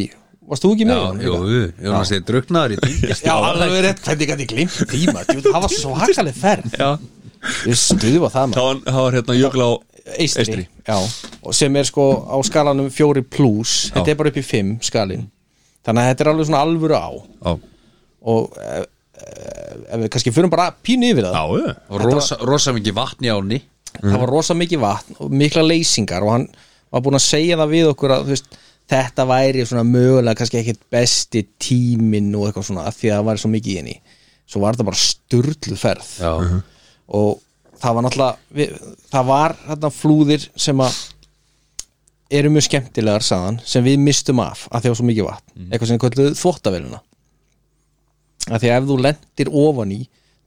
S4: Varst þú ekki með? honum
S1: jú,
S4: líka?
S1: jú, Jónas er druknaður í tíl
S4: Já, alveg rétt, hvernig gæti glimt tíma djú, Það var svakaleg ferð
S2: já
S4: Við stuðum á það
S2: Þá
S4: maður
S2: var- þá var hérna jökla á
S4: Eistri, Já, og sem er sko á skalanum fjóri plus Þetta er bara upp í fimm skalin Þannig að þetta er alveg svona alvöru á
S2: Já,
S4: og ef, ef við kannski fyrir bara pínu yfir það
S2: já, já.
S1: rosa, rosa mikið vatni áni
S4: það var rosa mikið vatn og mikla leysingar og hann var búin að segja það við okkur að þú veist, þetta væri svona mögulega kannski ekkert besti tíminn og eitthvað svona af því að það væri svo mikið í henni svo var þetta bara sturlu ferð
S1: já,
S4: og það var náttúrulega við, það var þarna flúðir sem að eru mjög skemmtilegar saðan sem við mistum af að því að var svo mikið vatn eitthvað sem kvölduðu þvóttavélina að því að ef þú lendir ofan í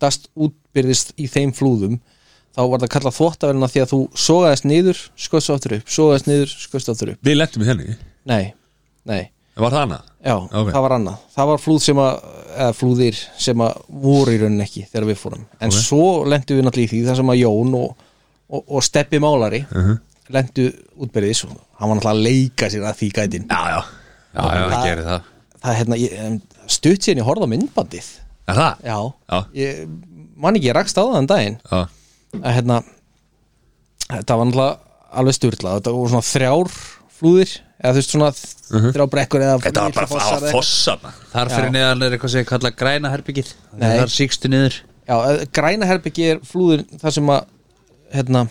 S4: dast útbyrðist í þeim flúðum þá var það kallað þvóttavélina því að þú sogaðist niður, skoðst aftur upp sogaðist niður, skoðst aftur upp
S2: Við lentum í henni
S4: nei, nei,
S2: Var það hana?
S4: já,
S2: Ok.
S4: það var annað það var flúð sem að, eða flúðir sem að voru í rauninni ekki þegar við fórum en svo lendu við náttúrulega í því þar sem að Jón og, og, og Steppi Málari lendu útbyrðis og hann var náttúrulega að leika sér að því gætin
S2: Já, já
S1: já, já, það gerir það
S4: það er hérna, ég, em, stutt sér ég horfði á myndbandið
S2: Er það?
S4: já,
S2: Já.
S4: ég man ekki, ég rakst á það en daginn
S2: Já,
S4: að hérna þetta var náttúrulega alveg styrla þetta voru svona þrjár flúðir eða þú veist svona uh þrjár brekkur eða
S2: Mhm. Þetta var
S4: miklir
S2: bara
S4: fossar
S2: það
S4: eða
S2: var
S4: eitthvað.
S2: fossana
S1: Þar fyrir neðan er eitthvað sem ég kalla græna herbyggið
S4: Nei.
S1: Þar síkstu niður
S4: Já, eh, græna herbyggi er flúður þar sem að hérna,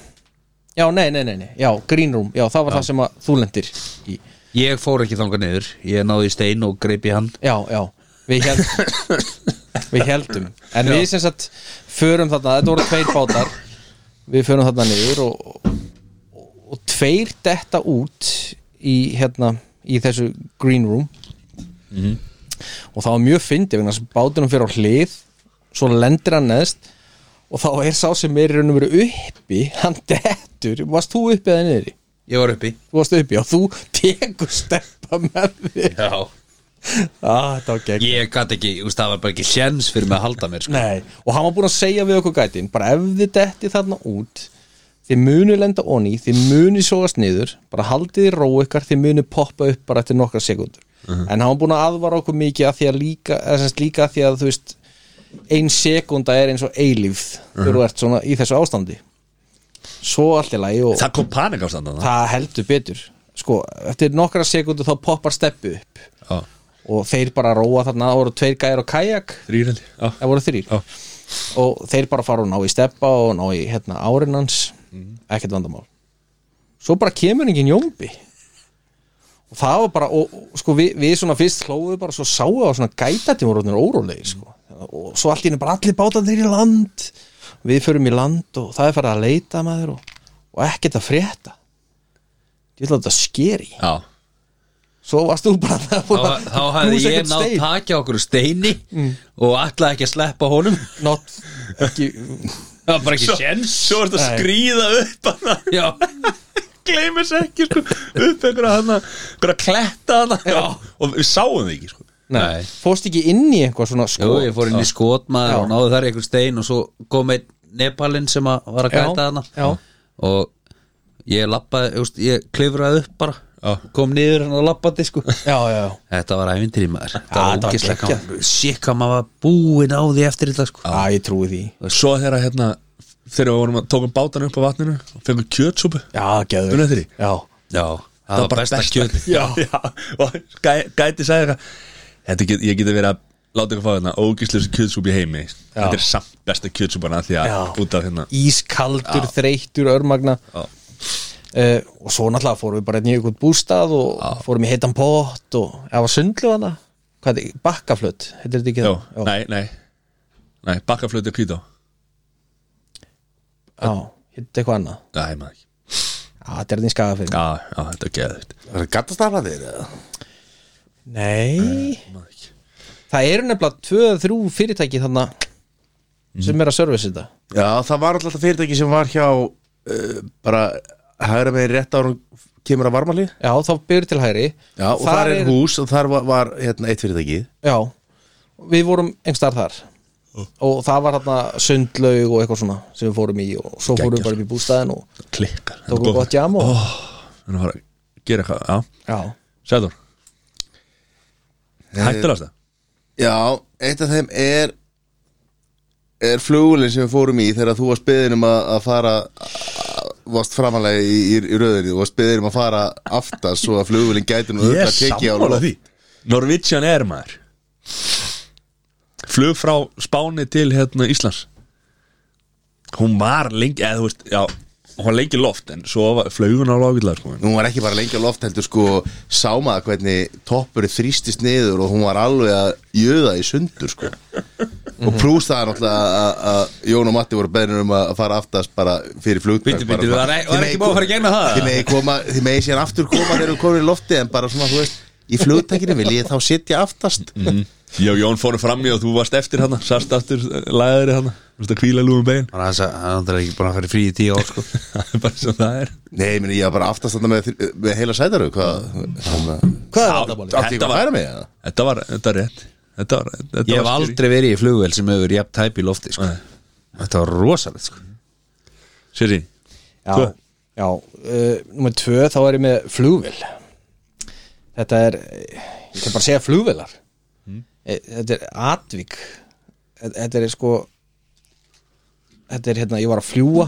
S4: já, nei, nei, nei, nei já, green room, já, það var það sem að þú lendir í,
S1: Ég fór ekki þangað niður Ég náði í stein og greip í hann
S4: já, já við
S1: *laughs*
S4: heldum við heldum, en við sem sagt förum þarna, þetta voru tveir bátar við förum þarna niður og, og, og tveir detta út í hérna í þessu green room
S1: Mhm.
S4: og það var mjög fyndi vegna þess að bátunum fyrir á hlið svo lendir hann neðst og þá er sá sem er í raunum verið uppi hann dettur, varst þú uppi eða niður þú
S1: Ég var uppi
S4: varst uppi og þú tekur steppa með þig
S1: Já
S4: ah, þetta var gegn
S1: Ég gat ekki, úst, það var bara ekki sjens fyrir mig að halda mér sko.
S4: Nei, og hann var búin að segja við okkur gætin bara ef þið detti þarna út þið munu lenda onni, þið munu sógast niður, bara haldið í ró ykkar þið munu poppa upp bara
S1: Mhm.
S4: eftir nokkra sekundur en hann var búin að aðvara okkur mikið að því að líka, eða sem sagt líka að því að þú veist ein sekunda er eins og eilífð
S1: Mhm.
S4: þegar þú ert svona í þessu ástandi svo allt í lagi og
S2: Það kom panik ástand þarna.
S4: það heldur betur sko, eftir nokkra sekundu þá poppar steppu upp
S2: Já,
S4: og þeir bara róa þarna, það voru tveir gæjar og kajak
S2: þrír held ég. Já.
S4: það voru þrýr
S2: Já.
S4: og þeir bara fara og ná í steppa og ná í hérna árinans
S1: Mhm.
S4: ekkert vandamál svo bara kemur engin jómbi og það var bara og, og, sko, við, við svona fyrst hlóðum bara svo sáum við á svona gætati voru orðnir órólegi sko. og svo allt í henni bara allir bátandir í land við förum í land og það er farið að leita maður og, og ekkert að frétta ég ætla að þetta skeri
S2: Já.
S4: svo varst þú bara að
S1: Þá, þá hafði
S4: knúsa
S1: ég
S4: einhvern
S1: náð
S4: stein.
S1: takja okkur steini og ætlaði ekki að sleppa honum
S4: Not, ekki,
S1: það var bara ekki séns
S2: Svo er þetta að
S4: Nei.
S2: skríða upp hann
S1: já,
S2: Gleimis ekki sko Upp einhverja hann Einhverja kletta hann Og við sáum það ekki sko
S1: Nei.
S4: nei, fórst ekki inn í einhvað svona sko
S1: Jú, ég fór inn í skotmaður
S4: Já.
S1: og náði þar einhver stein og svo kom einn Nepalinn sem að var að
S4: Já,
S1: gæta hana
S4: já.
S1: og ég lappaði, ég, ég klifraði upp bara
S2: Já.
S1: kom niður hann og lappaði sko
S4: já, já, já.
S1: Þetta var ævintýri maður
S4: Já,
S1: Þetta var
S4: þetta var
S1: ógislega
S4: geggjað.
S1: gaman Sikk hvað maður var búinn á því eftir þetta sko
S4: Æ, ég trúi því
S2: Svo þegar að, hérna Þegar við vorum að tókum bátan upp á vatninu Og fengum kjötsúpu
S4: Já, geður
S2: Munið eftir því?
S4: Já,
S1: Já, það var besta, besta kjöld
S2: Já, *laughs* já Og gæ, gæti sagði eitthvað Þetta get, ég geti verið að Láta eitthvað fá hérna Ógislega kjötsúpu í heimi Þetta er samt besta kjötsúpana Því að
S4: Já.
S2: út af hérna
S4: ískaldur, þreyttur, örmagna
S2: Já.
S4: uh, Og svo náttúrulega fórum við bara einn í einhvern bústað og fórum í heitan pott og það var sundlu hana Hvað er þetta? Bakkaflöt, heitir þetta ekki
S2: Já,
S4: það? Já,
S2: nei, nei Nei, bakkaflötu kvító
S4: já heitir eitthvað annað
S2: Nei, maður ekki
S4: Já, þetta er þetta í skagafinn
S2: Já, já, þetta er geðvitt
S3: Er það gattastaflaðir?
S4: Nei Það eru nefnilega tvö, þrjú fyrirtæki þarna sem er að service þetta
S3: Já, það var alltaf fyrirtæki sem var hjá uh, bara hægra með rétt árum kemur að varmalíð
S4: Já, þá byrjur til hægri
S3: Já, og þar, er hús og þar var, var hérna, eitt fyrirtæki
S4: Já, við vorum einhverstaðar þar og það var hérna sundlaug og eitthvað svona sem við fórum í og svo fórum
S2: Geggjað.
S4: við bara upp í bústæðin og
S2: Klikkar
S4: Tókum gott jam og-
S2: og Þannig að fara að gera eitthvað, já
S4: já,
S2: Sæður Hættulegast það
S3: Já, eitt af þeim er er flugulinn sem við fórum í þegar þú varst beðin um að, að fara varst framalega í, í, í rauðinni og varst beðin um að fara aftast svo að flugulinn gæti nú örugglega tekið á loft.
S2: Norvítsjan er maður Flug frá Spáni til hérna Íslands Hún var lengi, eða þú veist, já Hún var lengi í loft, en svo var flaugun á lágillega sko.
S3: Hún var ekki bara lengi á loft heldur sko sámaða hvernig toppur þrýstist niður og hún var alveg að jöða í sundur sko
S1: Mhm.
S3: og plús það er náttúrulega að- að- að Jón og Matti voru beðin um að fara aftast bara fyrir flugtak
S1: Bíddu, bíddu, var e- var ekki búið að fara í gegn með það?
S3: Þið megi, koma, þið megi síðan aftur koma þegar hún komið í lofti en bara svona, þú veist, í flugtakinu vil ég þá sitja aftast
S1: Mm.
S2: Já, Jón fóru fram í og þú varst eftir hana Sast aftur eh, læðri hana Þú veist að hvíla lúfum bein *laughs*
S1: Bara þess að hann er ekki búin að fara í frí í tíu ár sko
S2: Það er bara svo það er
S3: Nei, meni, ég var bara aftast þarna með, með heila sætaru Hvað?
S1: Mm.
S4: hvað er
S2: Já,
S4: þetta bóli?
S3: Átti ég
S2: þetta
S3: að
S2: var-
S3: færa mig? eða?
S2: Þetta var, þetta er rétt Þetta var, þetta
S1: Ég hef
S2: var
S1: aldrei verið í flugvel sem hefur jafn tæp í lofti sko
S2: Nei.
S1: Þetta var rosalegt sko
S2: Siri,
S4: Já,
S2: Tvö.
S4: já uh, nummer tvö þá er ég með flugvél þetta er ég kan bara segja flugvélar e, þetta er atvík E- þetta er sko þetta er hérna, ég var að fljúa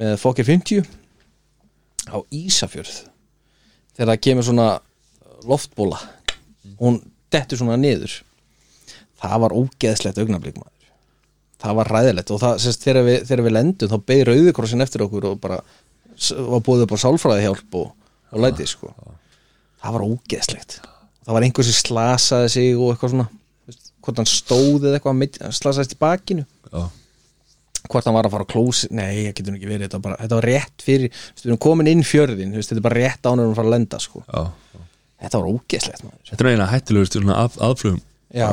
S4: með Fokker 50 á Ísafjörð þegar það kemur svona loftbóla hún dettur svona niður það var ógeðslegt augnablík maður það var ræðilegt og það, sérst, þegar, við, þegar við lendum þá beði rauðikrossin eftir okkur og bara s- var búið upp á sálfræðihjálp og, og læti sko það var ógeðslegt það var einhver sem slasaði sig og eitthvað svona þú veist, hvort hann stóð eða eitthvað mitt- hann slasaðist í bakinu
S2: já,
S4: hvort hann var að fara á klósi nei, það getur nú ekki verið, þetta var, bara, þetta var rétt fyrir þú veist, við erum komin inn fjörðin, þú veist, þetta er bara rétt ánur að fara að lenda sko,
S2: já
S4: þetta var ógeðslegt maður.
S2: Þetta er eina hættulegust svona af, aðflugum
S4: já,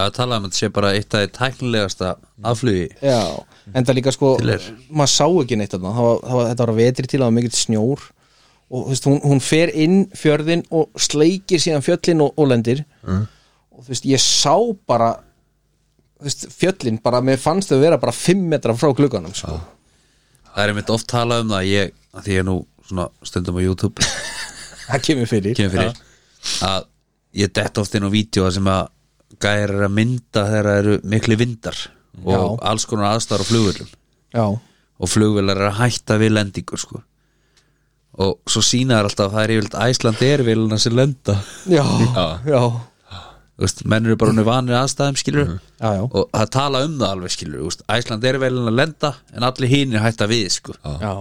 S1: Það talaði um að þetta sé bara eitt af því tæknilegasta afflugi
S4: já, en það líka sko
S1: Til er.
S4: maður sá ekki neitt þarna það var, það var, þetta var að vetri til, það var mikill snjór og þú veist, hún, hún fer inn fjörðin og sleikir síðan fjöllin og, og lendir og þú veist, ég sá bara þú veist, fjöllin bara, mér fannst þau vera bara 5 metra frá glugganum sko.
S1: Það er mitt oft talað um það að ég, að því ég er nú svona stundum á YouTube
S4: það kemur fyrir
S1: kemur fyrir að ég dett oft inn á vídeo sem að
S6: gæri að mynda þegar það eru miklu vindar og
S4: Já.
S6: alls konar aðstæður á flugvillum
S4: já,
S6: og flugvillar er að hætta við lendingur sko. og svo sína þær alltaf að það er yfirleitt æsland er vilina sem lenda
S4: já, já,
S6: Þú veist, menn eru bara henni vanir aðstæðum skilur
S4: já, já.
S6: og það tala um það alveg skilur Þú veist, æsland er vilina að lenda en allir hinn er hætta við sko.
S4: já.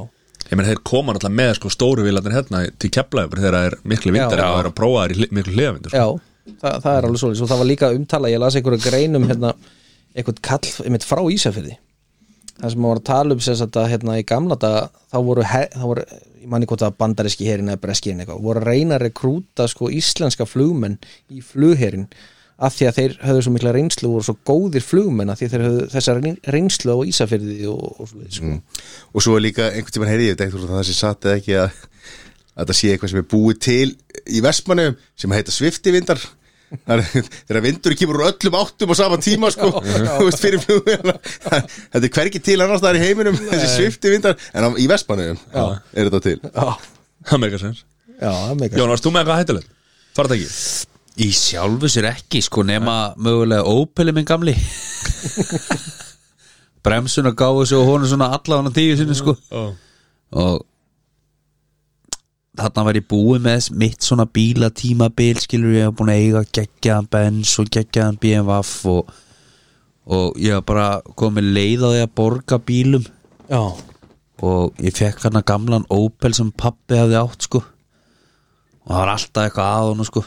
S2: Ég menn þeir koma náttúrulega með sko stóru vilarnir hérna til keflaður þegar það er miklu vindar
S4: Já.
S2: en það er að prófa þær í hli- miklu hliðavindur sko.
S4: Já, það, það er alveg svolítið og það var líka umtala, ég las einhverju greinum hérna, einhvern kall, einmitt frá Ísafirði það sem maður var að tala um sem sagt að hérna í gamla daga þá voru, her, þá voru ég manni hvort að bandaríski herin eða breski herin eitthvað, voru að reyna að rekrúta sko íslenska flugmenn í flugherin af því að þeir höfðu svo mikla reynslu og voru svo góðir flugmenn af því að þeir höfðu þessa reyn- reynslu á Ísafirði og, og svo sko.
S3: og svo er líka einhvern tímann heyrði ég veit ekki hvort það sé satt eða ekki að, að það sé eitthvað sem er búið til í Vestmanum sem heita sviftivindar Það er- þegar vindur kemur úr öllum áttum á sama tíma sko, *laughs* þú veist fyrir flugvélana þetta er hvergi til annars það er í heiminum þessi sviftivindar, en á, í Vestmanum er þetta til
S2: Það meikar sens
S4: Já, það er mega
S2: Jón, varst þú með eitthvað hættilegt? Fara þetta ekki?
S6: í sjálfu sér ekki sko nema mögulega ópili minn gamli bremsuna gáðu sig og honum svona allafan á tíu sinni sko og þarna var ég búið með mitt svona bílatímabil skilur ég hef búin að eiga geggjaðan Benz og geggjaðan BMW og, og ég hef bara komið leið á því að borga bílum
S4: Já,
S6: og ég fekk hann gamlan Opel sem pappi hafði átt sko og það var alltaf eitthvað að honum sko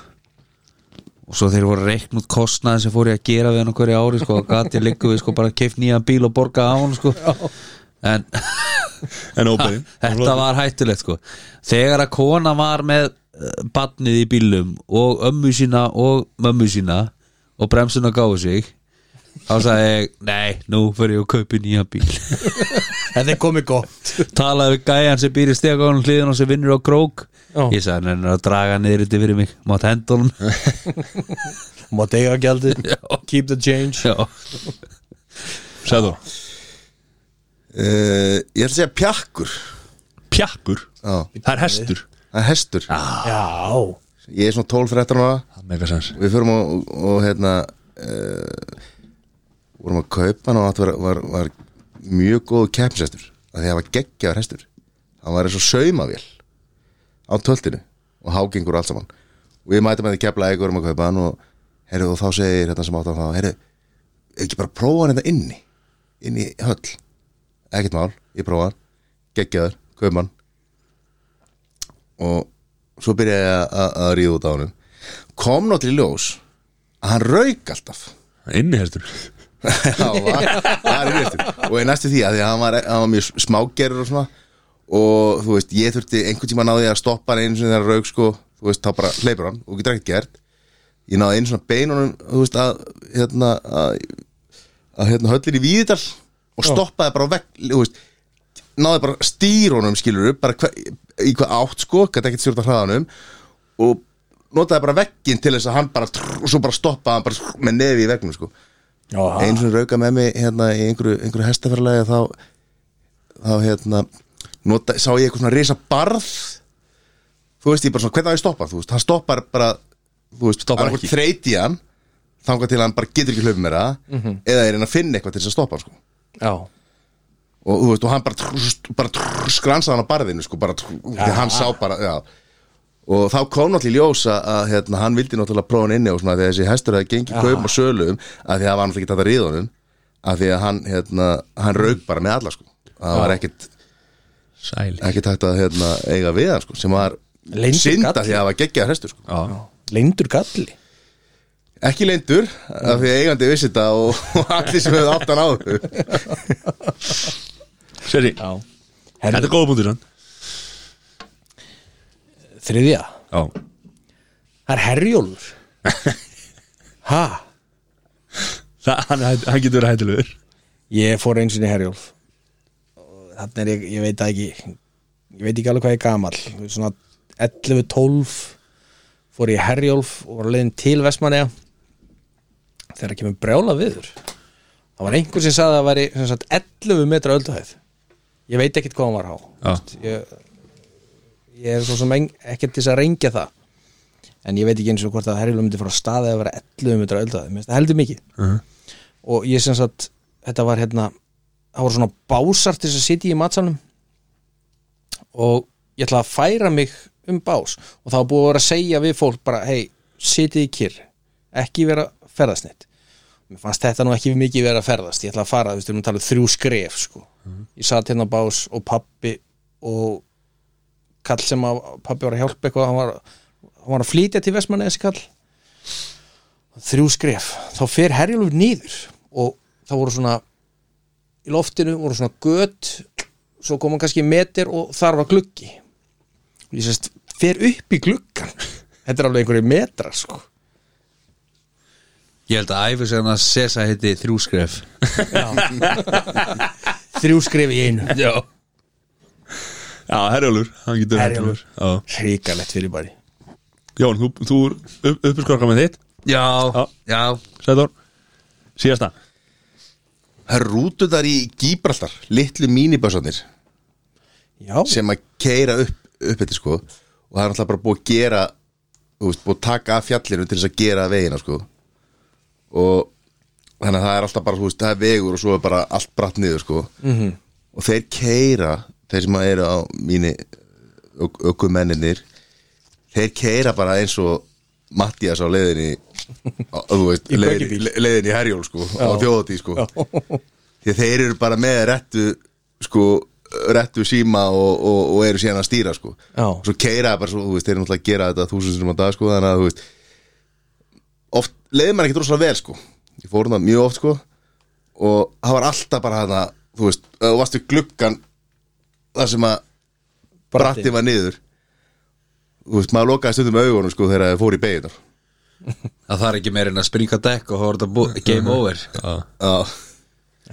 S6: og svo þeir voru reikn út kostnaði sem fór ég að gera við hann á hverju ári sko og gat ég liggu við sko bara keift nýjan bíl og borga á honum sko en
S2: En óbyrðin
S6: *laughs* þetta var hættulegt sko þegar að kona var með badnið í bílum og ömmu sína og mömmu sína og bremsuna gáðu sig þá sagði ég, nei, nú fyrir ég að kaupi nýja bíl
S4: en þeir komið gott
S6: talaði við gæjan sem býr í stegagónum hliðin og sem vinnur á krók
S4: Já.
S6: ég sagði hann er að draga niður þetta fyrir mig mátt hendunum
S4: Mátt eiga gjaldið, keep the change
S6: Já.
S2: Sæðu þú
S3: uh, ég ætla að segja pjakkur
S2: Pjakkur
S3: Já,
S2: Það er hestur
S3: það er hestur
S4: Já,
S3: ég er svona 12-13 ára
S2: Það meikar sens
S3: við förum og, og, og hérna uh, vorum að kaupa hann og það var, var, var mjög góð keppnshestur af því að það var geggjaður hestur hann var eins og saumavél á töltinu og hágengur og allt saman og við mætum að þið keppla eitthvað um að kaupa hann og, heyrðu, og þá segir hérna sem átt að það heyrðu, ekki bara prófa hann þetta inni inni í höll ekkert mál, ég prófa hann geggjaður, kaupa hann og svo byrjaði ég að- að- að ríða út á hann kom náttúrulega í ljós að hann rauk alltaf
S2: Inni hestur
S3: *laughs* Já, var, var í restin. og ég næstu því að því að hann var, hann var mjög smágerur og svona og þú veist, ég þurfti einhvern tíma náði ég að stoppa hann einu sinni þegar hann rauk sko, þú veist, þá bara hleypur hann og getur ekkert gert ég náði einu svona beinunum þú veist, að hérna, að, að hérna höllir í Víðidal og stoppaði bara á vegg, þú veist náði bara stýrónum skilur bara hver, í hvað átt sko, gæti ekkert stjórna hraðanum og notaði bara vegginn til þess að hann bara trrr, og svo bara stoppaði hann bara trrr, með nefi í veggnum sko einu sem rauka með mig hérna í einhverju, einhverju hestafærlega þá, þá hérna nota, sá ég eitthvað svona risa barð þú veist ég bara svona hvernig á ég að stoppa þú veist, hann stoppar bara þú veist,
S2: Stoppar
S3: annaðhvort
S2: ekki.
S3: þreyti hann þangað til hann bara getur ekki hlaupið mér að eða er hann að finna eitthvað til þess að stoppa hann, sko.
S4: Mhm. já
S3: og þú veist, og hann bara, trúst, bara trúst, skransaði hann á barðinu sko, bara, trú, ja. hann sá bara, já og þá kom náttúrulega í ljós að- að hérna, hann vildi náttúrulega prófa hann inni og svona þegar þessi hestur hefði gengið kaupum og sölum að því að það var náttúrulega ekki þetta ríðunum að því að hann, hérna, hann rauk bara með alla sko, það var ekkit
S2: Sæli
S3: ekkit hægt að hérna, eiga við hann sko, sem var
S4: Leyndur
S3: synda
S4: galli.
S3: því að það var geggjað hestur sko.
S4: Lindur galli
S3: ekki leindur, af því að eigandi vissi þetta og, og *laughs* allir sem hefði átt hann á
S2: Séri
S4: Já
S2: Þetta er góða búndur sann
S4: Þriðja
S2: Já
S4: Það er
S2: *laughs*
S4: herjólfur Ha?
S2: Það, hann, er hætt- hann getur verið hættilegur
S4: Ég fór eins og í herjólf Og Þannig er ég, ég veit það ekki Ég veit ekki alveg hvað ég er gamall Þú veist, Svona 11-12 Fór ég í herjólf og var leiðin til Vestmanneja Þegar kemur brjála viður Það var einhver sem sagði að það væri sem sagt, 11 metra ölduhæð Ég veit ekkert hvað hann var há
S2: Já
S4: ég, ég er svo sem eng- ekkert til þess að rengja það en ég veit ekki eins og hvort að herjulum myndi fara á staði að vera 11 metra eldaði, mér finnst það heldur mikið og ég sem sagt, þetta var hérna það voru svona básar til þess að sitja í matsalum og ég ætla að færa mig um bás og það var búið að vera að segja við fólk bara, hei, sitið í kyrr ekki vera ferðasnitt mér fannst þetta nú ekki mikið vera að ferðast ég ætla að fara, þú veist, við erum að tala um þrjú skref sko. ég satt hérna á bás og pappi og kall sem að pappi var að hjálpa eitthvað hann var, hann var að flytja til Vestmanni þessi kall þrjú skref þá fer herjulur nýður og það voru svona í loftinu voru svona gött svo kom hann kannski metir og þar var gluggi ég sérst fer upp í gluggan *laughs* þetta er alveg einhverju metrar sko
S6: Ég held að æfis en að Sesa heiti þrjúskref
S4: þrjú skref í einu
S2: Já Já, Herjólfur, hann getur
S4: Herjólfur.
S2: Já.
S4: hrikalegt fyrir bari
S2: Jón, þú, þú er upp, uppskorka með þitt
S6: Já,
S2: Já.
S6: já
S2: Sæður, síðasta
S3: Það eru rútunar í Gíbraltar litlu mínibössarnir
S4: já,
S3: sem að keira upp, upp eftir sko og það er náttúrulega bara búið að gera þú veist, búið að taka af fjallinu til þess að gera vegina sko og þannig að það er alltaf bara þú veist, það er vegur og svo er bara allt bratt niður sko
S4: Mhm.
S3: -hmm. og þeir keira þeir sem að eru á mínu aukumenninir þeir keira bara eins og Mattias á leiðinni á- þú veist,
S4: Í
S3: leiðinni,
S4: göngubíl.
S3: le- leiðinni í herjól sko, á þjóðatí sko því að þeir eru bara með réttu sko, réttu síma og, og, og eru síðan að stýra sko.
S4: Já.
S3: svo keira bara svo, þú veist, þeir eru náttúrulega að gera þetta þúsundum á dag sko, þannig að þú veist oft leiði maður ekkert rosalega vel sko. ég fór hann mjög oft sko, og það var alltaf bara hana þú veist, ef þú varst við gluggan þar sem að
S4: Bratti.
S3: bratti var niður þú veist, maður lokaði stundum augunum sko, þegar það fór í beginar
S6: Það þarf ekki meir en að springa dekk og horfa þetta bú- *laughs* game over Já,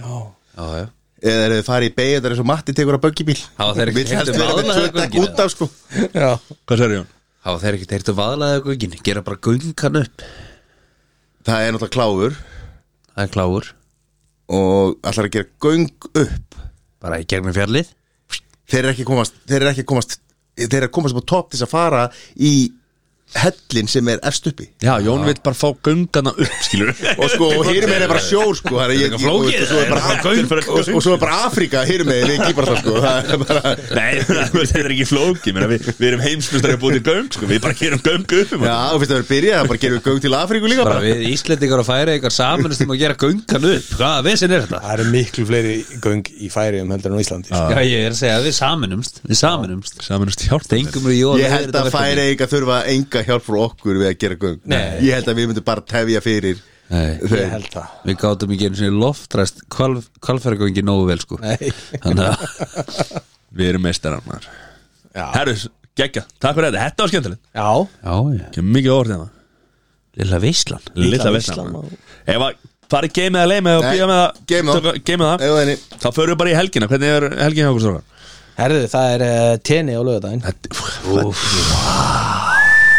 S3: já
S4: já,
S6: já
S3: eða þeir eru farið í beigja þar eins og Matti tekur að böggibíl
S6: Hafa þeir ekki
S3: Vill helst
S6: heyrt um
S3: vera með
S6: aðlaga
S3: tvö dekk
S6: göngin,
S3: út af sko
S4: já.
S2: Hvað sér Jón?
S6: Há þeir ekki teirt að vaðlaða göngin Gera bara göngan upp
S3: það er náttúrulega kláfur
S6: Það er kláur
S3: og allar að gera göng upp
S6: Bara í gegnum fjallið
S3: þeir eru ekki að komast þeir eru ekki að komast þeir eru að komast upp á topp til þess að fara í hellin sem er efst uppi
S2: Já, Jón vill bara fá göngana upp, skilur
S3: *laughs* og sko, og hýrum er bara sjór sko það er ég, og, og, og, svo er bara, og, og, og svo er bara Afrika hýrum er við kýparta sko það er bara
S2: Nei, þetta er ekki flóki meina, við, við erum heimsmyndstari að búið til göng sko. Við bara gerum göng upp um
S3: já, og fyrst að vera byrja það bara gerum við göng til Afriku líka
S6: *laughs* Bara
S3: bara
S6: við Íslendingar og færi ykkar samanustum að gera göngan upp Hvaða vissin er þetta?
S1: Það eru miklu fleiri göng í færiðum heldur en á Íslandi sko.
S6: Já, ég er að segja að við saminumst Við saminumst
S2: Samanust hjálp
S6: Tengum við Jóa
S3: ég held að færi eitthvað þurfa enga hjálp frá okkur við að gera göng
S4: Nei.
S3: ég held að við myndum bara tefja fyrir
S6: Nei,
S3: þeir
S4: ég held það
S6: við gátum ekki einu sinni loftræst kvalf, Kvalfærgöngi nógu vel sko
S4: Nei.
S6: Þannig að
S2: Við erum meistarar maður
S4: já,
S2: Herru, geggja, takk fyrir þetta, þetta var skemmtilegt
S4: já.
S6: Já, já
S2: Kemur mikið orðið hérna
S6: Lilla veislan
S2: Lilla
S4: veislan,
S2: veislan maður. Ef að farið geimið að leimið og
S3: Nei,
S2: býja með að
S3: geymið það.
S2: tökum- geymið það
S3: Ef það er-
S2: Þá förum við bara í helgina, hvernig er helgina hjá okkur strókar?
S4: herðu, það er uh, tenni á lögudaginn
S6: Úf,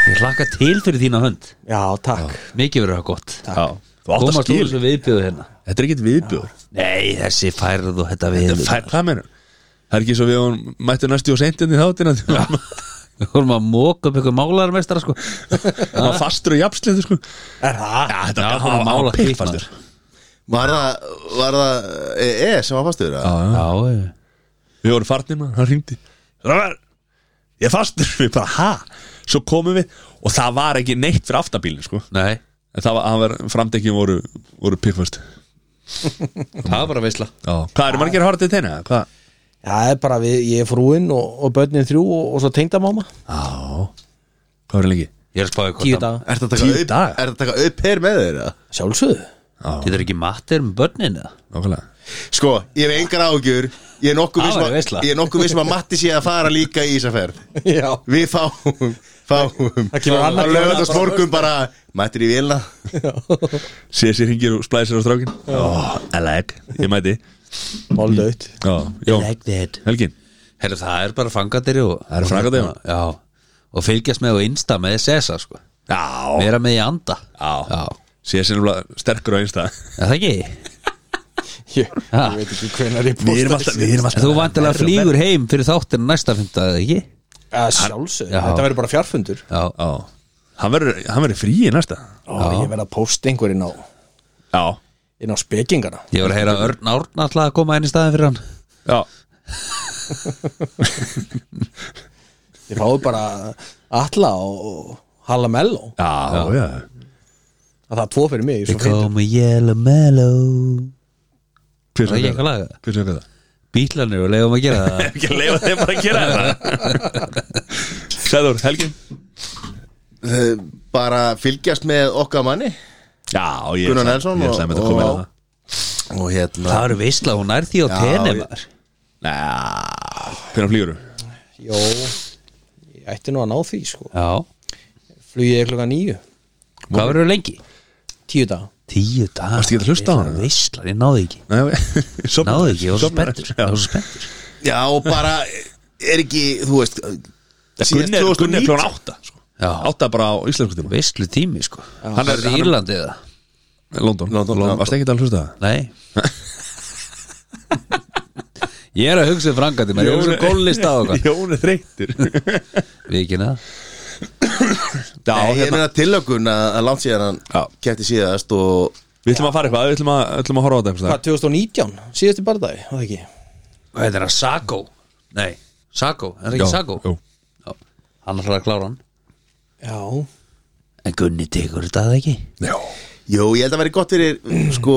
S6: Ég hlakka til fyrir þína hönd
S4: já, takk
S6: Mikið verður það gott
S2: Þú átt að
S6: Komast úr
S2: skil,
S6: þessu viðbjöðu hérna
S2: þetta er ekkit viðbjóður
S6: Nei, þessi færð og þetta
S2: Þetta
S6: við
S2: er fær- Hvað meina? Það er ekki svo við hún mættu næstu og seintin í þáttina því að
S6: Við vorum að móka upp eitthvað málarmestara sko
S2: Það var fastur og jafnslindu sko
S4: er það?
S2: Já, þetta
S6: Já,
S2: var
S6: hann var
S2: hann
S6: málað
S2: var
S6: fínt,
S2: pikkfastur
S3: Var það, var það e, e sem var fastur? eða?
S6: Já, já
S2: Við vorum farnir maður, hann ringdi Rafar, ég er fastur Við bara, ha? Svo komum við og það var ekki neitt fyrir aftabílin sko
S6: Nei,
S2: En það var, hann var, framdekkjum voru, voru pikkfast
S6: það var bara veisla
S2: Hvað eru margir hartið þeirna? Hvað?
S4: já, það er bara við, ég er frúinn og, og börnin þrjú og, og svo tengdamáma
S2: Já Hvað eru lengi?
S6: Ég er að spáði
S4: tíu
S6: hvort það
S4: daga,
S3: Ertu að
S2: Tíu
S3: taka
S2: daga.
S3: au- ertu að taka auper með þeirra?
S4: sjálfsögðu
S2: Já,
S6: Þetta er ekki matir um börnin eða?
S2: okkarlega
S3: Sko, ég hef engar ágjur Ég er nokkuð
S6: Það
S3: vissum
S6: væri veisla.
S3: að, ég er nokkuð viss um að Matti sé að fara líka í þessa ferð
S4: *laughs* já,
S3: Við fáum, fáum
S4: Það kemur annar-
S3: lögðast morgun bara Mættir í vilna
S2: Sér sér hingir og splæsir á strákin Ó, I like Ég mæti
S4: máldaut
S2: Já, Jón,
S6: that
S2: Helgin
S6: Herru, það er bara fangatir og
S2: Það eru fangadýr, já.
S6: Já Og fylgjast með og insta með SSA sko
S2: Já,
S6: Vera með í anda
S2: já Sér sér nefnilega sterkur á einsta
S6: Er það ekki?
S4: *laughs* ég,
S6: Ha.
S4: ég veit ekki hvenar ég
S2: Ah. Við erum alltaf, við erum alltaf
S6: Þú
S1: hérna.
S6: vantilega flýgur heim fyrir þáttinu næsta fymta, eða ekki?
S4: að sjálfsögðu,
S6: Já.
S4: þetta verður bara fjarfundur
S6: Já,
S2: Já Hann verður hann verður frí í næsta
S4: Ó, ég verð að posta einhverinn á,
S2: Já,
S4: inn á spekingana
S6: Ég var að heyra Örn Árn alltaf að koma inn í staðin fyrir hann
S2: já
S4: Ég fáið bara Alla og Halla Mello
S2: Já, já, já.
S4: að það er tvo fyrir mig ég er svo feitur.
S6: a yellow mellow
S2: Hver
S6: Það er
S2: söng
S6: ekki
S2: er það?
S6: að laga
S2: Hver söng er það?
S6: Bílarnir og leiðum að gera *laughs* það
S2: *laughs* Ekki að leifa þeim bara að gera það Sæður, Helgin
S3: Eh, bara fylgjast með okkar manni
S2: Já, ég
S3: Gunnar Nelson
S2: Ég ætlaði með
S3: og-
S2: þetta að koma inn á
S3: og-
S2: það
S3: og hérna
S6: Það eru veistla, hún er því á
S3: Já, ég-
S6: tenimar
S2: Næ, hvernig flýgur þú?
S4: Jó, ég ætti nú að ná því sko.
S6: Já,
S4: flugið ég klukka nýju,
S6: hvað verður lengi?
S4: tíu dag
S6: Tíu dag
S2: Varstu ekki að hlusta á hana?
S6: Veistla, ég náði ekki
S2: *laughs* Nei, sopna
S6: Náði ekki, ég var svo spenntur Ég var svo spenntur
S3: já og bara er ekki þú veist síðast
S2: Gunni er
S3: 2019.
S2: Gunni er klón átta sko.
S6: Já.
S2: Átta bara á íslensku tíma
S6: Veistlu tími, sko
S2: Hann er-
S6: Hann er í
S2: hann er-
S6: Írlandi eða?
S2: London, London, London. Varst ekki að um hlusta á það?
S6: Nei Ég er að hugsa frangandi Mér er að hugsa gólista á okkar
S2: Jón er
S6: *coughs*
S2: þreyttur
S6: Við ekki neða
S2: Já,
S3: Nei, ég
S2: hérna
S3: meina tilökun að, að langt síðan hann
S2: Já.
S3: kæfti síðast og
S2: Við ætlum að fara eitthvað, við ætlum að, ætlum að horfa á þetta einhvers staðar.
S4: hvað, 2019, síðustu barðagi það ekki,
S6: Hvað er það? Sago? Nei, Sago, er það
S2: Já,
S6: ekki Sago?
S2: jú.
S6: Já, hann ætlar að klára hann
S4: já
S6: En Gunni tekur þetta að ekki
S3: jú ég held að veri gott fyrir sko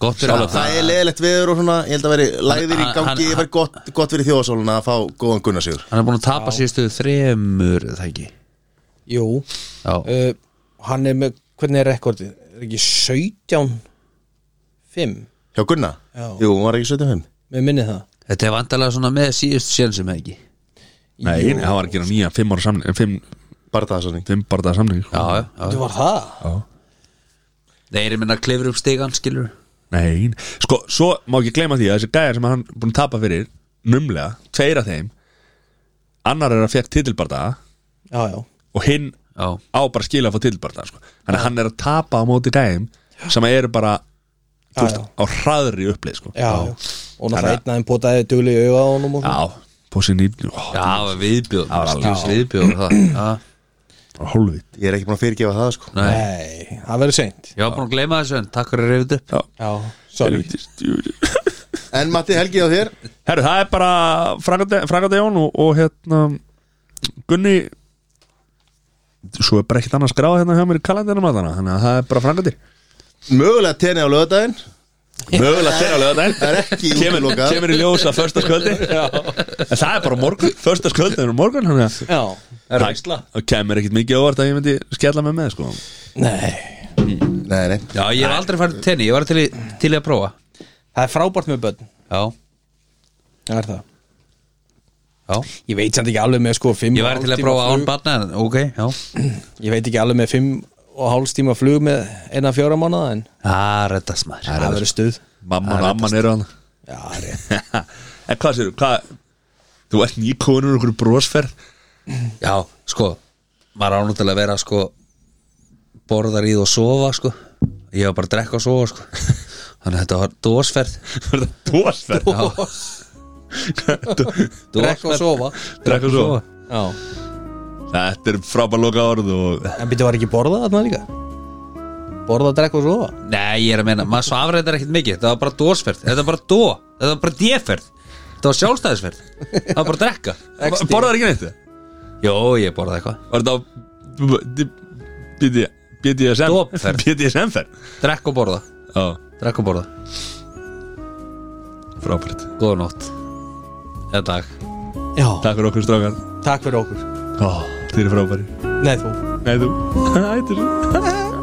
S6: Gott fyrir
S3: það,
S6: alla.
S3: það er leðilegt viður og svona ég held að veri læðir í
S6: hann-
S3: gangi
S6: hann-
S3: ég veri gott, gott fyrir þjóðasóluna að fá góðan Gunnarsjóður
S6: Hann er búin að tapa síðustu þremur, er það ekki?
S4: jú,
S6: Já,
S4: uh, hann er með hvernig er rekordið, er ekki 17 5
S3: hjá Gunna
S4: Já.
S3: jú hún var ekki 75
S4: með minni það
S6: þetta er vandalega svona með síðustu sénsum ekki Já,
S2: Nei, nei, hann var að gera nýja fimm ára samning Fimm,
S3: bara það sannig
S2: fimm barða samning sko.
S6: já, já
S4: þetta var það,
S6: Þeir eru minna að klifra upp stigan, skilur
S2: Nei, sko, svo má ekki gleyma því að þessi gæjar sem hann er búin að tapa fyrir Numlega, tveira þeim Annar er að fekk titilbarða
S4: já, já
S2: Og hinn
S6: Já,
S2: á bara skilja að fá titilbarða sko. Þannig að hann er að tapa á móti gæjum Sem eru bara þú
S4: Já,
S2: veist, á hraðri uppleið sko.
S4: Já, já. og náttúrulega einn aðeins potaði dugli í auga á honum og
S2: Já, pósin í ó,
S6: já, það var viðbjóð
S2: var alveg-
S6: Stjús Viðbjóð var það Já. *clears throat*
S2: bara hólfið
S3: ég er ekki búin að fyrirgefa það sko
S6: Nei.
S4: nei, það verður seint
S6: Ég var búin að gleyma þessu en takk fyrir að reyfðu upp
S4: já, sorry,
S3: en Matti Helgi á þér
S2: Herru, það er bara Frangandi Jón og, og hérna Gunni Svo er bara ekkert annað skráð hérna hjá mér í kalendinum að hana Þannig að það er bara frangandi
S3: mögulega tenni á lögadaginn
S2: Mögulega þegar alveg þetta
S3: það er ekki
S2: Kemur,
S3: útlokað
S2: kemur í ljós að *laughs* förstaskvöldi En það er bara á morgun Förstaskvöldi er á morgun Þannig að
S4: já,
S2: það það kemur ekkert mikið á óvart að ég myndi skella með með sko.
S4: nei
S3: nei nei
S6: Já, ég hef aldrei farið til tenni, ég var til, í- til í að prófa
S4: það er frábært með börn,
S6: Já,
S4: það er það
S6: já
S4: Ég veit samt ekki alveg með sko fimm
S6: Ég
S4: og
S6: var til að
S4: hálftíma
S6: prófa án
S4: flug-
S6: batna en ok, já
S4: Ég veit ekki alveg með fimm og hálfstíma flug með eina fjóra mánuða en
S6: Það reddast maður
S4: það verður stuð
S2: Mamman og amman eru hann
S4: Já, rétt.
S2: *laughs* En hvað sér, hvað Þú ert nýkonur og okkur brosferð
S6: Já, sko, maður ánútilega að vera sko borðar í það og sofa sko Ég var bara að drekka og sofa sko *laughs* Þannig að þetta var dósferð
S2: Var það Brosferð
S4: Drekka og sofa
S2: Drekka og sofa.
S4: Já.
S2: Þetta er frábær loka orð og
S4: En byrju var ekki borða þarna líka Borða, drekka og sofa
S6: Nei, ég er að meina, maður svafrættar ekkert mikið Þetta var bara dósferð, þetta var bara dó Þetta var bara djeferð, þetta var sjálfstæðisferð Það var bara að drekka
S2: Borðar ekki neitt það?
S6: Jó, ég borðaði eitthvað
S2: Var þetta á BDSM
S6: Dopferð.
S2: BDSM ferð
S6: Drekka og borða,
S2: Já,
S6: drekka og borða
S2: frábært
S6: Góða nótt Eða dag
S4: Já,
S2: Takk fyrir okkur strákar
S4: takk fyrir okkur
S2: Ó, Þið eru frábæri
S4: Nei, þú
S2: Nei þú Æ, þetta er svo